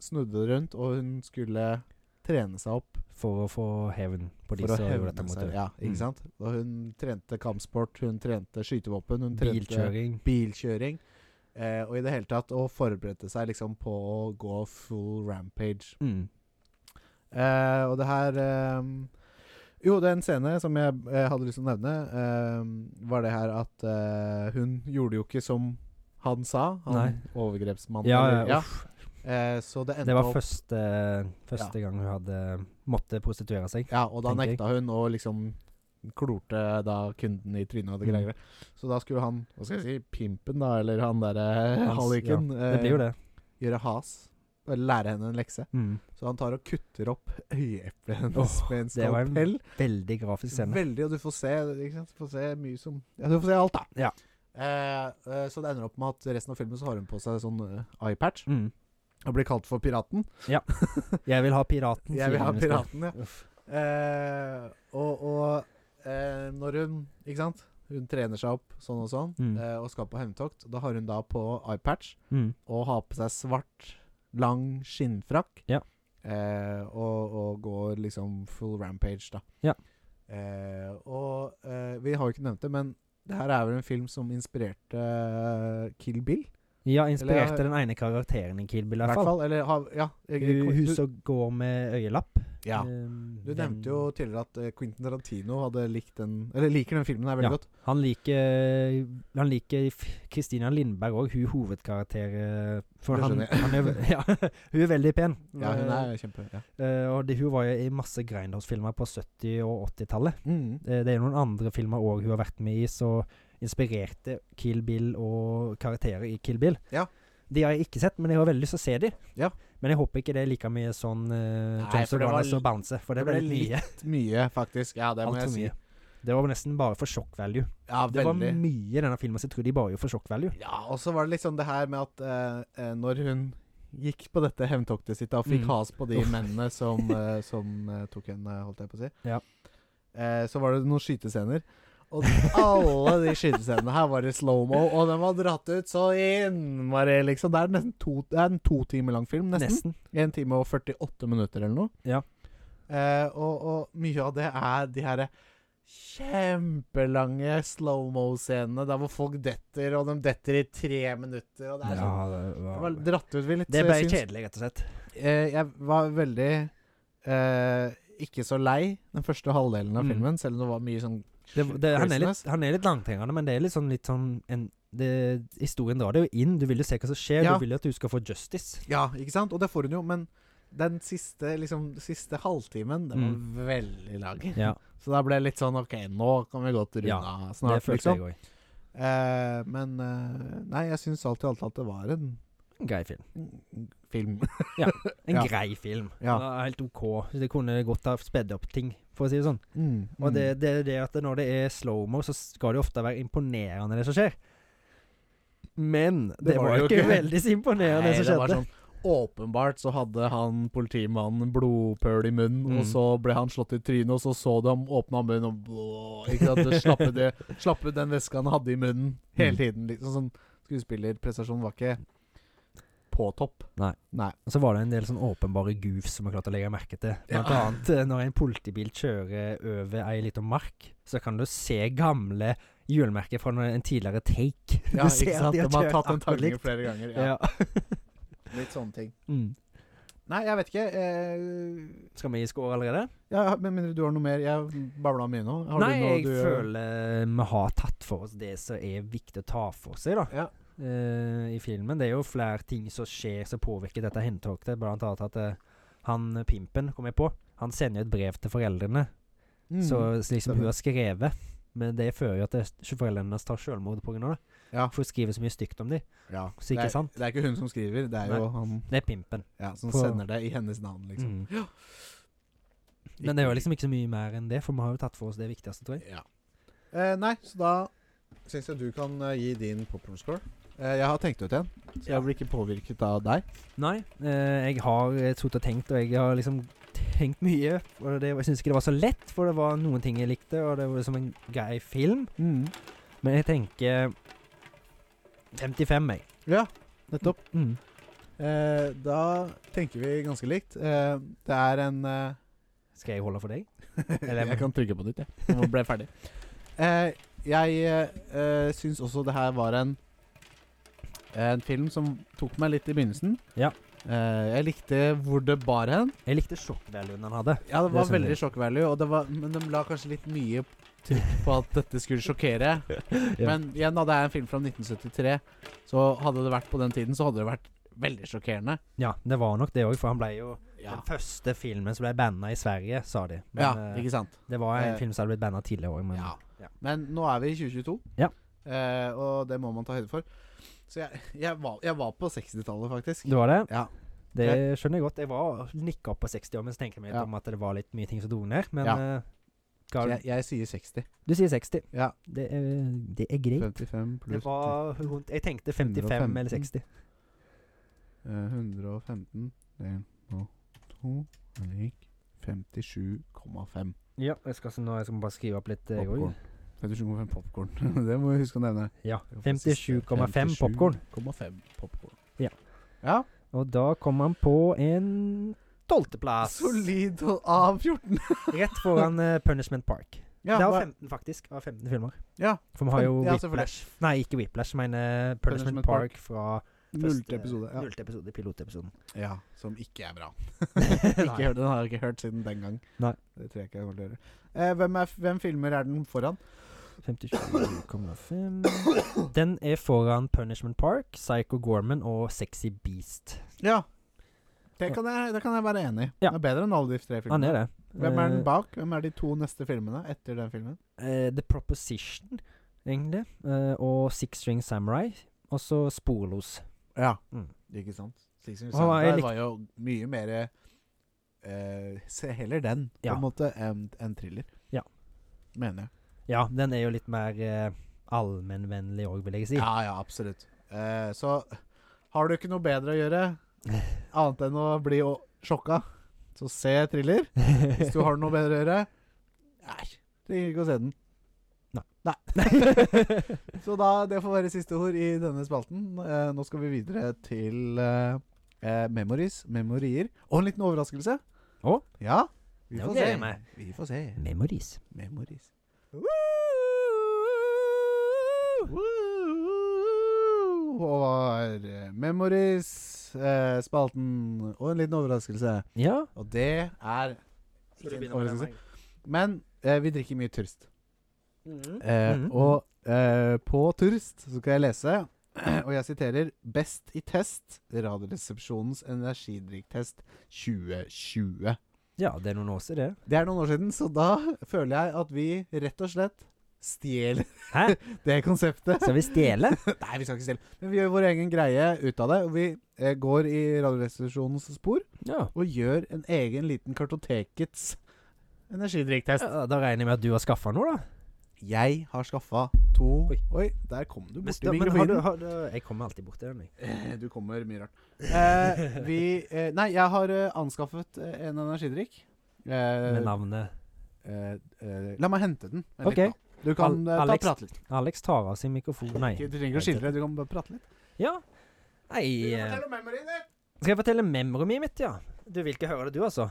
snudde det rundt, og hun skulle trene seg opp
For å få hevn på de
for å
som gjorde dette
hevne
mot
seg.
deg.
Ja,
Mm.
ikke sant? Og hun trente kampsport, hun trente skytevåpen, hun trente
Bilkjøring.
bilkjøring. Eh, og i det hele tatt å forberede seg liksom på å gå full rampage.
Mm.
Eh, og det her ehm, Jo, det er en scene som jeg eh, hadde lyst til å nevne, ehm, var det her at eh, hun gjorde jo ikke som han sa, han
Nei.
overgrepsmannen.
Ja,
eller-
ja, uff.
Eh, så det endte
Det var
opp
første, første gang hun hadde måtte prostituere seg.
Ja, og da
tenker jeg.
nekta hun å liksom klorte da kunden i trynet og det
Mm.
greier. Så da skulle han, hva skal jeg si, pimpen da, eller han derre
Hans,
halliken, eh,
Det blir jo det. Mm.
gjøre has. Eller lære henne en lekse. Så han tar og kutter opp øyeeplet hennes
Åh,
med en
det var en
skalpell.
Veldig grafisk scene.
Veldig, og du får se ikke sant? Du får se mye som Ja, du får se alt, da.
Ja.
Eh, eh, så det ender opp med at resten av filmen så har hun på seg sånn eh, eyepatch
Mm.
og blir kalt for Piraten.
Jeg vil ha Piraten.
Jeg
sier
vil ha
hun i stedet.
Piraten, ja.
Uff.
Eh, og og eh, når hun Ikke sant? Hun trener seg opp sånn og sånn
Mm.
eh, og skal på hevntokt. Da har hun da på eyepatch
Mm.
og har på seg svart, lang skinnfrakk.
Ja.
Eh, og, og går liksom full rampage, da.
Ja.
Eh, og eh, vi har jo ikke nevnt det, men det her er vel en film som inspirerte eh, Kill Bill?
Ja, inspirerte
Eller- eh,
den ene karakteren i Kill Bill,
I
i
hvert
hvert fall.
fall. Eller har Ja. eh,
Hun hun
du,
som går med øyelapp.
ja.
Um,
du
den-
nevnte jo tidligere at eh, Quentin Tarantino hadde likt den Eller liker den filmen her veldig
Ja.
godt.
Han liker Han liker F- Kristina Lindberg òg, hun hovedkarakter eh, For
Det
han,
skjønner jeg.
han er, ve- ja, hun er veldig pen.
Ja, hun er kjempe... Ja.
Eh, og det, hun var jo i masse Grindhouse-filmer på 70- og 80-tallet.
Mm.
Eh, det er noen andre filmer òg hun har vært med i, som inspirerte Kill Bill og karakterer i Kill Bill.
Ja.
De har jeg ikke sett, men jeg har veldig lyst til å se de.
Ja.
Men jeg håper ikke det er like mye sånn uh,
Nei,
James
for det var
O'Gonnors
l-
og Bounce, for det,
det
ble
ble
litt mye.
Mye, faktisk. Ja, det må
Altfor
jeg si.
mye. Det var nesten bare for shock value.
Ja,
Det var
veldig.
mye i denne filmen som jeg tror de bare gjorde for shock value.
Ja, og så var det liksom det her med at eh, eh, når hun gikk på dette hevntoktet sitt og fikk
Mm.
has på de
Uff.
mennene som, eh, som eh, tok henne, holdt jeg på å si,
Ja.
Eh, så var det noen skytescener. Og alle de skytescenene her var i slow-mo, og den var dratt ut så innmari, liksom. Det er nesten to, det er en to timer lang film, nesten.
Nesten.
En time og 48 minutter eller noe.
Ja.
Eh, og, og mye av det er de her kjempelange slow-mo-scenene der hvor folk detter, og de detter i tre minutter, og det er sånn
det
Det var dratt ut vi litt.
Det
så
ble
jeg syns-
kjedelig, rett og slett.
eh, jeg var veldig eh, ikke så lei den første halvdelen av
Mm.
filmen, selv om det var mye sånn
Det, det, han, er litt,
craziness.
han er litt langtrengende, men det er litt sånn, litt sånn en, det, Historien drar det jo inn. Du vil jo se hva som skjer.
Ja.
Du vil jo at du skal få justice.
Ja, ikke sant? Og det får hun jo, men den siste, liksom, siste halvtimen, den var
Mm.
veldig lang.
Ja,
Så da ble jeg litt sånn OK, nå kan vi godt runde
Ja,
av
det
snart,
følte
liksom.
jeg òg.
Eh, men eh, Nei, jeg syns alt i alt at det var en
En grei film.
film.
En
Ja.
grei film.
Ja.
Den er Helt OK. Det kunne godt ha spedd opp ting, for å si det sånn.
Mm,
Og
mm.
det, det, er det at når det er slow-mo, så skal det jo ofte være imponerende, det som skjer. Men det, var, jo ikke veldig så imponerende,
Nei,
det som
var
skjedde.
sånn Åpenbart så hadde han politimannen blodpøl i munnen,
Mm.
og så ble han slått i trynet, og så så de ham åpna munnen og blå, ikke sant? Det slapp ut det- slapp ut den veska han hadde i munnen
Mm.
hele tiden. Liksom sånn Skuespillerprestasjonen var ikke på topp.
Nei.
Nei.
Og så var det en del sånn åpenbare goofs som jeg klarte å legge merke til. Blant
Ja.
annet eh, når en politibil kjører over ei lita mark, så kan du se gamle hjulmerker fra når- en tidligere take.
Ja,
Du ser
ikke
at
sant?
de
De
har
har
kjørt
tatt en
akkurat
tagning
likt.
flere ganger. Ja.
Ja.
Litt sånne ting.
Mm.
Nei, jeg vet ikke. Eh,
Skal vi gi score allerede?
ja, med mindre du har noe mer. Jeg babla mye nå. Har
Nei,
du noe
jeg
du
føler vi har tatt for oss det som er viktig å ta for seg, da.
Ja.
Eh, I filmen. Det er jo flere ting som skjer som påvirker dette hentoktet. Blant annet at eh, han eh, pimpen, kom jeg på, han sender jo et brev til foreldrene.
Mm.
Så så liksom
stemmer.
hun har skrevet. Men det fører jo til at det- foreldrene hennes tar selvmord pga. det.
Ja.
For hun skriver så mye stygt om dem.
ja.
Så ikke
det, er,
sant?
det er ikke hun som skriver, det er
Nei.
jo han
Det er pimpen.
ja, som
På-
sender det i hennes navn, liksom.
Mm.
Ja.
Men det er jo liksom ikke så mye mer enn det, for vi har jo tatt for oss det viktigste, tror jeg.
Ja. Eh, nei, så da syns jeg du kan eh, gi din popkorn-score. Eh, jeg har tenkt ut en, så
Ja.
jeg blir ikke påvirket av deg.
Nei, eh, jeg har eh, sittet og tenkt, og jeg har liksom tenkt mye. Og det, jeg syns ikke det var så lett, for det var noen ting jeg likte, og det var som en grei film. Men jeg tenker 55, jeg.
Ja, nettopp.
Mm.
Eh, da tenker vi ganske likt. Eh, det er en eh,
Skal jeg holde for deg?
Jeg kan trykke på nytt, jeg. Nå ble jeg ferdig. Eh, jeg eh, syns også det her var en en film som tok meg litt i begynnelsen.
Ja.
Eh, jeg likte hvor det bar hen.
Jeg likte sjokkvaluen han hadde.
Ja, det
Det
var
skjønner
veldig sjokk value, og det var, men de la kanskje litt mye trykk på at dette skulle sjokkere.
Ja.
Men igjen, da, det er en film fra 1973, så hadde det vært på den tiden, så hadde det vært veldig sjokkerende.
Ja, det var nok det òg, for han ble jo
Ja,
Den første filmen som ble banna i Sverige, sa de. Men
ja
eh,
ikke sant?
det var en
eh,
film som hadde blitt banna tidligere òg.
Ja.
ja.
Men nå er vi i 2022,
Ja.
eh, og det må man ta høyde for. Så jeg, jeg, var, jeg var på 60-tallet, faktisk.
Det var det.
Ja.
Det skjønner jeg godt. Jeg var nikka opp på 60 år, men så tenker jeg meg litt
Ja.
om at det var litt mye ting som dro ned. Men
Ja.
eh,
Så
skal,
jeg, jeg sier 60.
du sier 60.
Ja.
Det er, det er greit.
55
Det
pluss
var rundt Jeg tenkte 55 eller 60.
10, eh, 115 1 og 2 Det gikk 57,5
Ja, jeg skal, se nå, jeg skal bare skrive opp litt, eh, jeg òg.
popkorn. 57,5 popkorn. det må vi huske å nevne.
Ja.
Det var den siste.
57,5 popkorn.
57,5 popcorn.
Ja.
ja.
Og da kom han på en tolvteplass.
Solid av 14.
Rett foran eh, Punishment Park.
Ja,
det var
hva-
15, faktisk. Av 15 filmer.
Ja,
For vi har jo
ja, selvfølgelig.
Whiplash Nei, ikke Whiplash, men eh, Punishment,
Punishment Park.
Park, fra
Nullte
første-
episode. Ja.
nullte episode, pilotepisoden.
ja, som ikke er bra. ikke
Nei.
hørt, den har jeg ikke hørt siden den gang.
Nei.
Det tror jeg ikke jeg kommer til å gjøre. Eh, hvem, er, hvem filmer er den foran?
57,5 Den er foran Punishment Park, Psycho Gorman og Sexy Beast.
Ja. Det kan jeg, det kan jeg være enig i.
Ja.
Den er bedre enn alle de tre
Han
filmene.
er det.
Hvem er
Eh,
den bak? Hvem er de to neste filmene etter den filmen?
eh, The Proposition, egentlig. eh, og Six String Samurai. Og så Sporlos.
Ja,
Mm.
ikke sant? Six Inch
Å, jeg likte-
var jo mye mer eh, Se heller den, på
Ja.
en måte, enn enn thriller.
Ja.
Mener jeg.
Ja, den er jo litt mer eh, allmennvennlig òg, vil jeg si.
Ja, ja, absolutt. Eh, så har du ikke noe bedre å gjøre annet enn å bli å- sjokka, så se thriller. Hvis du har noe bedre å gjøre, nei, trenger ikke å se den. Så da, det får være siste ord i denne spalten. Eh, nå skal vi videre til eh, eh, memories, memorier, og en liten overraskelse.
Å?
Ja, vi
Nå
får
gleder
se.
jeg meg.
Vi får se.
Memories.
Memories. Og var eh, memories, eh, spalten, og en liten overraskelse.
Ja.
Og det er ikke en overraskelse. Men eh, vi drikker mye turst. Eh,
Mhm.
Og eh, på Turst så skal jeg lese, og jeg siterer 'Best i test', Radioresepsjonens energidrikktest 2020.
Ja, det er noen år siden, det.
Det er noen år siden, så da føler jeg at vi rett og slett stjeler
Hæ?
det konseptet.
Skal vi stjele?
Nei, vi skal ikke stjele, men vi gjør vår egen greie ut av det. Og vi eh, går i Radioresepsjonens spor
ja.
og gjør en egen liten Kartotekets energidrikktest.
ja. Da regner jeg med at du har skaffa noe, da.
Jeg har skaffa to Oi.
Oi.
der kom du
Men,
borti
da- men har du,
mikrofonen.
har du, jeg kommer alltid borti den. jeg.
Eh, Du kommer mye rart. Eh, vi eh, Nei, jeg har eh, anskaffet eh, en energidrikk. Eh,
Med navnet
eh, eh, la meg hente den. Vent
Ok.
litt da. Du kan
Al-
eh, ta og
Alex.
prate litt.
Alex tar av sin mikrofon. Nei.
Ikke- Du trenger ikke å skildre, du kan bare prate litt.
Ja. Nei eh, Skal jeg fortelle memoryet mitt, ja? Du vil ikke høre det, du, altså.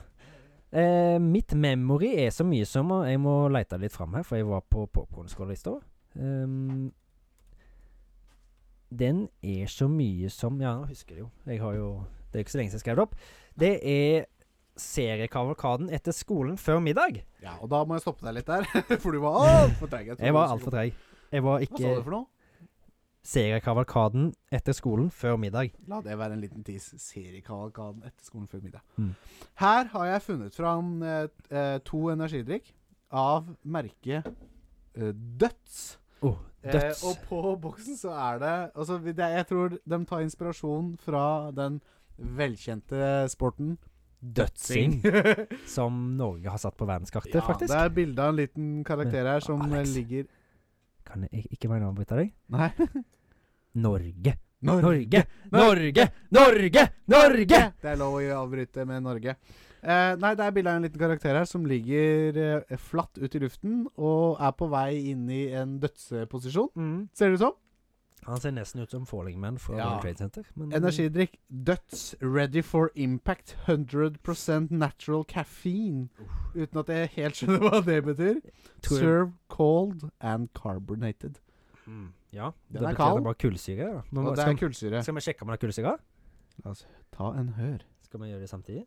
Eh, mitt memory er så mye som og Jeg må lete litt fram her, for jeg var på popkornskåla i stad. Ehm, den er så mye som Ja, nå husker jeg det jo. Jeg har jo Det er ikke så lenge siden jeg skrev det opp. Det er seriekavalkaden etter skolen før middag.
Ja, og da må jeg stoppe deg litt der, for du var altfor treig. trodde
Jeg
du
var
skulle-
altfor treig. Jeg var
Hva sa du
ikke
for noe?
seriekavalkaden etter skolen før middag.
La det være en liten tis. Seriekavalkaden etter skolen før middag.
Mm.
Her har jeg funnet fram eh, t- eh, to energidrikk av merket eh, Døds.
Oh, døds.
Eh, og på boksen så er det altså, vi- det, Jeg tror de tar inspirasjon fra den velkjente sporten
Dødsing.
ja,
som Norge har satt på verdenskartet,
det
faktisk.
er bilde av en liten karakter her som eh,
Alex.
ligger
Kan jeg ik- ikke mene å avbryte deg?
Nei.
Norge.
Nor-
Norge! Norge! Norge! Norge!
Det er lov å avbryte med Norge. Eh, nei, det er bilde av en liten karakter her som ligger eh, flatt ut i luften og er på vei inn i en dødsposisjon,
Mm.
ser det ut som.
Han ser nesten ut som Falling Man fra
Ja.
World Trade Center.
Mm.
Men
Energidrikk Døds Ready for Impact 100% Natural Caffeine. Uten at jeg helt skjønner hva det betyr.
Tror jeg-
Serve cold and carbonated.
Mm. Ja. det
Den er
betyr
kald.
at det er bare kullsyre. da. Men
Og
hva-
det
skal,
er kullsyre.
skal vi sjekke om det er kullsyre?
Ta en hør.
Skal vi gjøre det samtidig?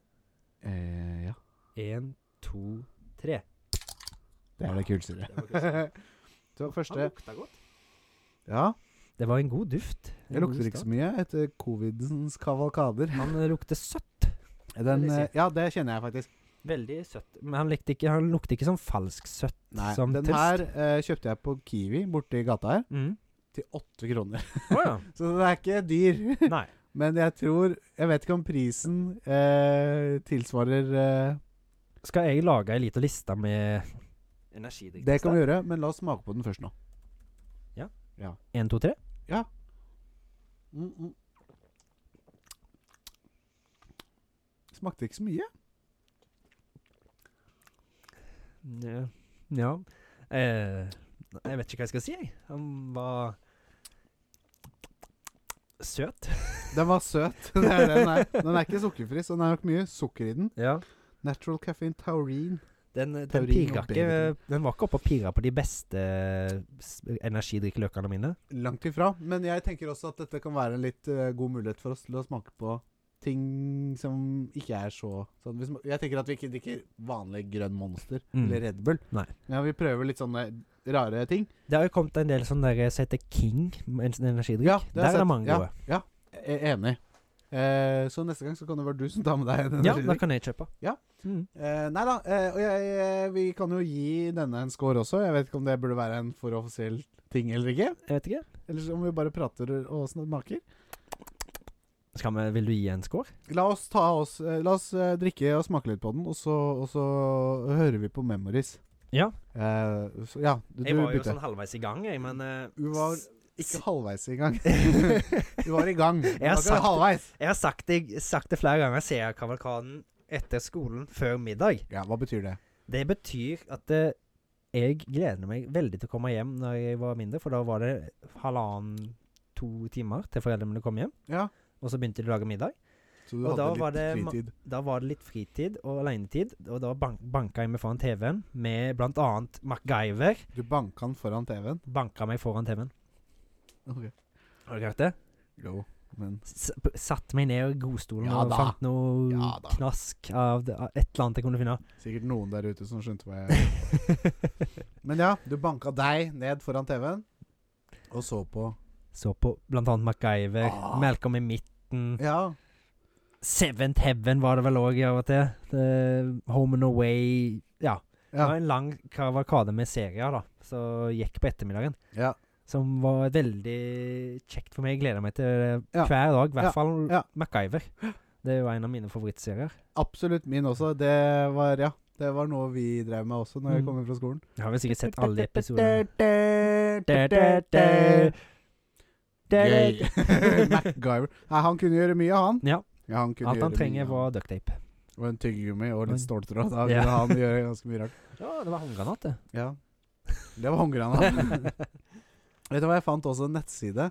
Eh, ja,
Én, to, tre.
det er det kullsyre.
Det var kullsyre.
Så første
lukta godt.
Ja,
Det var en god duft. En
jeg
god
lukter ikke
start.
så mye etter covidens kavalkader.
Han eh, lukter søtt.
Den,
vil jeg
eh, ja, det kjenner jeg faktisk.
Veldig søtt. Men han, likte ikke, han lukter ikke sånn falsk søtt
Nei,
som
den
test.
her eh, kjøpte jeg på Kiwi borti gata her
Mm.
til åtte kroner.
Å ja.
Så den er ikke dyr.
Nei.
Men jeg tror Jeg vet ikke om prisen eh, tilsvarer eh,
Skal jeg lage ei lita liste med energidrikk?
Det kan vi gjøre, men la oss smake på den først nå.
Én, to, tre.
Mm, mm. Smakte ikke så mye.
Ja. ja. Eh, jeg vet ikke hva jeg skal si, jeg. Han var søt.
Den var søt. Det er det den, er. den er ikke sukkerfri, så den er nok mye sukker i den.
Ja.
Natural caffeine taurine.
Den, den
eh, Teorien
pirra
og
ikke
bedre.
Den var ikke oppe og pirra på de beste s- energidrikkeløkene mine.
Langt ifra. Men jeg tenker også at dette kan være en litt eh, god mulighet for oss til å smake på ting som ikke er så sånn. vi sma- Jeg tenker at vi ikke drikker vanlig grønn Monster
Mm.
eller Red Bull.
Nei.
Ja, vi prøver litt sånne rare ting.
Det har jo kommet en del sånn der som heter King en- en energidrikk.
Ja, det har jeg
Der er
sett.
det mange
Ja.
gode.
Jeg er E-, enig. Eh, så neste gang så kan det være du som tar med deg en
Ja, da
energidrikk.
kan jeg kjøpe.
Ja.
Mm.
Eh, nei da. Eh, og jeg, eh, vi kan jo gi denne en score også. Jeg vet ikke om det burde være en for offisiell ting eller ikke.
Jeg vet ikke.
Eller så om vi bare prater og smaker.
Skal vi, vil du gi en score?
La oss, ta oss, eh, la oss eh, drikke og smake litt på den, og så, og så hører vi på Memories.
Ja.
Eh, så, ja, du, du begynte.
sånn halvveis i gang, jeg, men eh,
Du var ikke halvveis i gang.
Jeg
Du var i gang. Du
har
var ikke
sagt-
halvveis.
har sagt det, sagt det flere ganger, ser jeg kavalkaden etter skolen før middag.
Ja, hva betyr det?
Det betyr at eh, jeg gleder meg veldig til å komme hjem når jeg var mindre, for da var det halvannen, to timer til foreldrene mine kom hjem.
Ja.
Og så begynte de å lage middag.
Så du
Og da var
hadde
det
litt
ma-
fritid.
Da var det litt fritid og alenetid, og da bank banka jeg meg foran TV-en med blant annet MacGyver.
Du banka den foran TV-en.
Banka meg foran TV-en.
Okay.
Har du hørt det?
Jo, men
S p- satt meg ned i godstolen
Ja
og
da.
fant noe
Ja da.
knask av, det, av et eller annet jeg kunne finne.
sikkert noen der ute som skjønte hva jeg Men ja, du banka deg ned foran TV-en, og så på.
Så på blant annet MacGyver,
Ah.
Malcolm i midten,
Ja.
Seventh Heaven var det vel òg av og til. Det- Home and Away Ja. Det
Ja.
var en lang kavalkade med serier da, som gikk på ettermiddagen.
ja.
Som var veldig kjekt for meg. Jeg gleder meg til det
Ja.
hver dag. I hvert
Ja.
fall
Ja.
MacGyver. Det er jo en av mine favorittserier.
Absolutt min også. Det var, ja, det var noe vi drev med også når jeg
Mm.
kom hjem fra skolen.
Jeg har vel sikkert sett alle episodene.
Gøy. MacGyver. Nei, han kunne gjøre mye, han.
Ja.
Ja, han kunne
Alt han
gjøre
trenger,
mye,
var ducktape.
Og en tyggegummi og
Oi.
litt ståltråd. Da
Ja.
kunne han gjøre ganske mye rart.
Ja, det var håndgranat, det.
Ja. Det var håndgranaten. Vet du hva, jeg fant også en nettside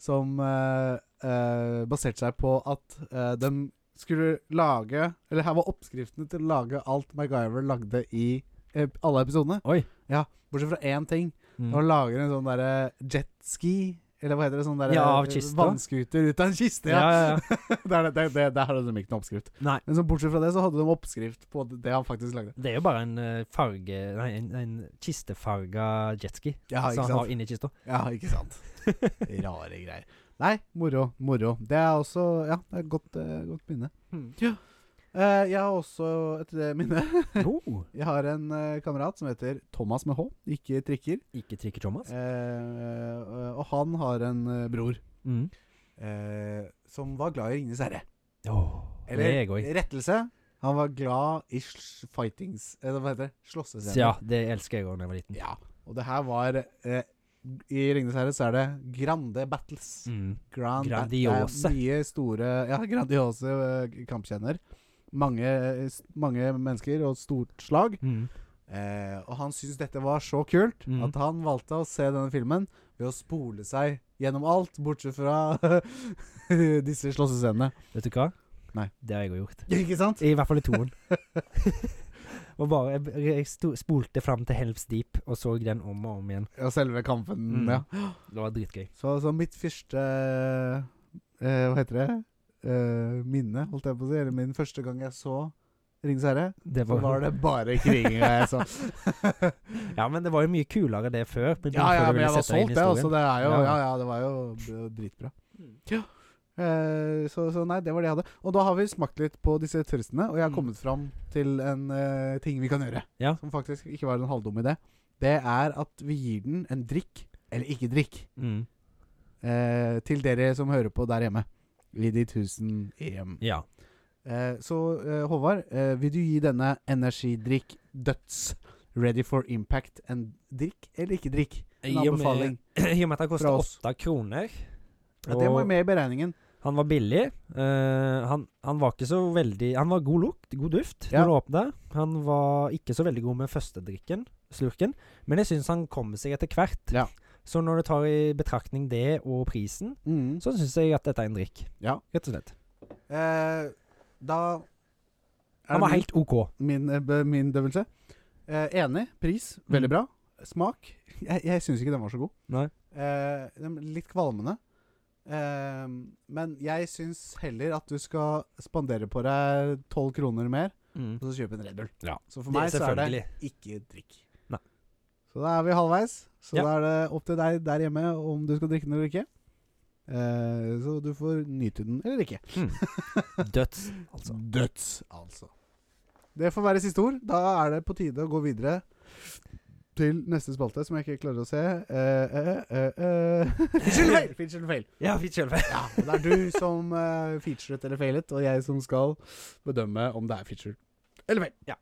som eh, eh, baserte seg på at eh, de skulle lage Eller her var oppskriftene til å lage alt MacGyver lagde i eh, alle episodene.
Oi.
Ja, Bortsett fra én ting.
Mm.
Og lager en sånn derre jetski Eller hva heter det? Sånn derre
Ja, av kista.
vannskuter ut av en kiste. Ja.
ja, ja.
det er, det, det, det, der hadde de ikke noen oppskrift.
Nei.
Men så bortsett fra det, så hadde de oppskrift på det det han faktisk lagde.
Det er jo bare en eh, farge Nei, en, en kistefarga jetski
Ja,
som
ikke
han har
sant?
inni kista.
Ja, ikke sant? Rare greier. Nei, moro. Moro. Det er også Ja, det er et godt, eh, godt minne.
Mm.
Eh, jeg har også et eh, minne.
Oh,
Jeg har en eh, kamerat som heter Thomas med H, ikke trikker.
ikke trikke Thomas.
Eh, eh, og han har en eh, bror
Mm.
eh, som var glad i Ringenes herre.
Åh, det er jeg òg.
Eller rettelse. Han var glad i sl- fightings Eller hva heter det? Slåssescener.
Ja, det elsker jeg òg da jeg var liten.
Ja. Og det her var eh, I Ringenes herre så er det grande battles.
Mm.
Grand,
Grandiose.
Det er mye store Ja, grandiose eh, kampkjenner. Mange, eh, s- mange mennesker og et stort slag.
Mm.
Eh, og han syntes dette var så kult
Mhm.
at han valgte å se denne filmen ved å spole seg gjennom alt, bortsett fra disse slåssescenene.
Vet du hva?
Nei.
Det har jeg òg gjort.
Ikke sant?
I hvert fall i toen. og bare, jeg, jeg sto, spolte fram til Helps Deep og så den om og om igjen.
Ja, selve kampen,
Mm.
ja.
Det var dritgøy.
Så, så mitt første eh, Hva heter det? Eh, minne, holdt jeg på å si. Eller min første gang jeg så Ringens herre,
Det
så Sånn var det bare kriginga jeg så.
Ja, men det var jo mye kulere det før.
ja, ja, men jeg altså. var solgt, jeg.
det
Altså, det er jo,
Ja.
ja, ja, det var jo b- dritbra. Ja. Eh, så, så nei, det var det jeg hadde. Og da har vi smakt litt på disse turistene, og jeg har
Mm.
kommet fram til en eh, ting vi kan gjøre.
Ja.
Som faktisk ikke var en halvdum idé. Det er at vi gir den en drikk, eller ikke drikk,
Mm.
eh, til dere som hører på der hjemme. I de tusen hjem.
Ja.
Eh, så eh, Håvard, eh, vil du gi denne energidrikk døds ready for impact en drikk eller ikke drikk? En
I og med-
anbefaling.
I og med at det koster
Fra oss.
åtte kroner.
Ja, det må
og-
jo med i beregningen.
Han var billig. eh, han, han var ikke så veldig Han var god lukt, god duft
Ja.
når du åpna. Han var ikke så veldig god med førstedrikken, slurken, men jeg syns han kommer seg etter hvert.
Ja.
Så når du tar i betraktning det og prisen,
Mm.
så syns jeg at dette er en drikk.
Ja.
Rett og slett.
Eh, da er
Han
det
var
min-
helt OK.
min, eh, be- min dømmelse. Eh, enig. Pris.
Mm.
Veldig bra. Smak. Jeg, jeg syns ikke den var så god.
Nei.
Eh, den ble litt kvalmende. Eh, men jeg syns heller at du skal spandere på deg tolv kroner mer, og så kjøpe en Red Bull.
Ja.
Så for meg
Det-
så er det
selvfølgelig.
ikke drikk.
Nei.
Så da er vi halvveis. Så
Ja.
da er det opp til deg der hjemme om du skal drikke den eller ikke. Eh, så du får nyte den eller ikke.
Døds, altså.
Døds, altså. Det får være siste ord. Da er det på tide å gå videre til neste spalte, som jeg ikke klarer å se. Eh, eh, eh, eh. Feature eller fail! Feature eller fail.
Ja, fint sjølve.
Ja, og det er du som eh, featuret eller failet, og jeg som skal bedømme om det er feature eller fail.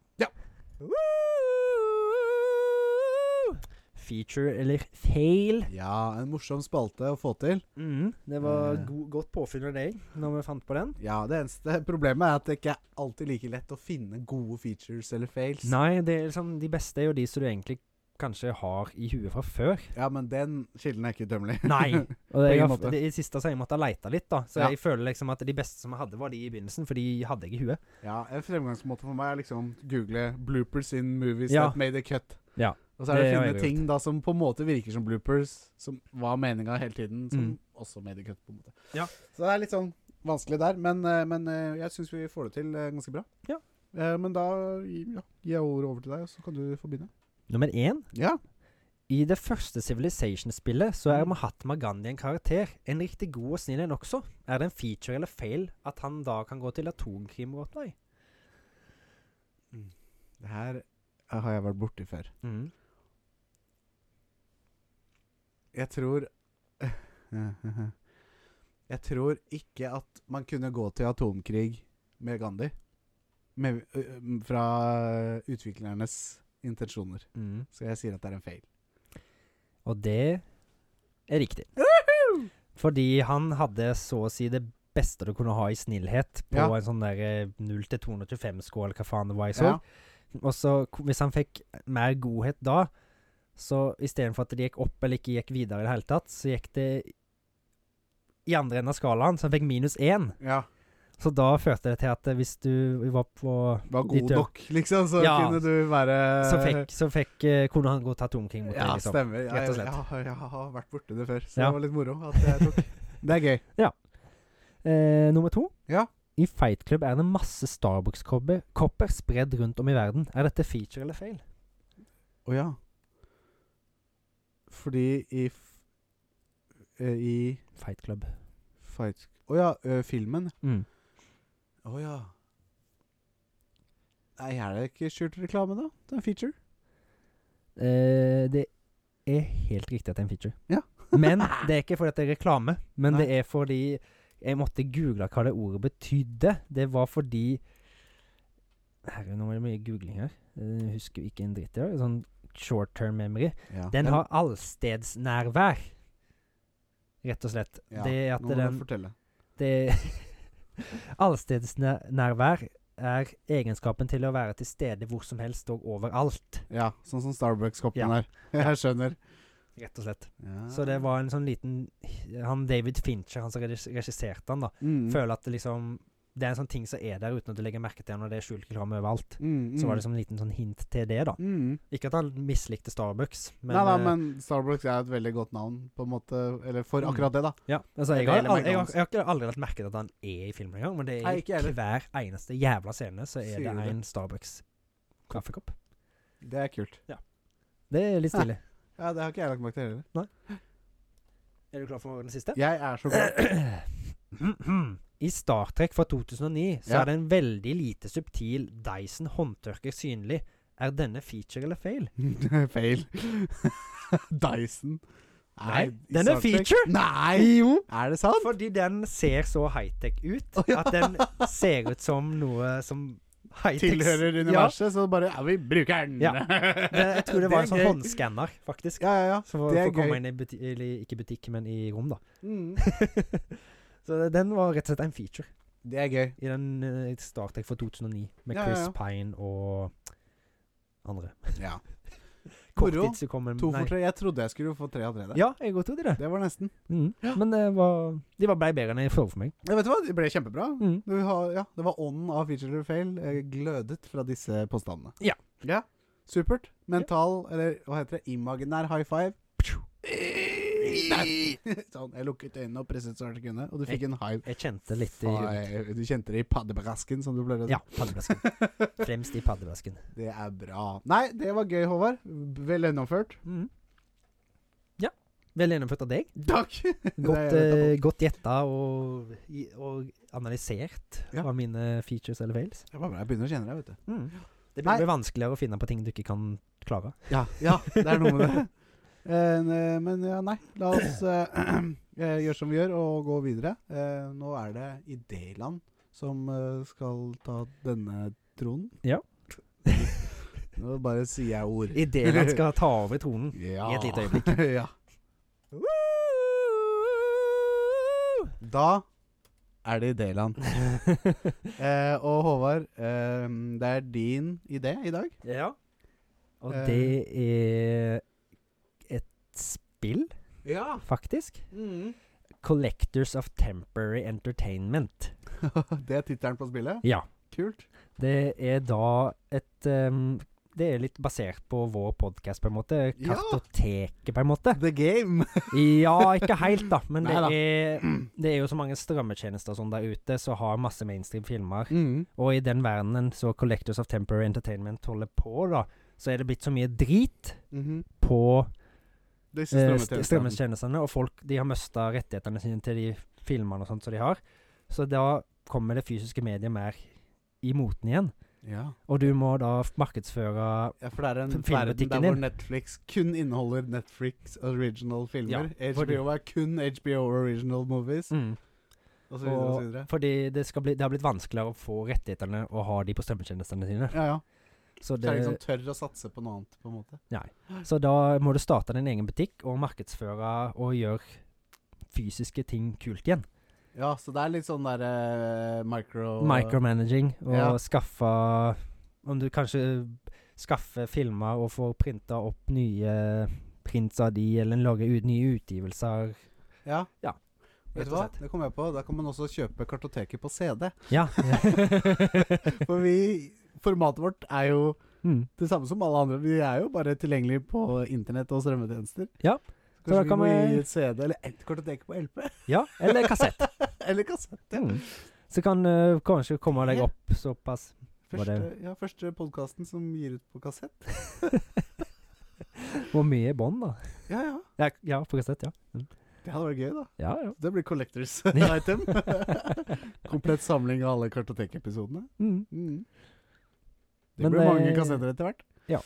Feature eller fail?
Ja, en morsom spalte å få til.
det var
Eh.
go godt påfyll av deg når vi fant på den.
Ja, Det eneste problemet er at det ikke er alltid like lett å finne gode features eller fails.
Nei, det er liksom, de beste er jo de som du egentlig kanskje har i huet fra før.
Ja, men den kilden er ikke utømmelig.
Nei. Og
På
det,
ingen
jeg, har-
måte.
det, I siste så har jeg måttet leite litt, da. Så
Ja.
jeg føler liksom at de beste som jeg hadde, var de i begynnelsen, for de hadde jeg i huet.
Ja, En fremgangsmåte for meg er liksom google 'bloopers in movies
Ja.
that made a cut'.
Ja.
Og så er det,
Det
å
har
finne
jeg
ting da som på en måte virker som bloopers, som var meninga hele tiden, som
Mm.
også made a cut. på en måte
Ja.
Så det er litt sånn vanskelig der, men, eh, men eh, jeg syns vi får det til eh, ganske bra.
Ja.
Eh, Men da gi- ja, gir jeg ordet over til deg, og så kan du få begynne.
Nummer én.
Ja.
I det første Civilization-spillet så er
Mm.
Mahatma Gandhi en karakter. En riktig god og snill en også. Er det en feature eller fail at han da kan gå til atomkrimvåpenet? i?
Det her eh, har jeg vært borti før.
Mm.
Jeg tror Jeg tror ikke at man kunne gå til atomkrig med Gandhi. Med, ø- ø- fra utviklernes intensjoner.
Mm.
Så jeg sier at det er en fail.
Og det er riktig. Fordi han hadde så å si det beste du kunne ha i snillhet på
Ja.
en sånn der eh, 0-225-sko, eller hva faen det var jeg så. Og så k- hvis han fikk mer godhet da, så istedenfor at det gikk opp eller ikke gikk videre i det hele tatt, så gikk det i andre enden av skalaen, så han fikk minus én.
Ja,
Så da førte det til at eh, hvis du var på
Var
Ditt
god
dø-
nok, liksom, så
Ja.
kunne du være
Så fikk, så fikk eh, kunne han gå til atomkrig mot
Ja,
deg, liksom.
stemmer. Ja,
rett og
jeg,
slett.
jeg, jeg har vært borti det før, så
Ja.
det var litt moro at jeg tok. Det er gøy.
Eh, nummer to.
Ja.
I Fight Club er det masse Starbucks-kopper kopper spredd rundt om i verden. Er dette feature eller fail?
Å ja. Fordi i f eh, I
Fight Club.
fight Å ja, ø, filmen.
Mm.
Å ja. Nei, er det ikke skjult reklame, da? Det er en feature.
Eh, det er helt riktig at det er en feature.
Ja.
men det er ikke fordi at det er reklame, men
Nei.
det er fordi jeg måtte google hva det ordet betydde. Det var fordi Herre, nå er det mye googling her. Eh, Jeg husker jo ikke en dritt i dag. Sånn short term memory.
Ja.
Den har allstedsnærvær, rett og slett.
Ja,
Det er
Nå
at
må
den
du fortelle.
Det Allstedsnærvær er egenskapen til å være til stede hvor som helst og overalt,
Ja, sånn som Starbucks-koppen
Ja.
her. Jeg skjønner.
rett og slett.
Ja.
Så det var en sånn liten Han David Fincher, han som regis- regisserte han, da,
Mm.
føler at det liksom Det er en sånn ting som er der uten at du legger merke til den, og det er skjult reklame overalt.
Mm,
Så
mm.
var det som en liten sånn hint til det, da.
mm.
Ikke at han mislikte Starbucks, men,
nei, nei,
eh,
men Starbucks er et veldig godt navn på en måte, eller for
Mm.
akkurat det, da.
ja, altså, jeg,
Det er
har,
hele
aldri, jeg, har,
McDonald's.
jeg har ikke aldri lagt merke til at han er i filmen engang, men det er
Nei,
i
ikke heller.
hver eneste jævla scene så er
Sier du
det
det?
en Starbucks-kaffekopp.
Det er kult.
Det er litt
Ja.
stilig.
Ja, Det har ikke jeg lagt merke til heller.
Er du klar for den siste?
Jeg er så god.
I Star Trek fra 2009 så
Ja.
er det en veldig lite subtil Dyson håndtørker synlig. Er denne feature eller fail?
Feil. Dyson.
Nei,
i
den er
Star Trek.
feature.
Nei, jo! Er det sant?
Fordi den ser så high-tech ut
Å, ja.
at den ser ut som noe som high-tech
Tilhører universet, så bare Ja, vi bruker den!
Ja. Ja, det, jeg tror det var en
er
sånn
gøy.
håndskanner, faktisk.
Ja, ja, ja.
Som for,
det er
for å komme
gøy.
inn i buti eller ikke butikk, men i rom, da.
Mm.
så det- den var rett og slett en feature
Det er gøy.
i den eh, Star Trek fra 2009 med
Ja, ja,
Chris
ja.
Pine og andre.
Ja. Moro.
Korttidshukommen
To
nei.
for tre. Jeg trodde jeg skulle få tre av tre der.
Ja, jeg godt trodde det.
Det var nesten.
Mm. Men det var, de var blei bedre enn jeg så for meg.
Ja, vet du hva, det ble kjempebra.
Mm.
Du har, ja, det var ånden av feature eller fail eh, glødet fra disse påstandene.
Ja.
ja. Supert. Mental, eller hva heter det, imaginær high five. Nei. Sånn, jeg lukket øynene og presset så hardt jeg kunne, og du fikk en high
Jeg kjente litt i
five. Du kjente det i paddebrasken, som du pleier å si.
Ja, paddevesken. Fremst i paddevesken.
Det er bra. Nei, det var gøy, Håvard. Vel gjennomført.
Mm. Ja. Vel gjennomført av deg.
Takk!
Godt,
Det er-
eh, godt gjetta og, i- og analysert
Ja.
av mine features eller fails.
Det var bra. Jeg begynner å kjenne deg, vet du.
Det
Nei.
blir blir vanskeligere å finne på ting du ikke kan klare.
Ja, ja det er noe med det. Eh, ne- men ja, nei. La oss eh, eh, gjøre som vi gjør, og gå videre. Eh, nå er det Idéland som eh, skal ta denne tronen.
Ja.
Nå bare sier jeg ord.
Ideen han skal ta over tronen.
ja.
i et lite øyeblikk.
ja. Da er det Idéland. Eh, og Håvard, eh, det er din idé i dag.
ja. Og
Eh.
det er et spill,
Ja. mm.
faktisk. Collectors of Temporary Entertainment.
det er tittelen på spillet?
Ja.
Kult.
Det er da et ehm, Det er litt basert på vår podkast, på en måte.
Ja.
Kartoteket, på en måte.
The game.
Ja, ikke helt, da. Men det
Neida.
er, det er jo så mange strømmetjenester og sånn der ute som har masse mainstream filmer.
Mm.
Og i den verdenen så Collectors of Temporary Entertainment holder på, da, så er det blitt så mye drit
Mhm.
på
Disse
eh,
strømmetjenestene.
st- strømmetjenestene, og folk de har mista rettighetene sine til de filmene og sånt som de har. Så da kommer det fysiske mediet mer i moten igjen.
Ja.
Og du må da f- markedsføre
ja, for det er en
F- filmbutikken
verden der hvor
din.
Netflix kun inneholder Netflix original filmer.
for det-
HBO er kun HBO original movies, Mm, og så videre og så videre.
Fordi det, skal bli, det har blitt vanskeligere å få rettighetene og ha de på strømmetjenestene sine.
Ja, ja.
Så,
Så er det
det,
liksom tør å satse på noe annet, på en måte.
så da må du starte din egen butikk og markedsføre og gjøre fysiske ting kult igjen.
Ja, så det er litt sånn der eh, micro...
Micromanaging og
Ja.
skaffe Om du kanskje skaffer filmer og får printa opp nye prints av de, eller lage ut nye utgivelser.
Ja.
Ja,
Vet
rett
du
og
hva?
slett.
Det kom jeg på. Da kan man også kjøpe kartoteket på CD.
Ja.
For vi Formatet vårt er jo
mm.
det samme som alle andre. Vi er jo bare tilgjengelig på internett og strømmetjenester.
Ja.
Så kanskje
da kan
vi må
vi-
gi et CD eller et kartotek på LP.
ja. Eller kassett.
Eller kassett. ja.
Mm. Så kan eh, kanskje komme deg
Ja.
opp såpass. Var
Første,
det-
ja, første podkasten som gir ut på kassett.
Hvor mye bånd, da?
Ja, ja.
Ja, ja på kassett, ja.
Det hadde vært gøy, da.
Ja, ja.
Det blir collectors item. Komplett samling av alle kartotekepisodene.
Mm.
Mm. Det
Men
blir
det-
mange kassetter etter hvert.
Ja.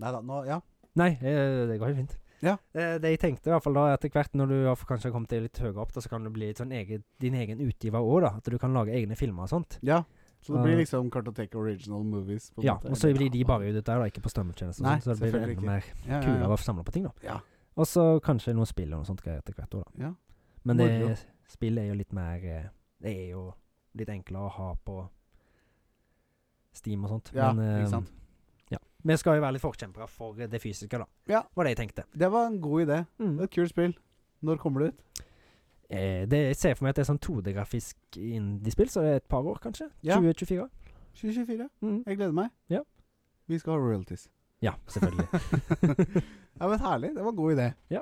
Nei da, nå Ja.
Nei, eh, det går helt fint.
Ja.
Eh, det jeg tenkte i hvert fall da, etter hvert når du har f- kanskje har kommet deg litt høyere opp, da, så kan du bli litt sånn eget, din egen utgiver òg, da. At du kan lage egne filmer og sånt.
ja. Så det
Ah.
blir liksom kartotek original movies. På en
Ja,
måte.
og så
Eller-
blir de bare ute der, da, ikke på strømmetjenester.
Nei,
og sånt, Så det blir
selvfølgelig
enda mer
ja, ja,
kulere
ja.
å samle på ting, da.
Ja.
Og så kanskje noen spill og noe sånt greier etter hvert òg, da.
Ja.
Men det,
Moro.
spill er jo litt mer eh, Det er jo litt enklere å ha på Steam og sånt.
Ja,
Men, eh,
ikke sant.
Vi skal jo være litt forkjempere for eh, det fysiske, da.
Ja. Mm.
Var det jeg tenkte.
Det var en god idé. Det
Mm.
var et kult spill. Når kommer det ut?
Eh, det, jeg ser for meg at det er sånn 2D-grafisk indie-spill, så det er et par år, kanskje.
Ja.
2024.
2024.
Mm.
Jeg gleder meg.
Ja.
Vi skal ha royalties.
Ja, selvfølgelig.
Ja, men Herlig. Det var en god idé.
Ja.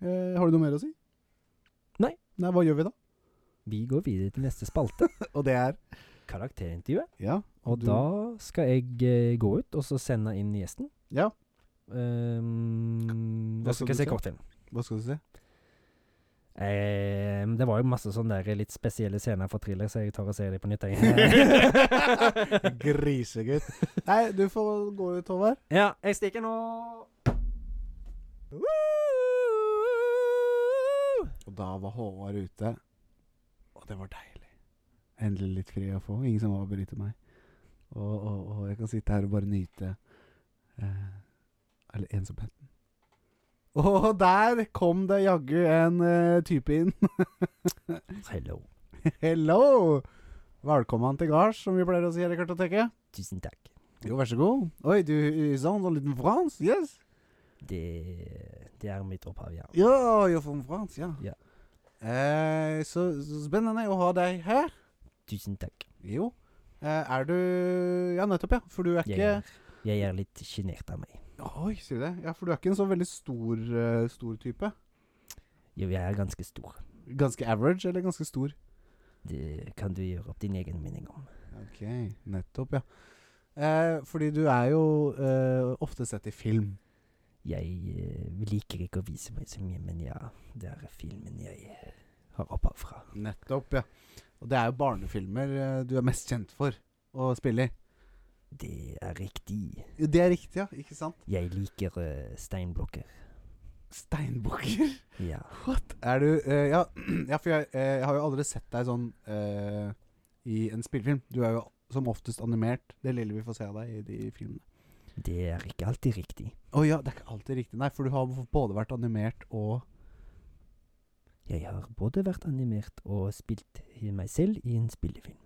Eh, har du noe mer å si?
Nei.
Nei, Hva gjør vi da?
Vi går videre til neste spalte,
Og det er
karakterintervjuet.
Ja.
Og
Du-
da skal jeg eh, gå ut og så sende inn gjesten.
Ja.
Um,
Hva
og så
skal
skal jeg se
du se?
kortfilm.
Hva skal du si?
Eh, men det var jo masse sånne der litt spesielle scener fra thriller, så jeg tør å se dem på nytt. jeg.
Grisegutt. Nei, du får gå ut, Håvard.
ja, jeg stikker nå.
Og da var Håvard ute. Og det var deilig. Endelig litt fri å få. Ingen som avbryter meg. Og, og, og jeg kan sitte her og bare nyte eh, Eller ensomheten. Og der kom det jaggu en eh, type inn.
Hello.
Hello! Velkommen til gards, som vi pleier å si her i Kartoteket.
Tusen takk.
Jo, vær så god. Oi, du sånn, sound a little France, yes?
Det, det er mitt opphav, ja.
Ja, you're from France, ja.
Ja.
Eh, så, så spennende å ha deg her.
Tusen takk.
Jo. Eh, er du Ja, nettopp, ja. For du er
Jeg
ikke
er, jeg er litt sjenert av meg.
Oi, sier du det? Ja, for du er ikke en så veldig stor, eh, stor type.
Jo, jeg er ganske stor.
Ganske average, eller ganske stor?
Det kan du gjøre opp din egen mening om.
Ok, nettopp, ja. Eh, fordi du er jo eh, ofte sett i film.
Jeg eh, liker ikke å vise meg så mye, men ja, det er filmen jeg eh, har opphav fra.
Nettopp, ja. Og det er jo barnefilmer eh, du er mest kjent for å spille i.
Det er riktig.
Jo, Det er riktig, ja. Ikke sant?
Jeg liker eh, steinblokker.
Steinbukker.
Ja.
Er du eh, ja, ja, for jeg, eh, jeg har jo aldri sett deg sånn eh, i en spillefilm. Du er jo som oftest animert. Det lille vi får se av deg i de filmene.
Det er ikke alltid riktig.
Å ja, det er ikke alltid riktig. Nei, for du har både vært animert og
Jeg har både vært animert og spilt i meg selv i en spillefilm.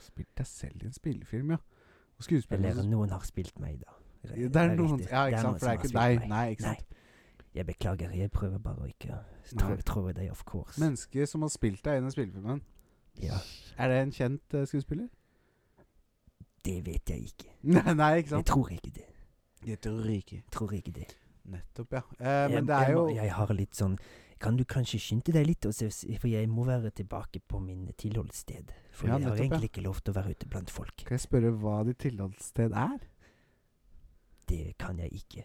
Spilt deg selv i en spillefilm, ja. Og skuespiller
Eller noen har spilt meg, da.
Det er noen
riktig.
Ja, ikke sant.
som
For det er ikke
har spilt
deg. Nei, ikke sant.
Nei. Jeg beklager, jeg prøver bare å ikke
Nei.
trå, trå deg off course.
Mennesket som har spilt deg i den spillefilmen,
ja,
er det en kjent eh, skuespiller?
det vet jeg ikke.
Nei, nei, ikke
Jeg
sant?
tror ikke det.
Jeg tror ikke.
Tror ikke det.
Nettopp, ja. Eh,
Jeg-
men det er
jeg,
jo
må- jeg har litt sånn Kan du kanskje skynde deg litt, og se, se- for jeg må være tilbake på min tilholdssted. For jeg
Ja,
har
nettopp, ja.
egentlig ikke lov til å være ute blant folk.
Kan jeg spørre hva ditt tilholdssted er?
Det kan jeg ikke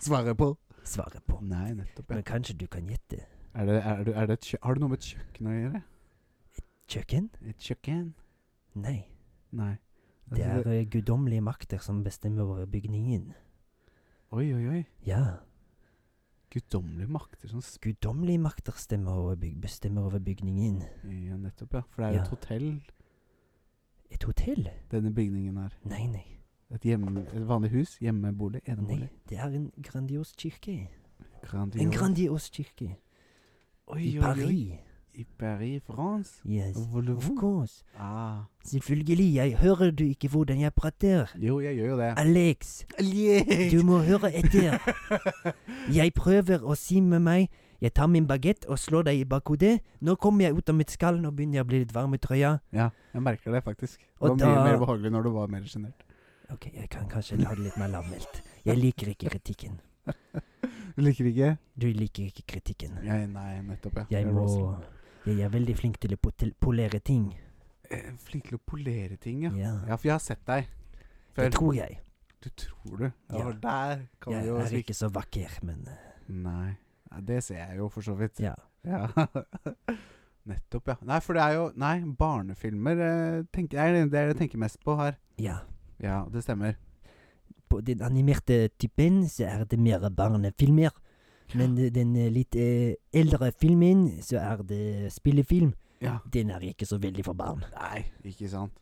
Svare på.
svare på.
Nei, nettopp,
Men
ja.
kanskje du kan gjette.
Er det, er det, er det et kjø har det noe med et kjøkken å gjøre?
Kjøkken?
Et kjøkken?
Nei.
Nei.
Det
Altså,
er eh, guddommelige makter som bestemmer over bygningen.
Oi, oi, oi.
Ja.
Guddommelige makter som sp...
Guddommelige makter stemmer over byg bestemmer over bygningen.
Ja, nettopp, ja. For det er jo
Ja.
et hotell,
Et hotell?
denne bygningen her.
Nei, nei.
Et, hjemme, et vanlig hus. Hjemmebolig.
nei.
Enebolig.
Det er en grandios kirke.
Grandios.
En grandios kirke.
Oi,
I
oi, oi.
Paris.
I Paris, France.
Yes. Of
Voulez-vous?
course.
Ah.
Selvfølgelig, jeg hører du ikke hvordan jeg prater.
Jo, jeg gjør jo det.
Alex, du må høre etter. Jeg prøver å si med meg Jeg tar min bagett og slår deg i bakhodet. Nå kommer jeg ut av mitt skall, nå begynner jeg å bli litt varm i trøya.
Ja, jeg merker det faktisk. Det
Og
var mye
da-
mer behagelig når du var mer sjenert.
Ok, jeg kan kanskje la det litt mer lavmælt. Jeg liker ikke kritikken.
Du liker ikke?
Du liker ikke kritikken.
Jeg, nei, nettopp, ja.
Jeg
er
må
rosa.
Jeg er veldig flink til å po- til polere ting.
Eh, Flink til å polere ting, ja.
Ja.
Ja, for jeg har sett deg.
Det tror jeg.
Du tror du? Ja,
Ja.
for der kan vi
Jeg
jo
er
svikte.
ikke så vakker, men eh,
Nei. Ja, det ser jeg jo, for så vidt.
ja.
Ja. nettopp, ja. Nei, for det er jo Nei, barnefilmer eh, tenker, er det det er det jeg tenker mest på her.
ja.
Ja, det stemmer.
På den animerte typen så er det mer barnefilmer. Men eh, den eh, litt eh, eldre filmen, så er det spillefilm.
Ja.
Den er ikke så veldig for barn.
Nei, ikke sant.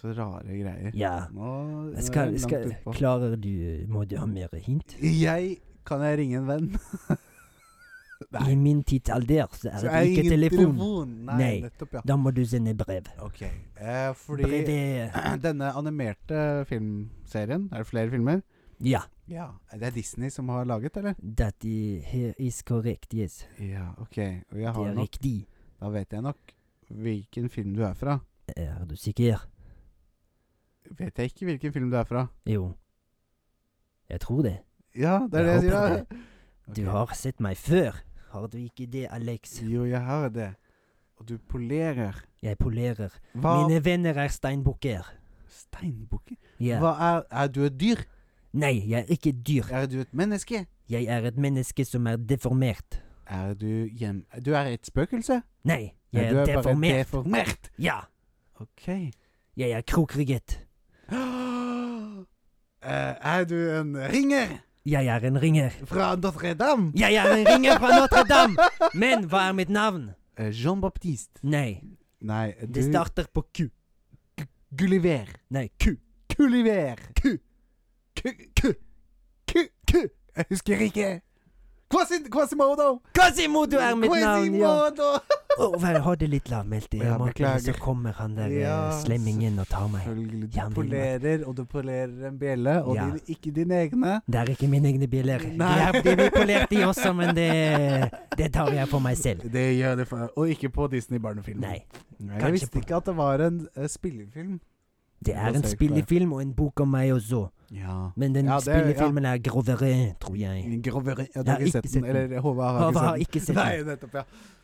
Så rare greier.
Ja.
Nå, nå er
Skal,
jeg
skal,
langt utpå.
klarer du Må du ha mer hint?
Jeg Kan jeg ringe en venn? Nei.
I min tidsalder så er
Så
det ikke telefon.
Nei,
Nei.
nettopp, ja.
Da må du sende e brev. e,
Ok. Eh, fordi
Brevet
denne animerte filmserien Er det flere filmer?
Ja. e,
Ja. Det er Disney som har laget, eller?
That i- here is correct, yes.
Ja, ok. Og jeg
Det
har
er
nok
riktig.
Da vet jeg nok hvilken film du er fra.
Er du sikker?
Vet jeg ikke hvilken film du er fra?
Jo. Jeg tror det.
Ja, det er det jeg
Jeg
sier.
håper
da.
Du
Ok.
har sett meg før. Har du ikke det, Alex?
Jo, jeg har det. Og du polerer.
Jeg polerer.
Hva
Mine venner er steinbukker.
Steinbukker?
Ja.
Hva er Er du et dyr?
Nei, jeg er ikke dyr.
Er du et menneske?
Jeg er et menneske som er deformert.
Er du hjem... Du er et spøkelse?
Nei,
Nei,
jeg
du
er
bare
deformert.
deformert.
Ja,
OK.
jeg er krokrygget.
Eh, er du en ringer
Jeg er en ringer.
fra Notre Dame?
Jeg er en ringer fra Notre-Dame! Men hva er mitt navn?
Eh, Jean Baptiste.
Nei,
Nei, du
det starter på Q.
Gulliver.
Nei,
Ku. Gulliver. Ku. Ku. Ku. Ku. Ku. Jeg husker ikke. Quasi- Quasimodo!
Quasimodo er mitt navn! Ja.
Quasimodo!
Oh, jeg hadde litt lavmælt. Jeg
Ja,
må ikke,
beklager.
Så kommer han der eh,
Ja,
slemmingen og tar meg.
Selvfølgelig.
Ja,
Du
men-
polerer, og du polerer en bjelle, og
Ja.
din- ikke dine egne.
Det er ikke mine egne biler. De,
Nei.
er, de blir polert, de også, men det, det tar jeg på meg selv.
Det gjør det for Og ikke på Disney-barnefilm.
Nei.
jeg
kanskje
visste
på-
ikke at det var en eh, spillefilm.
Det
Da
er en
ser jeg ikke det.
spillefilm og en bok om meg også.
Ja.
Men den
Ja, det-
spillefilmen er grovere, tror jeg.
Grovere. Jeg
Jeg
har ikke sett den. Eller eh, Håvard har
Hva
ikke
har
sett
ikke
den.
sett
Nei,
den.
nettopp, ja.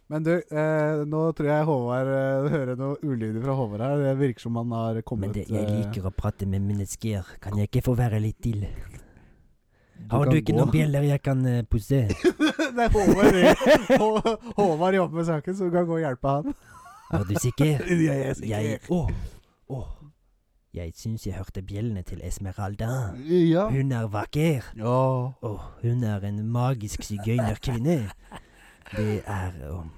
Men du, eh, nå tror jeg Håvard eh, hører noe ulyder fra Håvard her. Det virker som han har kommet
Men det, jeg
eh,
liker å prate med mennesker. Kan jeg ikke få være litt til? Har
kan
du ikke
gå.
noen bjeller jeg kan eh, pusse?
Det er Håvard. det. Hå- Håvard jobber med saken, så du kan gå og hjelpe han.
Er du sikker?
Jeg er
Jeg Å! Å! Jeg syns jeg hørte bjellene til Esmeralda.
Ja.
Hun er vakker.
Ja.
Å, hun er en magisk sigøynerkvinne. Det er um,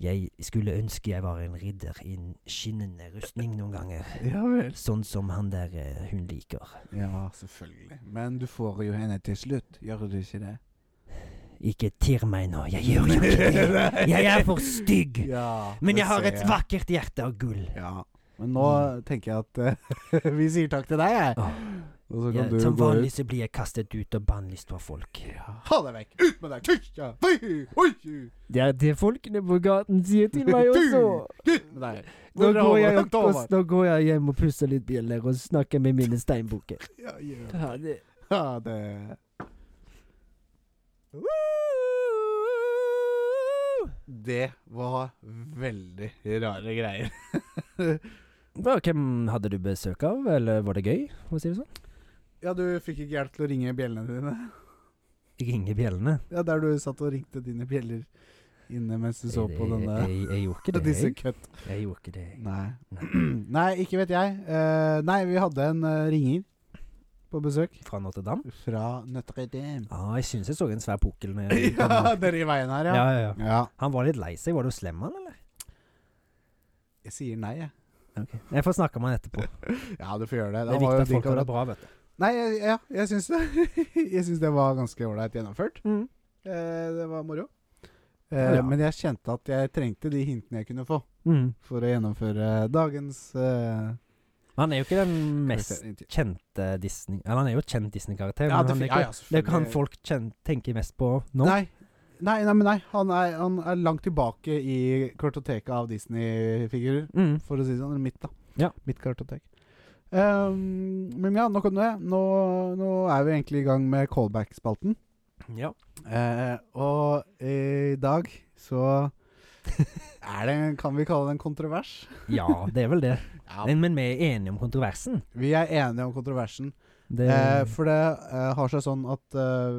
Jeg skulle ønske jeg var en ridder i en skinnende rustning noen ganger.
ja vel.
Sånn som han der eh, hun liker.
Ja, selvfølgelig. Men du får jo henne til slutt, gjør du ikke det?
Ikke tirr meg nå, jeg gjør jo ikke det. Jeg er for stygg.
Ja,
Men
det
jeg har
ser
et vakkert hjerte av gull.
Ja. Men nå tenker jeg at eh, vi sier takk til deg, jeg.
Åh.
Og så kan
Ja,
du
som
gå
vanlig
ut.
så blir jeg kastet ut og bannlyst fra folk.
Ja. Ha deg vekk! Ut med deg! Tysj, ja. Fy! Oi!
Det er det folkene på gaten sier til meg også.
Du! Ut med deg!
Nå
Hvor er
går, jeg
Håvard?
opp, og,
Håvard.
nå går jeg hjem og pusser litt bjeller og snakker med mine steinbukker.
Ja, gjør det.
Ja, det
Ha det. Det var veldig rare greier.
Da, hvem hadde du besøk av, eller var det gøy? for å si det sånn?
Ja, du fikk ikke hjelp til å ringe bjellene dine?
Ringe bjellene.
Ja, der du satt og ringte dine bjeller inne mens du så på
Jeg-
eh,
denne
Jeg, jeg gjorde ikke det.
Disse
Jeg,
køtt.
jeg gjorde ikke det.
Nei. nei, ikke vet jeg. Eh, nei, vi hadde en eh, ringer på besøk.
Fra Notre Dame?
Fra Notre Dame.
Ja, jeg syns jeg så en svær pukkel. når jeg-
ja, dere i veien her, ja.
ja, ja, ja.
Ja.
Han var litt lei seg. Var du slem, han, eller?
Jeg sier nei, jeg.
Jeg får snakke med han etterpå.
Ja, du får gjøre det.
Det er viktig
var jo
at folk
din
har det
kamerat.
bra, vet du.
Nei, jeg- ja, jeg syns det. jeg syns det var ganske ålreit gjennomført.
Mm.
Eh, det var moro. Eh,
Ja.
Men jeg kjente at jeg trengte de hintene jeg kunne få
Mm.
for å gjennomføre dagens eh,
Han er jo ikke den mest
karakter-
kjente Disney... Eller han er jo et kjent Disney-karakter,
Ja,
men han
det,
er
ja,
ikke,
ja,
det er ikke han
selvfølgelig.
folk kjen- tenker mest på nå.
Nei. Nei, nei, men nei. Han er, han er langt tilbake i kartoteket av Disney-figurer,
Mm.
for å si det sånn. eller Mitt, da.
Ja.
Mitt kartotek. Ehm, men ja, nok om det. Nå, nå er vi egentlig i gang med callback-spalten.
Ja.
Eh, og i dag så er det en, Kan vi kalle det en kontrovers?
ja, det er vel det. Men, men vi er enige om kontroversen.
Vi er enige om kontroversen.
Det,
Eh, for det eh, har seg sånn at eh,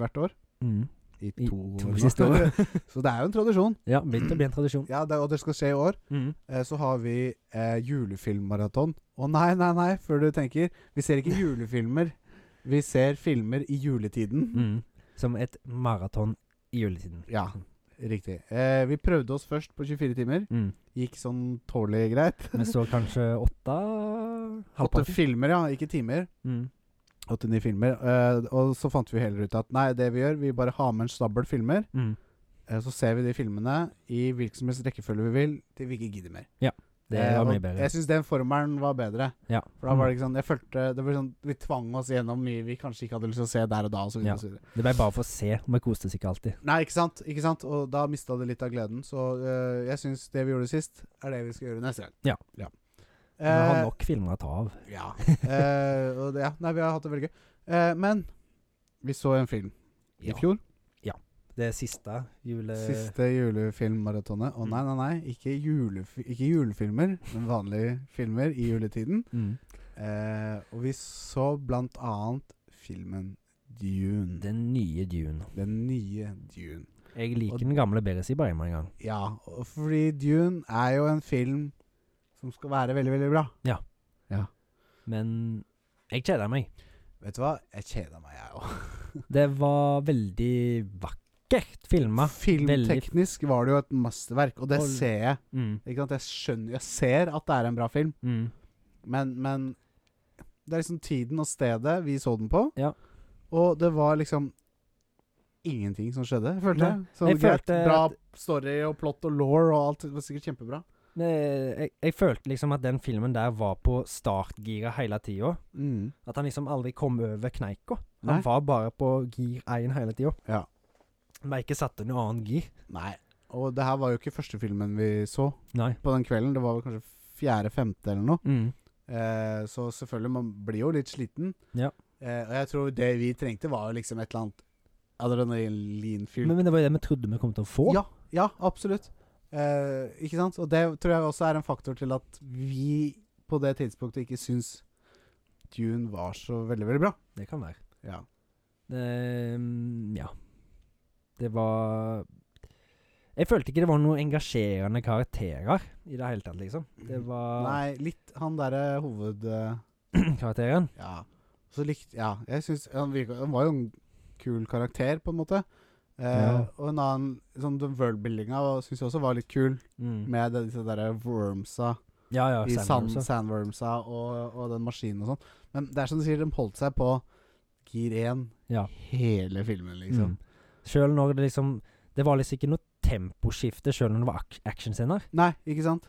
hvert år
mm.
I
I
år
to
nå.
siste år.
så det er jo en tradisjon.
Ja, begynte å bli en tradisjon.
Ja, det, og det skal skje i år.
Mm.
eh, så har vi eh, julefilmmaraton. Å nei, nei, nei, før du tenker. Vi ser ikke julefilmer. Vi ser filmer i juletiden.
Mm. Som et maraton i juletiden.
Ja, riktig. Eh, vi prøvde oss først på 24 timer.
Mm.
Gikk sånn tålelig greit.
Men så kanskje åtte
Åtte
Halvparten.
filmer, ja. Ikke timer.
Mm.
Åtte-ni filmer. Eh, og så fant vi heller ut at nei, det vi gjør, vi bare har med en stabel filmer.
Mm.
Eh, så ser vi de filmene i hvilken som helst rekkefølge vi vil, til vi ikke gidder mer.
Det
Eh,
var
og
mye bedre.
Jeg syns den formelen var bedre.
Ja. Mm.
For da var det ikke sånn Jeg følte Det var sånn Vi tvang oss gjennom mye vi kanskje ikke hadde lyst til å se der og da. Og så videre,
Ja.
og så videre.
Det ble bare for å se, og vi koste oss ikke alltid.
Nei, ikke sant? Ikke sant? Og da mista det litt av gleden. Så øh, jeg syns det vi gjorde sist, er det vi skal gjøre neste gang.
Ja.
ja.
Vi har
Eh,
nok filmer å ta av.
ja. Eh, og det, ja. Nei, vi har hatt det veldig gøy. Eh, men vi så en film i fjor.
Det siste jule...
Siste julefilmmaratonet. Å nei, nei, nei. Ikke, julefi ikke julefilmer, men vanlige filmer i juletiden.
Mm.
Eh, og vi så blant annet filmen Dune.
Den nye Dune.
Den nye Dune.
Jeg
Og-
liker den gamle bedre, sier bare jeg med en gang.
Ja, og fordi Dune er jo en film som skal være veldig, veldig bra.
Men jeg kjeder meg.
Vet du hva? Jeg kjeder meg, jeg òg.
Det var veldig vakkert filma.
Filmteknisk var det jo et mesterverk, og det
Og-
ser jeg.
Mm,
Ikke sant? Jeg skjønner, jeg ser at det er en bra film,
mm.
men, men Det er liksom tiden og stedet vi så den på,
Ja.
og det var liksom ingenting som skjedde, følte jeg.
Nei.
Sånn
Jeg
greit,
følte
bra
at-
story og plot og law og alt. Det var sikkert kjempebra.
Det, eh, jeg, jeg følte liksom at den filmen der var på startgira hele tida.
Mm.
At han liksom aldri kom over kneika. Han
Nei.
var bare på gir 1 hele tida.
Ja.
Men ikke satte noe annet gir.
Nei. Og det her var jo ikke første filmen vi så
Nei.
på den kvelden. Det var vel kanskje fjerde-femte eller noe.
Mm.
Eh, så selvfølgelig, man blir jo litt sliten.
Ja.
Eh, og jeg tror det vi trengte, var jo liksom et eller annet adrenalinfylt
Men, men det var jo det vi trodde vi kom til å få.
Ja, ja absolutt. Eh, ikke sant? Og det tror jeg også er en faktor til at vi på det tidspunktet ikke syns Dune var så veldig, veldig bra.
Det kan være.
Ja.
Det, mm, ja. Det var Jeg følte ikke det var noen engasjerende karakterer i det hele tatt, liksom. Det var
Mm. Nei, litt han derre hoved... eh,
karakteren.
ja. Så likt Ja, jeg syns han, virka- han var jo en kul karakter, på en måte. Eh,
Ja.
Og en annen sånn den worldbuildinga syns jeg også var litt kul,
Mm.
med det- disse derre wormsa
Ja, ja.
i
Sandman også.
sand, sandwormsa og, og den maskinen og sånn. Men det er som du sier, de holdt seg på gir 1
Ja.
hele filmen,
Mm.
liksom.
Sjøl når det liksom Det var liksom ikke noe temposkifte sjøl når det var ak actionscener.
Nei, ikke sant?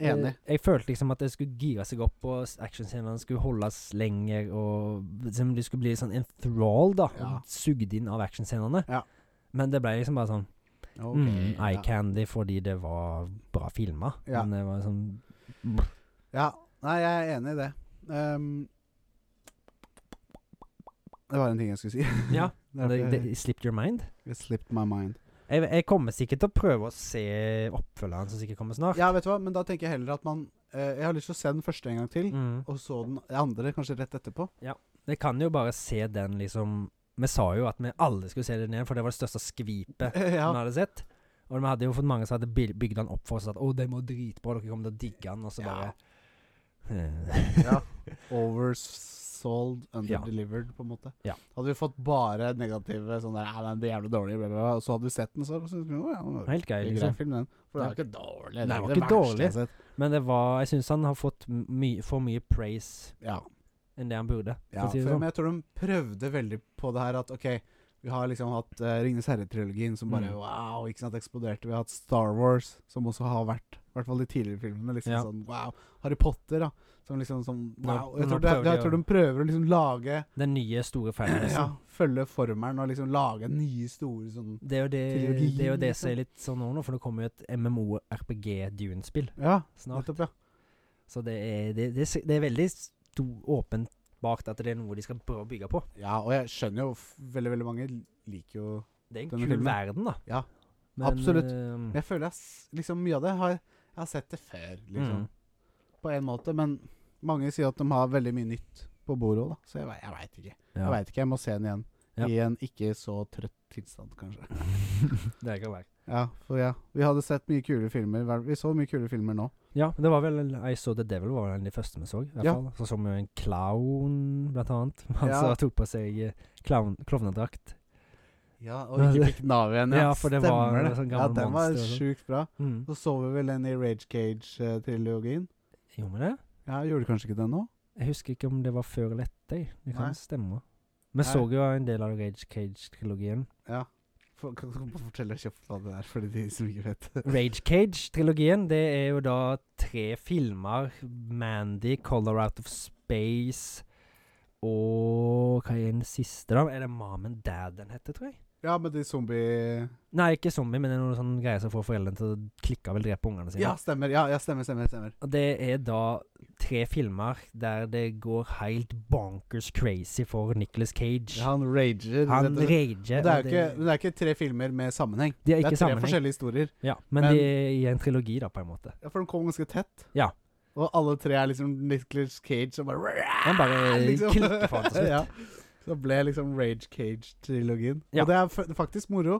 Enig.
Jeg, jeg følte liksom at det skulle gire seg opp, og s- actionscenene skulle holdes lenger, og liksom det skulle bli sånn en thrall, da.
Ja.
og Sugd inn av actionscenene.
Ja.
Men det ble liksom bare sånn
Ok,
mm, eye
ja.
candy fordi det var bra filma.
Ja.
Men det var sånn
ja. Nei, jeg er enig i det. Ehm, det var en ting jeg skulle si.
Ja.
Derfor
det, det,
jeg-
Slipped your mind.
It slipped my mind.
Jeg, jeg kommer sikkert til å prøve å se oppfølgeren som sikkert kommer snart.
Ja, vet du hva, men da tenker jeg heller at man eh, Jeg har lyst til å se den første en gang til,
Mm.
og så den andre kanskje rett etterpå.
Jeg kan jo bare se den liksom Vi sa jo at vi alle skulle se den igjen, for det var det største skvipet. vi
ja.
hadde sett. Og vi hadde jo fått mange som hadde bil- bygd den opp for oss. At 'Å, den var dritbra, dere kommer til å digge den', og så
Ja.
bare Eh,
ja. Oversold, underdelivered, på en måte.
Ja.
Hadde vi fått bare negative sånn der Nei, den er jævlig dårlig, bla, bla, bla, og så hadde vi sett den, så så syntes vi «Å, ja, den var
Helt grei,
en grei
liksom.
film, den. For det
Ja.
er jo ikke dårlig.
Nei,
er
det var
jo
ikke
verste jeg
dårlig.
har sett.
Men det var Jeg syns han har fått my for mye praise
Ja.
enn det han burde.
ja
for å si det
for,
sånn.
men jeg tror de prøvde veldig på det her at OK, vi har liksom hatt uh, Ringenes herre-trilogien som bare
Mm.
wow, ikke sant, eksploderte. Vi har hatt Star Wars, som også har vært I hvert fall de tidligere filmene. liksom
Ja.
sånn wow. Harry Potter, da. Som liksom sånn
Ja,
wow.
men
Jeg
da
tror, det,
prøver de
jeg tror de
å-
prøver å liksom lage
Den nye store liksom. fansen.
ja, Følge formelen og liksom lage nye, store sånn
Det er jo det,
Trilogien,
det, er jo det
liksom.
som er litt sånn nå, nå, for det kommer jo et MMO-RPG-Dune-spill
Ja,
snart.
nettopp, ja.
Så det er, det, det, er- det er veldig sto- åpenbart at det er noe de skal prøve å bygge på.
Ja, og jeg skjønner jo f- veldig, veldig mange liker jo
Det er en
Denne
kul
filmen.
verden, da.
Ja,
Men,
absolutt.
eh,
Jeg føler jeg s- liksom mye av det har jeg har sett det før, liksom.
mm.
På en måte, men mange sier at de har veldig mye nytt på bordet òg, da. Så jeg, ve- jeg veit ikke.
Ja.
Jeg vet ikke, jeg må se den igjen.
Ja.
I en ikke så trøtt tilstand, kanskje.
Det kan være.
Ja, for ja. Vi hadde sett mye kule filmer. Hver- Vi så mye kule filmer nå.
Ja, det var vel I Saw The Devil var vel en av de første vi så. I hvert
Ja.
fall. Så så vi jo en clown, blant annet. Han
Ja.
som tok på seg eh, clown- klovnedrakt.
Ja, og
Ja,
ikke
det-
fikk Nav igjen.
Ja, for det var
Stemmer
sånn
ja,
gammel
den var
monster og sånn.
sjukt bra.
Mm.
Så så vi vel den i Rage Cage-trilogien.
Gjorde vi det?
Ja, gjorde kanskje ikke den nå?
Jeg husker ikke om det var før eller etter. Det kan
Nei.
stemme.
Nei.
Vi så jo en del av Rage Cage-trilogien.
Ja. For, kan du fortelle kjapt hva det er, for de som ikke vet?
Rage Cage-trilogien, det er jo da tre filmer. Mandy, Color Out of Space og Hva er den siste, da? Er det Mom and Dad den heter, tror jeg?
Ja, med de zombie...
Nei, ikke zombie, men det er noen sånne greier som får foreldrene til å klikke av eller drepe ungene sine.
Ja, stemmer. Ja, ja stemmer, stemmer, stemmer.
Og det er da tre filmer der det går helt bonkers crazy for Nicolas Cage.
Ja, han rager.
Han
rett og slett.
rager.
Men det er
og
jo ikke, men det er ikke tre filmer med sammenheng.
de er
Det er
ikke
tre
sammenheng.
forskjellige historier.
Ja, men,
men-
de er i en trilogi, da, på en måte.
Ja, For de kom ganske tett.
Ja.
Og alle tre er liksom Nicholas Cage som bare
Han bare
liksom.
klikker for han til slutt.
ja. Så Det ble liksom Rage Cage-trilogien.
Ja.
Og det er f- faktisk moro.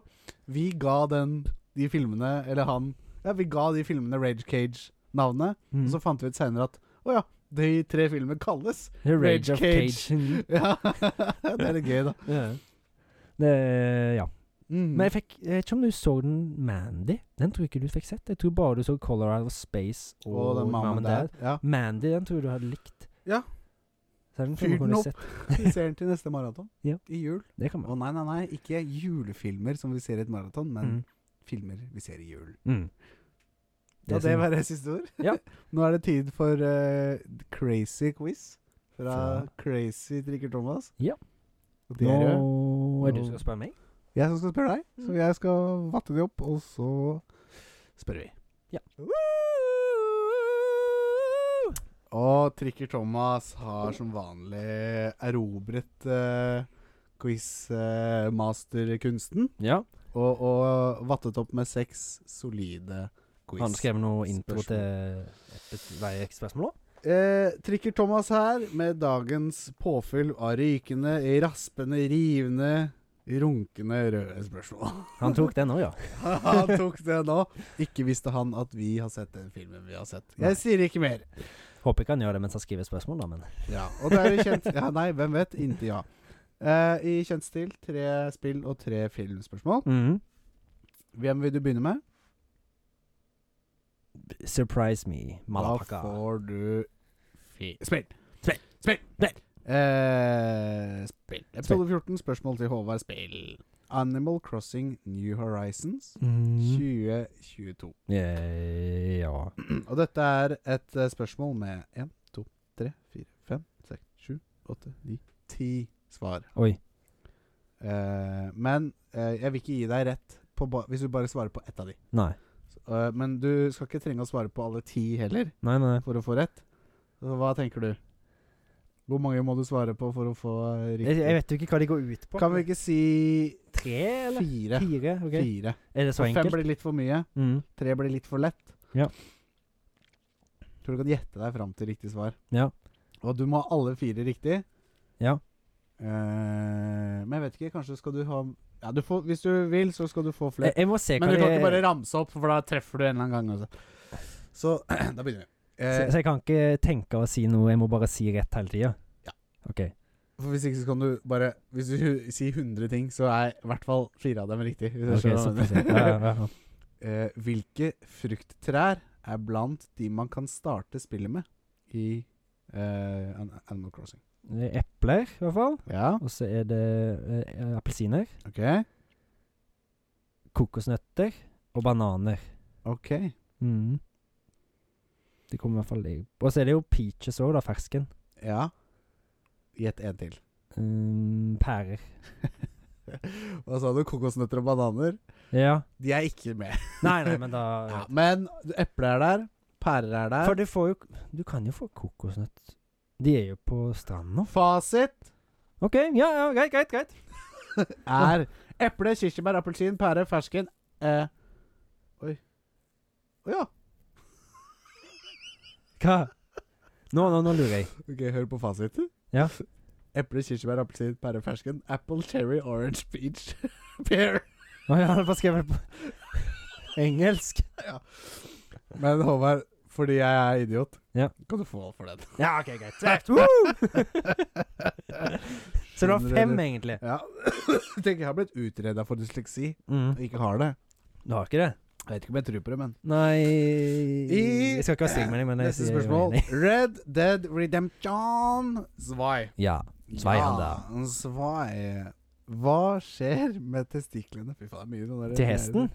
Vi ga den de filmene Eller han Ja, vi ga de filmene Rage Cage-navnet.
Mm.
Og så fant vi ut seinere at å ja, de tre filmene kalles
The Rage
Rage
of
Cage.
Cage. Mm.
Ja, det er litt gøy, da.
Ja. Det, ja.
Mm.
Men jeg fikk Jeg vet ikke om du så den Mandy? Den tror jeg ikke du fikk sett. Jeg tror bare du så Colorado Space og,
og den
Mom and Dad.
Ja.
Mandy, den tror jeg du hadde likt.
Ja.
Så den
Fyr
filmen
den
kunne
opp.
du sett.
Vi ser den til neste maraton.
Ja.
I jul.
Det kan
Å
man.
nei, nei, nei. Ikke julefilmer som vi ser i et maraton, men
Mm.
filmer vi ser i julen.
Mm. sånn.
Ja,
som-
det var det siste ord.
Ja.
Nå er det tid for eh, crazy quiz fra
Fra-
Crazy Drikker Thomas.
Ja.
Og det er jo
Nå Mm. er det du som
Nå-
skal spørre meg.
jeg som skal spørre deg, så jeg skal vatte de opp, og så spør vi.
Ja.
Og Trikker Thomas har som vanlig erobret eh, quiz-masterkunsten
Ja.
og, og vattet opp med seks solide quiz.
Har han skrevet noe intro
Spørsmål.
til epi- hver spørsmål òg?
Eh, trikker Thomas her med dagens påfyll av rykende, raspende, rivende, runkende røde spørsmål.
Han tok den òg, ja.
han tok det nå. Ikke visste han at vi har sett den filmen vi har sett. Jeg sier ikke mer.
Håper ikke han gjør det mens han skriver spørsmål, da, men
Ja, og det er jo kjent Ja, nei, hvem vet? Inntil ja. Eh, I kjent stil tre spill og tre filmspørsmål.
Mhm.
Hvem vil du begynne med?
Surprise me,
Da
malapaka.
får du fi spill.
Spill.
Spill.
Spill.
Eh, spill. Episode 14, spørsmål til Håvard. Spill. Animal Crossing New Horizons
Mm.
2022.
Eh, Ja.
Og dette er et eh, spørsmål med 1, 2, 3, 4, 5, 6, 7, 8, 9, 10 svar.
Oi.
Eh, men eh, jeg vil ikke gi deg rett på ba hvis du bare svarer på ett av de.
Nei.
Eh, men du skal ikke trenge å svare på alle ti heller.
Nei, nei.
for å få rett. Så hva tenker du? Hvor mange må du svare på for å få
Jeg,
eh, riktig?
jeg vet jo ikke hva de går ut på.
Kan vi ikke si
Tre, eller?
fire?
Fire? ok.
Fire.
Er det så
Og fem
enkelt?
blir litt for mye.
Mm.
Tre blir litt for lett.
Ja.
Tror du kan gjette deg fram til riktig svar.
Ja.
Og du må ha alle fire riktig.
Ja.
Eh, men jeg vet ikke, kanskje skal du ha ja, du får, Hvis du vil, så skal du få
Jeg,
flere.
Eh, jeg må se hva
Men du
det
kan ikke bare ramse opp, for da treffer du en eller annen gang. Også. Så da begynner vi.
så,
Eh,
så jeg kan ikke tenke og si noe, jeg må bare si rett hele tida?
Ja.
OK.
For Hvis ikke så kan du bare Hvis du hu- sier 100 ting, så er i hvert fall fire av dem riktig. Hvis jeg
Ok,
skjønner hva
såpass,
jeg
ja. Ja,
mener.
ja, ja.
Eh, hvilke frukttrær er blant de man kan starte spillet med i eh, An- Animal Crossing?
Det er Epler, i hvert fall.
Ja,
Og så er det eh, appelsiner,
OK.
kokosnøtter og bananer.
ok
Mm. Det kommer i hvert fall i Og så er det jo peaches òg, da. Fersken.
Ja. Gjett en til.
Mm, pærer.
Hva sa du? Kokosnøtter og bananer?
Ja.
De er ikke med.
Nei, nei, men da
Ja, men epler er der. Pærer er
For
der.
du får jo Du kan jo få kokosnøtt. De er jo på stranda.
Fasit
OK, ja, ja, greit, greit. greit
er eple, kirsebær, appelsin, pære, fersken eh. Oi. Å ja.
Hva? Nå, nå, nå lurer jeg.
Ok, hør på fasiten.
Ja.
Eple, kirsebær, appelsin, pære, fersken. Apple, cherry, orange, peach, pear.
Å, jeg hadde bare skrevet det på engelsk.
Men Håvard, fordi jeg er idiot,
Ja.
kan du få for den.
Ja, OK, greit. Svett. Woo! Så det var
Skjønner
fem,
du?
egentlig.
Ja. Tenker jeg har blitt utreda for dysleksi og
Mm.
ikke har det.
Du har ikke det?
Jeg vet ikke om jeg tror på det, men
Nei
I-
Jeg skal ikke være stygg med deg, men jeg
Neste
sier jeg er
spørsmål.
enig.
Red Dead Redemption Zwei.
Ja. Svai han da.
Ja, svai. Hva skjer med testiklene Fy faen, det er mye sånn der-
Til hesten?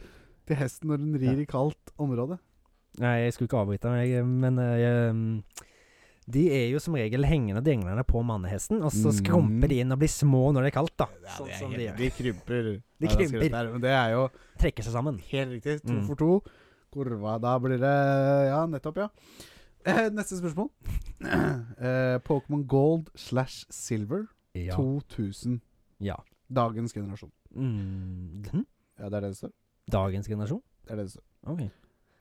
Til hesten når den rir i kaldt område.
Nei, jeg skulle ikke avbryte men jeg, men eh, jeg, de er jo som regel hengende dinglene på mannehesten, og så
Mm.
skrumper de inn og blir små når det er kaldt, da. sånn som de gjør.
de krymper.
De
Ja, det er skrevet
krymper.
der, men det er jo
Trekker seg sammen.
helt riktig. To
Mm.
for to. Kurva, da blir det Ja, nettopp, ja. Eh, Neste spørsmål. Eh, Pokémon Gold slash Silver
Ja.
2000.
Ja.
Dagens generasjon.
Mm. hm?
Ja, det er det det står.
Dagens generasjon?
Det er det det står.
OK.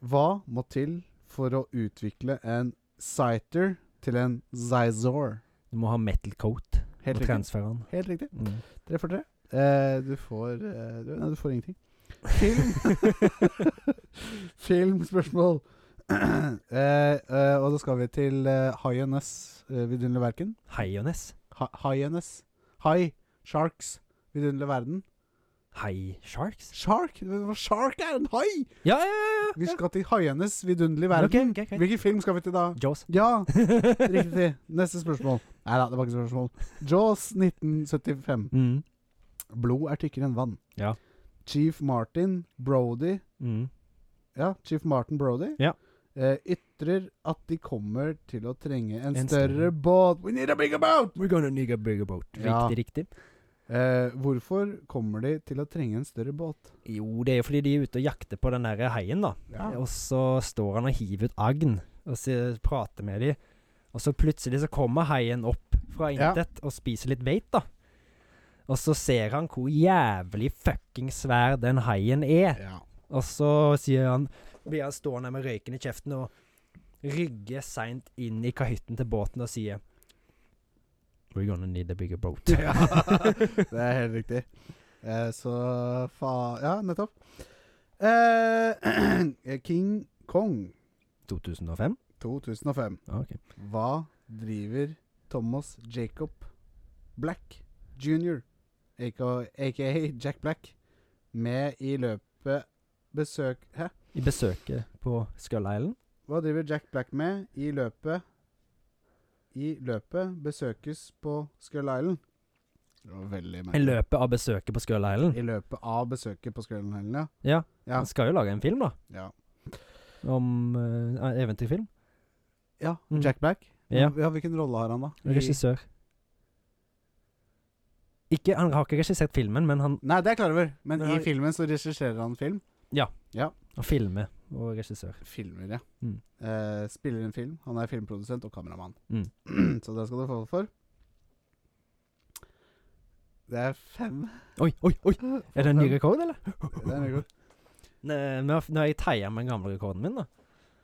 Hva må til for å utvikle en Citer til en Zizor?
Du må ha metal coat.
Helt
og
riktig.
transfereren.
Helt riktig.
Mm.
Tre for tre. Eh, du får eh, du, Nei, du får ingenting. Film. Filmspørsmål. eh, eh, og da skal vi til eh, Hyenas eh, vidunderlige verken.
Hyenes.
Hy- Hyenas. High Sharks vidunderlige verden.
High Sharks?
Shark? Hva shark er en hai?
Ja, ja, ja!
Vi
ja.
skal til Hyenas vidunderlige verden.
Ok, ok, greit.
Hvilken film skal vi til da?
Jaws.
Ja, riktig. Neste spørsmål. Nei da, det var ikke et spørsmål. Jaws 1975.
Mm.
Blod er tykkere enn vann.
Ja.
Chief Martin Brody
Mm.
Ja, Chief Martin Brody
Ja.
eh, ytrer at de kommer til å trenge en,
En
større
større.
båt. We need a bigger boat!
We're gonna need a bigger boat.
Ja.
Riktig, riktig.
Eh, hvorfor kommer de til å trenge en større båt?
Jo, det er jo fordi de er ute og jakter på den der heien, da. Og så står han og hiver ut agn, og så prater med de. Og så plutselig så kommer haien opp fra
Ja.
intet og spiser litt beit, da. Og så ser han hvor jævlig fucking svær den haien er.
Ja.
Og så sier han blir han stående med røyken i kjeften og rygger seint inn i kahytten til båten og sier We're gonna need a bigger boat.
Ja, det er helt riktig. Eh, så fa... Ja, nettopp. Eh, King Kong
2005?
2005.
Ja, ok.
Hva driver Thomas Jacob Black jr., aka aka Jack Black, med i løpet besøk... Hæ?
I besøket på Skull Island?
Hva driver Jack Black med i løpet I løpet besøkes på Skull Island? Det var veldig
I
merkelig.
løpet av besøket på Skull Island?
I løpet av besøket på Skull Island, ja. Ja.
Han skal jo lage en film, da.
Ja.
Om eh, eventyrfilm.
Ja,
Mm.
Jack Black.
Ja.
Hvilken rolle har han, da? I-
Regissør. Ikke, han har ikke regissert filmen, men han
Nei, det er jeg klar over, men
Men
i
han-
filmen så regisserer han film.
han filmer og regissør.
Filmer, ja.
Mm.
Eh, spiller en film. Han er filmprodusent og kameramann.
Mm.
så det skal du få for. Det er fem.
Oi, oi, oi! Er det en ny
Fem.
rekord, eller?
Det er mye godt.
Nei, nå nå har jeg teia med den gamle rekorden min, da.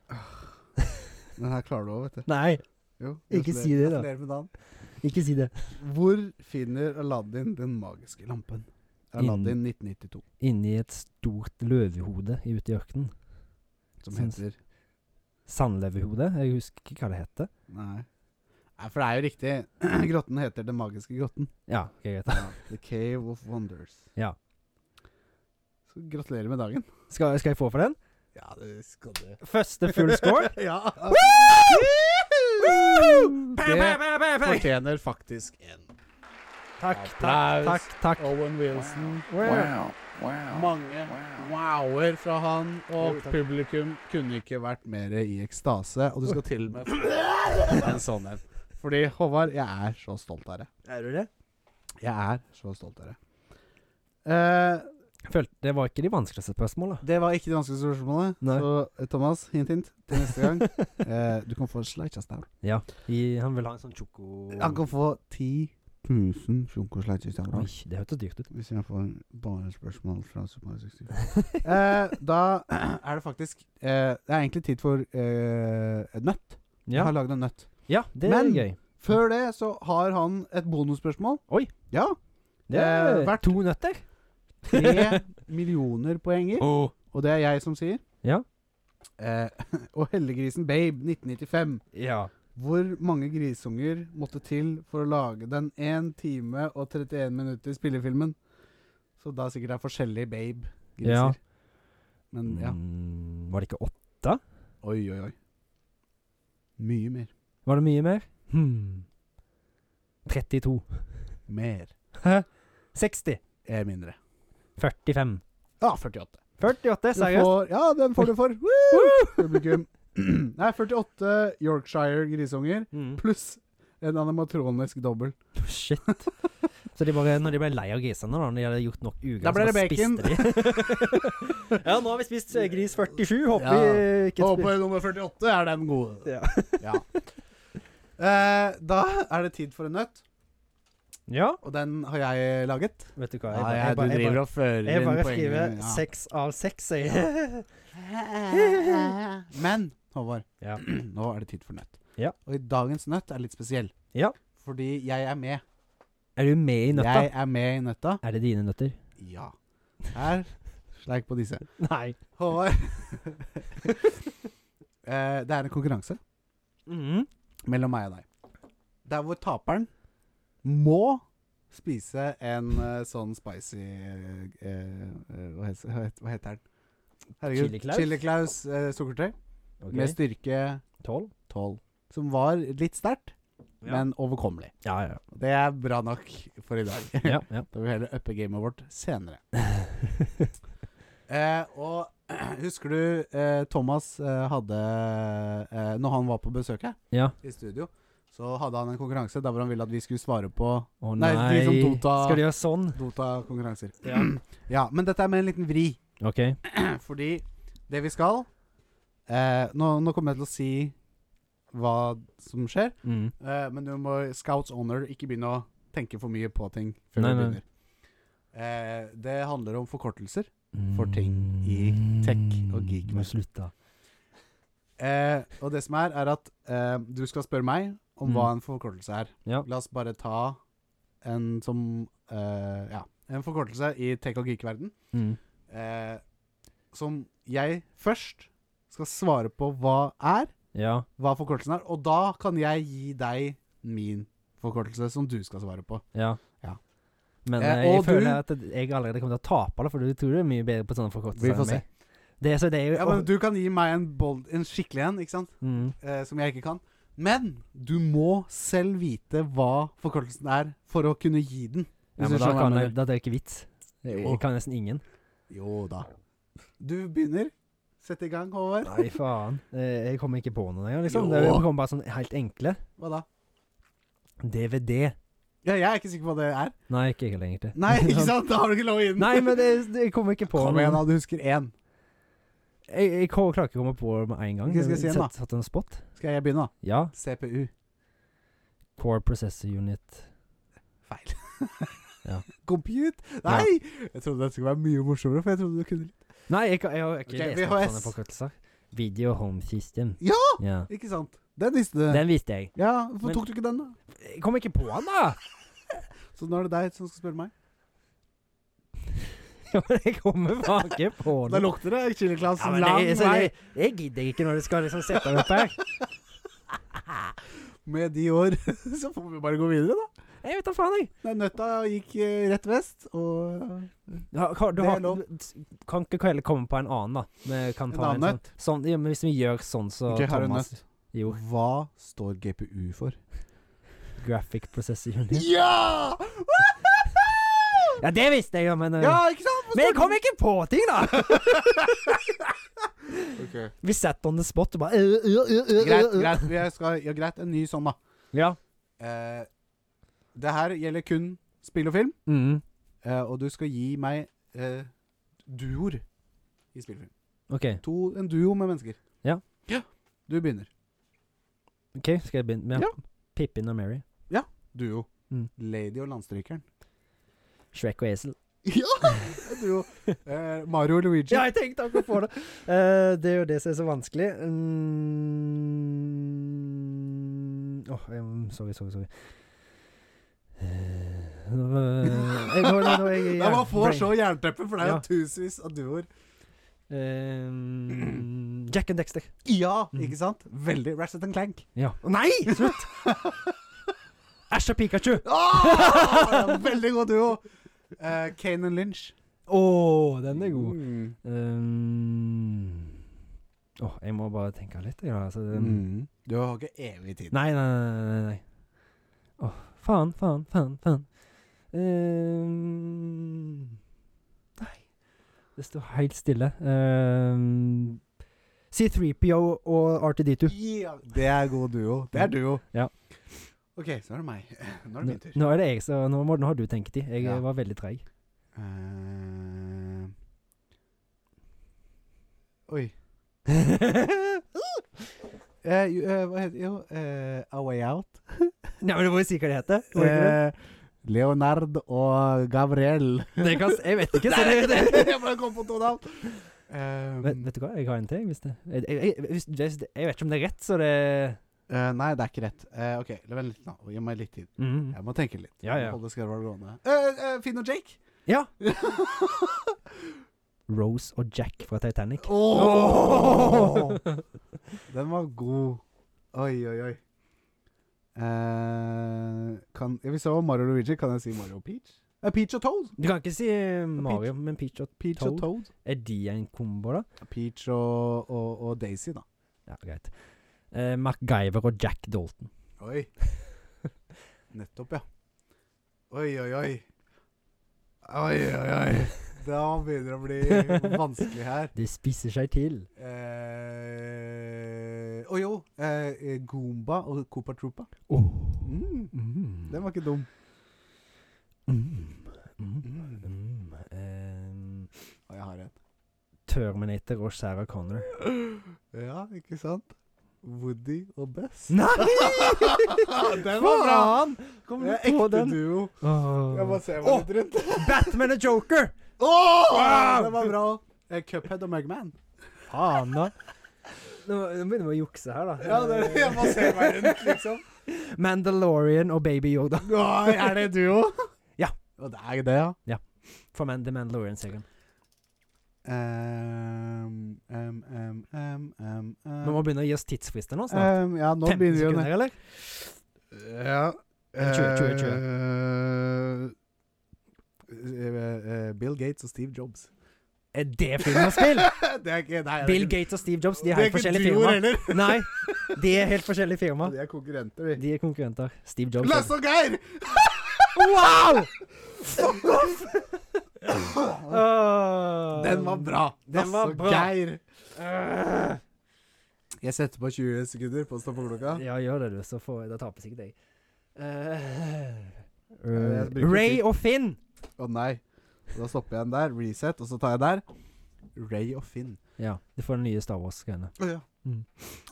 Ah.
Den her klarer du òg, vet du.
Nei,
Jo,
Ikke
gratulerer-
si det, da.
gratulerer med dagen.
ikke si det.
Hvor finner Aladdin den magiske lampen? Aladdin 1992,
Inni et stort løvehode i- ute i ørkenen.
som
Syns-
heter
Sandløvehode? Jeg husker ikke hva det heter.
Nei. Nei, for det er jo riktig. grotten heter Den magiske grotten.
Ja, ok, greit.
The Cave of Wonders.
Ja.
Så gratulerer med dagen.
Skal, skal jeg få for den?
Ja, det skal du.
Første full score.
ja.
Woo! Pow, pow,
Det
pow, pow, pow.
Fortjener faktisk en
Takk, takk,
Applaus.
takk. takk.
Owen Wilson.
Wow. Wow.
Mange wower fra han, og publikum kunne ikke vært mer i ekstase. Og du skal til og med få en sånn en. Fordi, Håvard, jeg er så stolt av deg.
Er du det?
Jeg er så stolt av deg. Eh,
Følte, det var ikke de vanskeligste spørsmåla.
det var ikke det vanskeligste spørsmålet.
Nei.
Så eh, Thomas, hint, hint, til neste gang. Eh, du kan få en slice down.
Ja. I, han vil ha en sånn choco...
Han kan få 10 000 sjonkosleitsystemer.
Oi, det hørtes dyrt ut.
Hvis jeg får bare spørsmål fra Super Mario 64. eh, da er det faktisk eh, Det er egentlig tid for eh, et nøtt. Jeg
Ja,
har lagd en nøtt.
ja det
Men-
er gøy.
Før det så har han et bonusspørsmål.
Oi.
Ja.
Det er
Eh, vært-
to nøtter.
Tre millioner poenger.
Åh.
Og det er jeg som sier.
Ja.
Eh, og Hellegrisen Babe 1995.
Ja.
Hvor mange grisunger måtte til for å lage den 1 time og 31 minutter spillefilmen? Så da sikkert det er forskjellige babe-griser.
Ja.
Men ja.
Mm, var det ikke åtte?
Oi, oi, oi. Mye mer.
Var det mye mer? Hmm. 32.
Mer
60.
er mindre.
45.
Ja, 48.
48,
Du
seriøst?
får, ja, den får du for. Woo! Publikum. Nei, 48 Yorkshire grisunger
Mm.
pluss en animatronisk dobbel.
Shit. Så de bare, når de ble lei av grisene, da, når de hadde gjort nok ugress,
Da
så
ble det bacon.
spiste de. ja, nå har vi spist eh, gris 47. Håper
Ja.
vi ikke
Håper nummer 48 er den gode.
spiser ja.
Ja. Eh, da er det tid for en nøtt.
ja,
Og den har jeg laget.
vet du hva.
Ja,
bare- bare- jeg
jeg, du
bare-
driver og fører
Jeg bare
inn
skriver
poengene.
seks av seks, jeg.
Ja. Men, Håvard,
Ja.
nå er det tid for nøtt.
Ja.
Og i dagens nøtt er litt spesiell.
Ja.
Fordi jeg er med
Er du med i nøtta?
Jeg er med i nøtta.
Er det dine nøtter?
Ja. Her. Sleik på disse.
Nei.
Håvard. Eh, det er en konkurranse
Mhm.
mellom meg og deg. Der hvor taperen må spise en eh, sånn spicy eh, eh, hva, het- hva het- hva heter den?
Chili Claus?
Chili Claus eh, sukkertøy
Ok.
med styrke
Tolv?
12. Som var litt sterkt,
Ja.
men overkommelig.
Ja, ja.
Det er bra nok for i dag.
ja, ja.
Da vil vi heller uppe gamet vårt senere. Eh, og husker du eh, Thomas eh, hadde eh, Når han var på besøk her
ja.
i studio, så hadde han en konkurranse der hvor han ville at vi skulle svare på
Å
Nei,
nei,
de som Dota-
Skal du gjøre sånn?
Dota-konkurranser. Ja. men dette er med en liten vri.
OK.
Fordi det vi skal eh, nå, nå kommer jeg til å si hva som skjer,
Mm.
eh, men du må Scouts honor, ikke begynne å tenke for mye på ting før
Nei,
du
nei.
begynner. Eh, det handler om forkortelser. for ting i
Mm.
tech og geek.
Må slutte.
Eh, og det som er, er at eh, du skal spørre meg om
Mm.
hva en forkortelse er.
Ja.
La oss bare ta en som eh, Ja, en forkortelse i tech og geek-verden
Mm.
eh, som jeg først skal svare på hva er,
Ja.
hva forkortelsen er, og da kan jeg gi deg min forkortelse som du skal svare på.
Ja.
Ja.
Men
Eh,
eh, jeg
og du-
føler at jeg allerede kommer til å tape, da, for du tror du er mye bedre på sånne forkortelser
Vi får
enn meg. Det, er- så det er jo
Ja, men Du kan gi meg en, bold, en skikkelig en, ikke sant?
mm.
Eh, som jeg ikke kan. Men du må selv vite hva forkortelsen er, for å kunne gi den.
ja, men
Hvis du
da,
skjønner hva
kan
jeg
jeg, da er det ikke vits. Jeg,
Jo.
jeg kan nesten ingen.
Jo da. Du begynner. Sett i gang, Håvard.
Nei, faen. Eh, Jeg kommer ikke på noe engang, liksom.
Jo.
Det kommer bare sånn helt enkle.
Hva da?
DVD.
Ja, jeg er ikke sikker på hva det er.
Nei, ikke jeg lenger til.
Nei, ikke sant? Da har du ikke lov å gi den.
Nei, men det, det, jeg kommer ikke på
Kom
noe.
igjen, da. Du husker én.
Jeg, jeg ko- klarer ikke å komme på det med en gang.
Hva skal jeg si igjen, da?
Satt- Satt en spot?
Skal jeg begynne, da?
Ja.
CPU.
Core Processor Unit.
Feil.
Ja.
Compute? Nei! Jeg trodde dette skulle være mye morsommere, for jeg trodde du kunne litt.
Nei, jeg, kan- jeg har ikke
Ok,
lest opp
VHS.
sånne forkortelser. Video Home System.
Ja!
Ja.
Ikke sant? Den visste du.
Den visste jeg.
Ja, hvorfor
Men-
tok du ikke den, da?
Jeg kom ikke på den, da!
Så nå er det deg som skal spørre meg.
Ja, men jeg kommer bare ikke på
Da
den.
lukter det Chili Claus
Ja, men
lang
jeg, så
vei.
jeg, sånn jeg gidder ikke når du skal liksom sette meg opp her.
Med de år så får vi bare gå videre, da.
Jeg vet da faen, jeg.
Nei, nøtta gikk eh, rett vest, og
Du har- kan- du
Det er
har-
lov.
Kan ikke heller komme på en annen, da. Vi kan
En
ta
annen
sånn- Sånn, ja, men hvis vi gjør sånn, så
Ok, her er en
Thomas Jo.
Hva står GPU for?
Graphic Processor Unit.
Ja! Woohoo!
Ja, det visste jeg, jo, men eh,
Ja, ikke sant? Forstår
Men jeg
du?
kom ikke på ting, da! Vi setter on the spot og bare øh, øh, øh, øh,
Greit,
øh.
greit. Jeg skal, ja, greit. En ny sånn, da.
Ja.
Eh, det her gjelder kun spill og film,
Mm.
eh, og du skal gi meg eh, duoer i spill og film.
OK.
To, en duo med mennesker.
Ja.
Du begynner.
ok, Skal jeg begynne? med
Ja.
Pippin og Mary.
Duo.
Mm.
Lady og Landstrykeren.
Shrek og Esel.
Ja! Duo. Eh, Mario og Luigi.
Ja, jeg tenkte akkurat på det! Eh, det er jo det som er så vanskelig. Mm. Åh, jeg- sorry, sorry, sorry. Eh, nå, eh, jeg- nå- nå- nå- jeg-
Det var få
brain-
så jernteppe, for det er jo
Ja.
tusenvis av duoer.
Eh, Jack and Dexter.
Ja,
Mm.
ikke sant? Veldig Ratchet and Clank.
Ja. Nei! Slutt! Æsj og Pikachu.
Åh, det er en veldig god duo. Eh, Kane and Lynch.
Å, den er god.
Mm.
Um, Åh, jeg må bare tenke litt. Ja, altså, det-
Mm. Du har ikke evig tid.
Nei, nei, nei. nei, nei. Åh, faen, faen, faen, faen. Um, nei. Det står helt stille. Um, C3PO og R2D2.
Ja, det er god duo. Det er duo.
Ja.
OK, så er det meg. Nå er
Nå,
det min tur.
nå er det jeg, så nå, må, nå har du tenketid. Jeg
Ja.
eh, var veldig treig.
Eh, oi. Eh, jo, eh, hva heter det? Jo, eh, A Way Out.
Nei, men du må jo si hva det heter. Må du ikke det?
Eh, Leonard og Gabriel.
Eh, Det kan, s- jeg vet ikke, så det, det.
Jeg bare kom på to navn. Ehm, Eh,
Vet, vet du hva, jeg har en til. Hvis det. Jeg, jeg, jeg, hvis, hvis det- jeg vet ikke om det er rett, så det
Eh, nei, det er ikke rett. Eh, ok, Vent litt, nå. Gi meg litt tid.
Mm.
Jeg må tenke litt.
Ja, ja.
Holde skarvet gående. Eh, eh, Finn og Jake!
Ja. Rose og Jack fra Titanic.
Åh! Den var god. Oi, oi, oi. Eh, kan, hvis jeg var Mario og Luigi, kan jeg si Mario og Peach? Eh, Peach og Toad.
Du kan ikke si eh, Mario, men Peach og
Peach og
Toad.
Toad.
Er de en kombo, da?
Peach og, og, og Daisy, da.
Ja, greit. Eh, MacGyver og Jack Dalton.
Oi. Nettopp, ja. Oi, oi, oi. Oi, oi, oi. Da begynner det å bli vanskelig her.
De spisser seg til.
Eh, og jo, eh, Goomba og Koopa Troopa.
Oh.
Mm,
Mm.
den var ikke dum.
Mm. Mm.
Mm.
Mm. Eh,
Og jeg har en.
Terminator og Sarah Connor.
Ja, ikke sant? Woody og Buzz.
Nei!
den var bra!
Faen! Kommer
Det
du på
er ekte
den?
duo. Jeg
Åh.
må se meg litt rundt.
Batman og Joker!
Åh,
Wow!
Den var bra. Eh, Cuphead og Mugman.
Faen, da. Nå nå begynner vi å jukse her, da.
Ja, det, jeg må se meg rundt, liksom.
Mandalorian og Baby Yoda.
Nei, er det duo?
Ja.
Og det er det, ja.
Fra Man The Mandalorian-serien.
Um, um, um, um, um, um.
Vi må begynne å gi oss tidsfrister nå snart.
um, Ja, nå
15
begynner vi å
sekunder, eller?
Ja
Tjue, tjue, tjue.
eh, eh, Bill Gates og Steve Jobs.
Er det film og spill?
det er ikke, nei, det er
Bill
ikke-
Gates og Steve Jobs, de
Det
er helt forskjellige
ikke duoer
firmaer.
heller.
Nei, de er helt forskjellige firmaer.
De er konkurrenter, vi.
De er konkurrenter. Steve Jobs.
Lasse og Geir!
Wow! Fuck off! Ah.
Den var bra.
Uh, Den var
Lasse
bra.
og Geir.
Ah.
Jeg setter på 20 sekunder på stoppeklokka.
Ja, gjør det, du, så får Da taper sikkert jeg. Eh,
jeg bruker
Ray
tid.
og Finn.
Å nei. Da stopper jeg den der. Reset, og så tar jeg der. Ray og Finn.
Ja, du får den nye Star Wars-greiene.
Å ja.
Mm.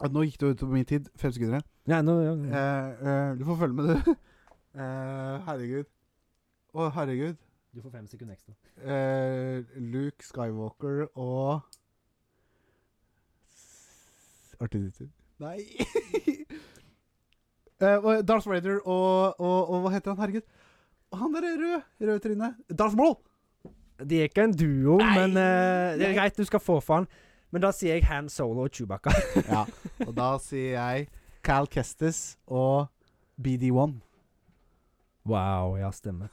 Ja, Nå gikk du utover min tid. Fem sekunder.
Nei, nå ja,
Eh,
ja.
eh, du får følge med, du. Eh, herregud. Å, herregud.
Du får fem sekunder ekstra.
Eh, Luke Skywalker og Artiditter. Nei Eh, og Darth Vader og, og, og Hva heter han? Herregud. Han der rød, røde trynet. Darth Maul!
De er ikke en duo,
Nei.
men eh, det
Nei.
er greit, du skal få for han. Men da sier jeg Han Solo og Chewbacca.
Ja, og da sier jeg Cal Kestis og BD1.
Wow, ja, stemmer.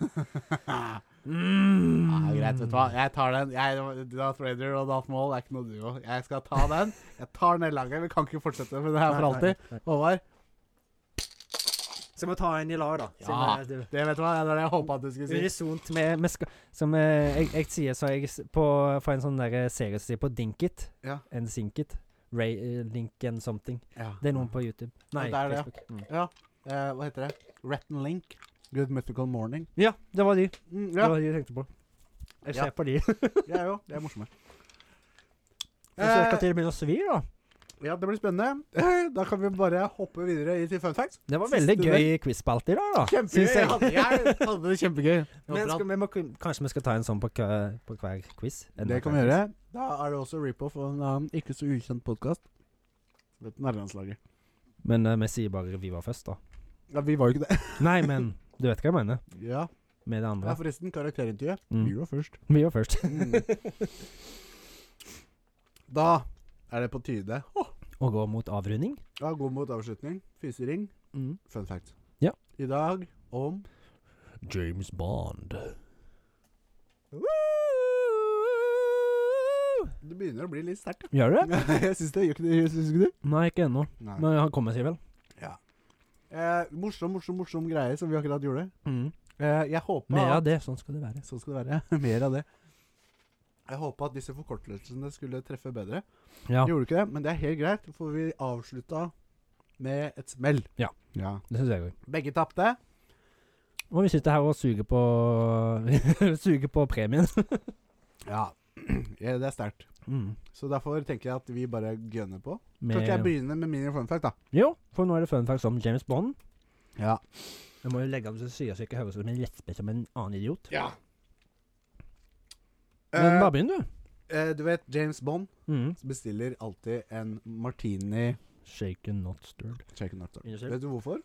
Mm.
Ja, Ah, greit, vet du hva. Jeg tar den. Jeg, Darth Vader og Darth Maul er ikke noe duo. Jeg skal ta den. Jeg tar den hele dagen. Vi kan ikke fortsette med det her for alltid. Håvard,
Så vi ta en i lag, da.
Ja.
Siden, eh, du-
det vet du hva, det var det jeg håpa du skulle si.
Unisont med, med ska, Som eh, jeg, jeg sier, så jeg s- på, fra en sånn der eh, serie som sier på Dinkit
Ja.
En Sinkit. Ray, eh, Lincoln something.
Ja.
Det er noen på YouTube. Nei,
Ja, det er
Facebook. Mm.
Eh, hva heter det? Ratton Link. Good Mythical Morning.
Ja, det var de.
Mm,
Det
ja,
var de jeg tenkte på. Jeg
Ja.
ser på de.
jeg er jo. De er morsomme.
Kanskje jeg skal
Eh,
til å begynne å svi, da.
ja, det blir spennende. Eh, Da kan vi bare hoppe videre i til fun facts.
Det var
Siste
veldig gøy quizspalte i dag, da.
Kjempegøy.
syns
Jeg
jeg.
hadde, jeg hadde det kjempegøy. Det var
Men
bra.
skal, vi må, kun- kanskje vi skal ta en sånn på, kø- på hver quiz? En
Det
på
kan vi
hver
gjøre. Da er det også rip-off av en annen ikke så ukjent podkast. Nærlandslaget.
quiz. Men eh, vi sier bare vi var først, da.
Ja, vi var jo ikke det.
Nei, men du vet hva jeg mener
Ja,
med det
ja
andre.
forresten. Karakterintervjuet. Mm.
Mm.
Vi var først.
Vi var først.
Da er det på tide å
Og går mot avrunding.
ja, gå mot avslutning. Fisering. Fun fact.
Ja.
I dag om
James Bond.
Det begynner å bli litt sterkt.
Gjør du det?
ja. Jeg syns det. Gjør ikke det? Syns ikke du?
Nei, ikke ennå.
Nei.
Men han kommer seg vel.
Ja. Eh, morsom, morsom, morsom greie som vi akkurat gjorde. Eh, jeg håper
Mer
at-
av det. Sånn skal det være.
Sånn skal det være. Mer av det. Jeg håpa at disse forkortelsene skulle treffe bedre.
Ja,
Gjorde ikke det, men det er helt greit, for vi avslutta med et smell.
Ja. det syns jeg òg.
Begge tapte.
Og vi sitter her og suger på Suger på premien.
Ja. ja. Det er sterkt. Så derfor tenker jeg at vi bare gønner på. Kan ikke jeg
Med,
begynne med min fun fact, da?
jo, for nå er det fun facts om James Bond.
Ja.
Jeg må jo legge av så sier så jeg ikke høres ut som en lesbe som en annen idiot.
ja.
Men
Eh,
bare begynn, du. Mm.
eh, du vet, James Bond bestiller alltid en martini
Shaken, not stirred.
Shaken not stirred.
Undersøkt?
Vet du hvorfor?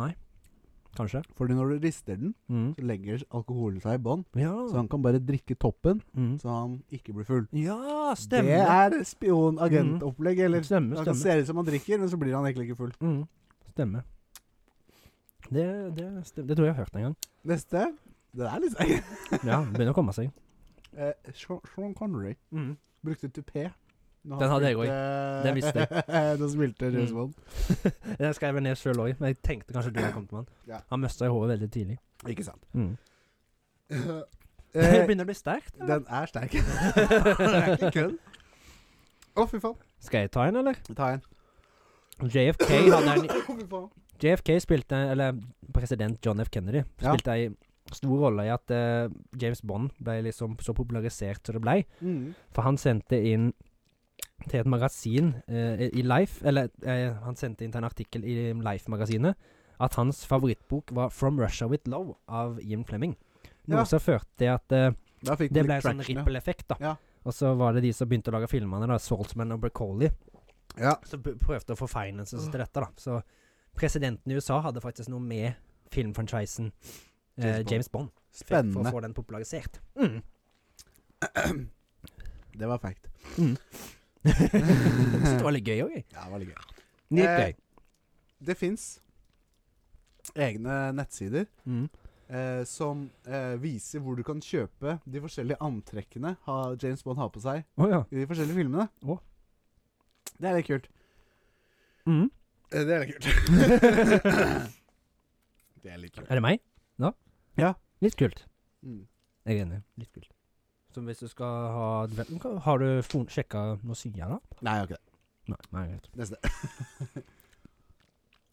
Nei. Kanskje.
Fordi når du rister den,
Mm.
så legger alkoholen seg i bånn.
Ja.
Så han kan bare drikke toppen,
Mm.
så han ikke blir full.
ja, stemmer.
Det er spionagentopplegg, eller?
Stemmer,
Han kan
stemmer.
se ut som han drikker, men så blir han egentlig ikke full.
Mm. Stemmer. Det, det, stemmer. det tror jeg jeg har hørt en gang.
Neste. Det er litt seig.
Ja, det begynner å komme seg.
Eh, Sean Sean Connery brukte tupé.
Den hadde jeg Den visste
jeg. da spilte James
Mm.
Bond.
Den skrev jeg ned sjøl òg, men jeg tenkte kanskje du hadde kommet med den.
Ja.
Han mista i håret veldig tidlig.
Ikke sant.
Mm.
eh,
begynner å bli sterkt. eller?
den er sterk. den er ikke kødd. Å, fy faen.
Skal jeg ta en, eller?
Ta en.
JFK hadde en
Å, fy faen.
JFK spilte, eller president John F. Kennedy
Ja.
spilte ei stor rolle i at eh, James Bond ble liksom så popularisert som det blei.
Mm.
For han sendte inn til et magasin eh, i Life Eller eh, han sendte inn til en artikkel i Life-magasinet at hans favorittbok var 'From Russia With Love' av Ian Fleming. Noe
Ja.
som førte til at eh,
Da fikk
det
den
ble en
litt
sånn
traction, ja.
ripple-effekt, da.
Ja.
Og så var det de som begynte å lage filmene, da, Saltzman og Bricoli,
Ja.
som p- prøvde å få finances til dette, da. Så presidenten i USA hadde faktisk noe med filmfranchisen eh,
James Bond.
James Bond for, for å
Spennende.
få den popularisert. Mm.
Det var fact.
Mm. så det var litt gøy òg, jeg.
Ja, det var litt gøy.
Litt
Eh,
gøy.
Det fins egne nettsider
Mm.
eh, som eh, viser hvor du kan kjøpe de forskjellige antrekkene ha, James Bond har på seg
Å ja.
i de forskjellige filmene.
Å.
Det er litt kult.
Mm.
Eh, Det er litt kult. det er litt kult.
Er det meg? Ja.
Ja.
Litt kult.
Mm.
Jeg er enig. Litt kult. Som hvis du skal ha adventen, hva- Har du fon- sjekka noe sida, da?
Nei, jeg har ikke det.
Nei, nei greit.
Neste.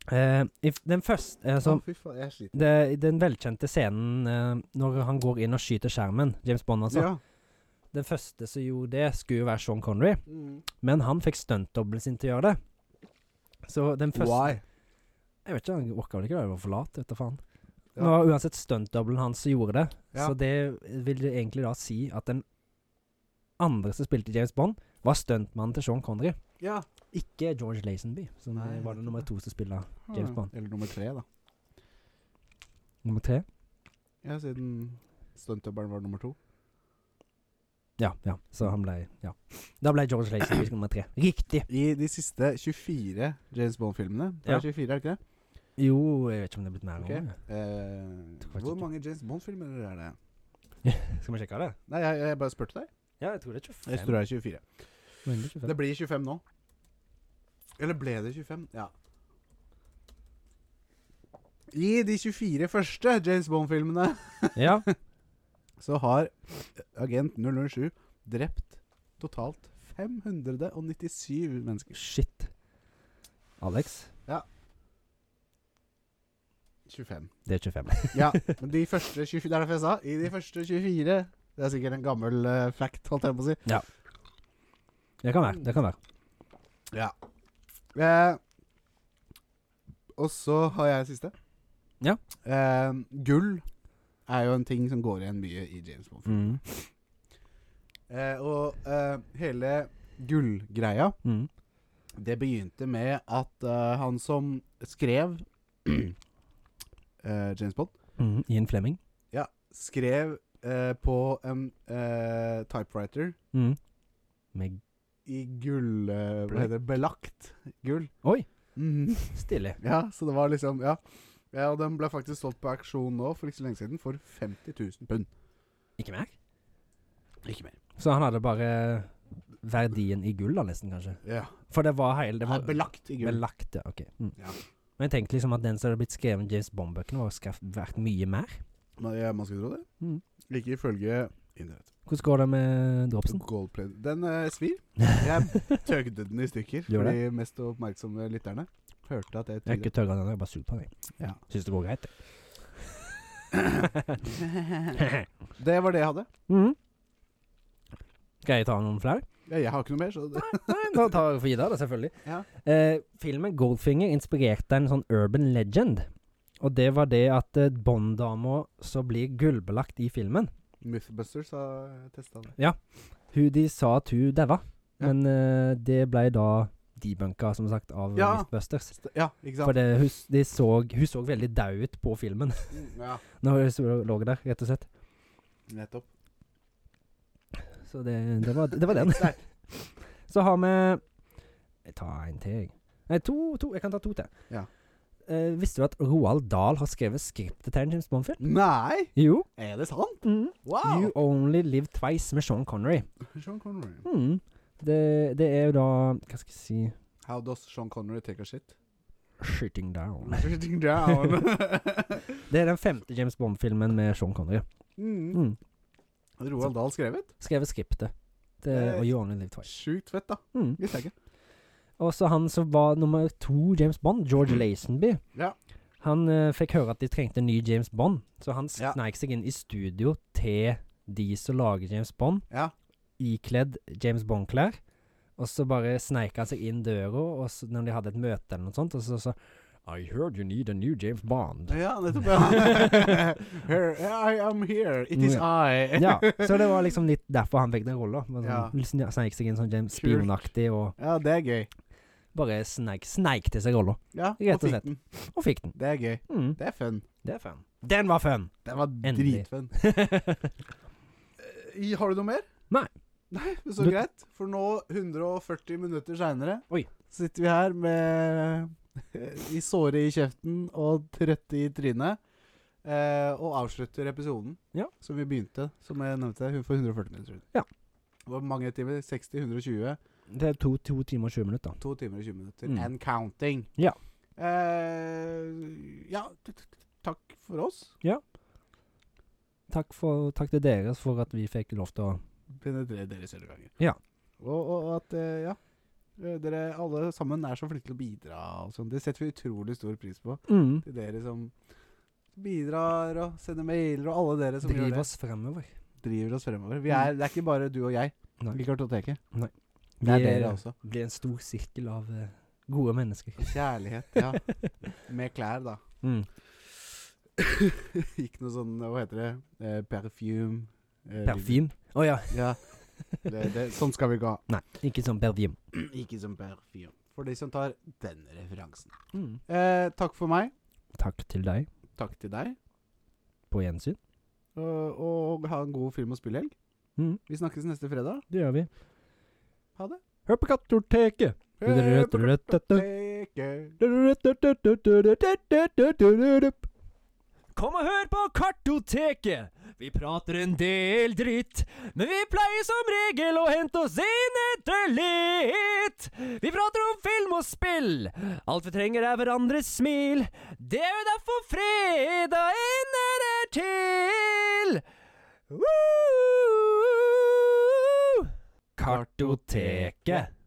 Eh, if, den første eh,
Å,
så,
fy faen, jeg sliter.
det, Den velkjente scenen eh, når han går inn og skyter skjermen, James Bond altså.
Ja.
Den første som gjorde det, skulle jo være Sean Connery,
Mm.
men han fikk stuntdobbelen sin til å gjøre det. Så den første
Why?
Jeg vet ikke, han orka vel ikke det, han var for lat, vet du faen.
Ja.
Det var uansett stuntdobbelen hans som gjorde det,
Ja.
så det vil det egentlig da si at den andre som spilte James Bond, var stuntmannen til Sean Connery,
Ja.
ikke George Lazenby, som
Nei,
eh, var det
nettopp
nummer
det.
to som spilte James Bond.
Eller nummer tre, da.
nummer tre.
Ja, siden stuntdobbelen var nummer to.
Ja, ja, så han ble Ja. Da ble George Lazenby nummer tre. Riktig!
I de siste 24 James Bond-filmene Det
Ja.
er 24, er det ikke det?
Jo, jeg vet ikke om det er blitt mer
Ok.
nå. Tror
Eh,
faktisk
hvor
ikke.
mange James Bond-filmer er det?
Skal vi sjekke det?
Nei, jeg, jeg bare spurte deg.
Ja, jeg tror det er 25.
Jeg tror det er 24.
Men det er 25.
Det blir 25 nå. Eller ble det 25? Ja. I de 24 første James Bond-filmene
Ja.
så har agent 007 drept totalt 597 mennesker.
Shit. Alex,
25.
det er 25.
Ja, men de første 24 Det er derfor jeg sa. I de første 24 Det er sikkert en gammel eh, fact, holdt jeg på å si.
Det kan være. Det kan være.
Eh, og så har jeg siste.
Ja.
Eh, gull er jo en ting som går igjen mye i James Bond.
Mm.
Eh, og eh, hele gullgreia,
Mm.
det begynte med at eh, han som skrev eh, James Bond,
Mm. Ian Fleming.
ja, skrev eh, på en eh, typewriter
Mm. Med
i gull... Eh, hva heter det? Belagt gull.
Oi!
Mhm.
Stilig.
Ja, så det var liksom Ja. ja og den ble faktisk solgt på auksjon nå for ikke så lenge siden for 50 000 pund.
Ikke mer?
Ikke mer.
Så han hadde bare verdien i gull, da, nesten, kanskje?
Ja.
For det var hele
Det
Det
var
var
belagt i gull.
belagt, ja. Ok. Mm.
Ja.
Men jeg tenkte liksom at den som hadde blitt skrevet i James Bond-bøkene, var skaff- vært mye mer.
Man, ja, man skulle tro det.
Mm.
Ikke ifølge Internett.
Hvordan går det med dropsen?
Goldplay. Den eh, svir. Jeg tøgde den i stykker
Gjør
for de mest oppmerksomme lytterne. Hørte at jeg
Jeg er
tøgde.
ikke tørga den, jeg er bare sur på den.
Ja.
jeg. Syns det går greit.
Det var det jeg hadde.
Mhm. Skal jeg ta noen flere?
Ja, jeg har ikke noe mer, så det.
Nei, da tar jeg for Ida, da, selvfølgelig.
Ja.
Eh, filmen Goldfinger inspirerte en sånn urban legend. Og det var det at eh, Bond-dama som blir gullbelagt i filmen
Mythbusters har testa det.
Hun de sa at hun daua,
Ja.
men eh, det ble da debunka, som sagt, av
Ja.
Mythbusters.
Ja, ikke
For
sant?
det, hun, de så, hun så veldig daud ut på filmen
Mm, Ja,
når hun så- lå der, rett og slett.
nettopp.
Så det, det, var, det var den. Så har vi Jeg tar en til, jeg. Nei, to, to. Jeg kan ta to til.
Ja.
Eh, visste du at Roald Dahl har skrevet skriptet til en James Bond-film?
Nei!
Jo.
Er det sant?
Mm. You
Wow!
Only Live Twice med Sean Connery.
Sean Connery.
Mm. Det, det er jo da Hva skal jeg si
How does Sean Connery take a shit?
Shooting Down.
Shooting down.
Det er den femte James Bond-filmen med Sean Connery.
mm.
Mm.
Roald Dahl skrevet?
Skrevet skriptet. Det
Eh,
og You Only Live Twice.
Sjukt fett, da.
Mm.
Visste jeg ikke.
Og så han som var nummer to James Bond, George Lazenby.
Ja.
Han eh, fikk høre at de trengte en ny James Bond, så han
Ja.
sneik seg inn i studio til de som lager James Bond,
Ja.
ikledd James Bond-klær. Og så bare sneik han seg inn døra og så, når de hadde et møte eller noe sånt, og så sa I heard you need a new James Bond.
Ja, nettopp. Ja. Here, I am here. It is I.
Ja, så det var liksom litt derfor han fikk den rolla. Men
Ja.
Sånn, liksom, ja, Sneik seg inn sånn James
Kult.
Spion-aktig og
Ja, det er gøy.
bare sneik, sneik til seg rolla.
Ja,
Rett og
fikk
slett.
den.
Og fikk den.
Det er gøy.
Mm,
Det er fun.
det er fun. Den var fun!
Den var
Endelig.
dritfun. Eh, Har du noe mer?
Nei.
Nei, men Så
Du-
greit. For nå, 140 minutter seinere,
Oi.
sitter vi her med eh, i såre i kjeften og trøtte i trynet. eh, og avslutter episoden
Ja.
som vi begynte, som jeg nevnte, hun får 140 minutter. siden.
Ja.
Hvor mange timer? 60? 120?
Det er to, to timer og 20 minutter.
To timer og 20 minutter.
Mm.
And counting.
Ja.
Eh, ja, t- t- t- takk for oss.
Takk, for, takk til dere for at vi fikk lov til å
Penetrere deres øreganger.
Ja.
Og, og at, eh, ja eh, dere alle sammen er så flinke til å bidra og sånn. Det setter vi utrolig stor pris på.
mm,
Til dere som bidrar og sender mailer, og alle dere som
drive
gjør
oss fremover.
det, driver oss fremover. Vi er, det er ikke bare du og jeg
Nei.
i kartoteket.
Vi
Det er altså. dere også.
blir en stor sirkel av eh, gode mennesker.
Kjærlighet, ja. Med klær, da.
Mm.
Ikke noe sånn, hva heter det, eh, perfume. eh,
Perfim. Å ja.
Ja. Det, det, sånn skal vi ikke ha.
Nei, ikke sånn perfim.
Ikke som perfume. For de som tar den referansen.
Mm.
Eh, takk for meg.
Takk til deg.
Takk til deg.
På gjensyn.
Og, og ha en god film- og spillhelg.
Mm.
Vi snakkes neste fredag.
Det gjør vi.
Ha det.
Hør på Kattorteket!
Kom og hør på Kartoteket! Vi prater en del dritt, men vi pleier som regel å hente oss inn etter litt. Vi prater om film og spill. Alt vi trenger er hverandres smil. Det er jo derfor fredagen er til. Woo! Kartoteket.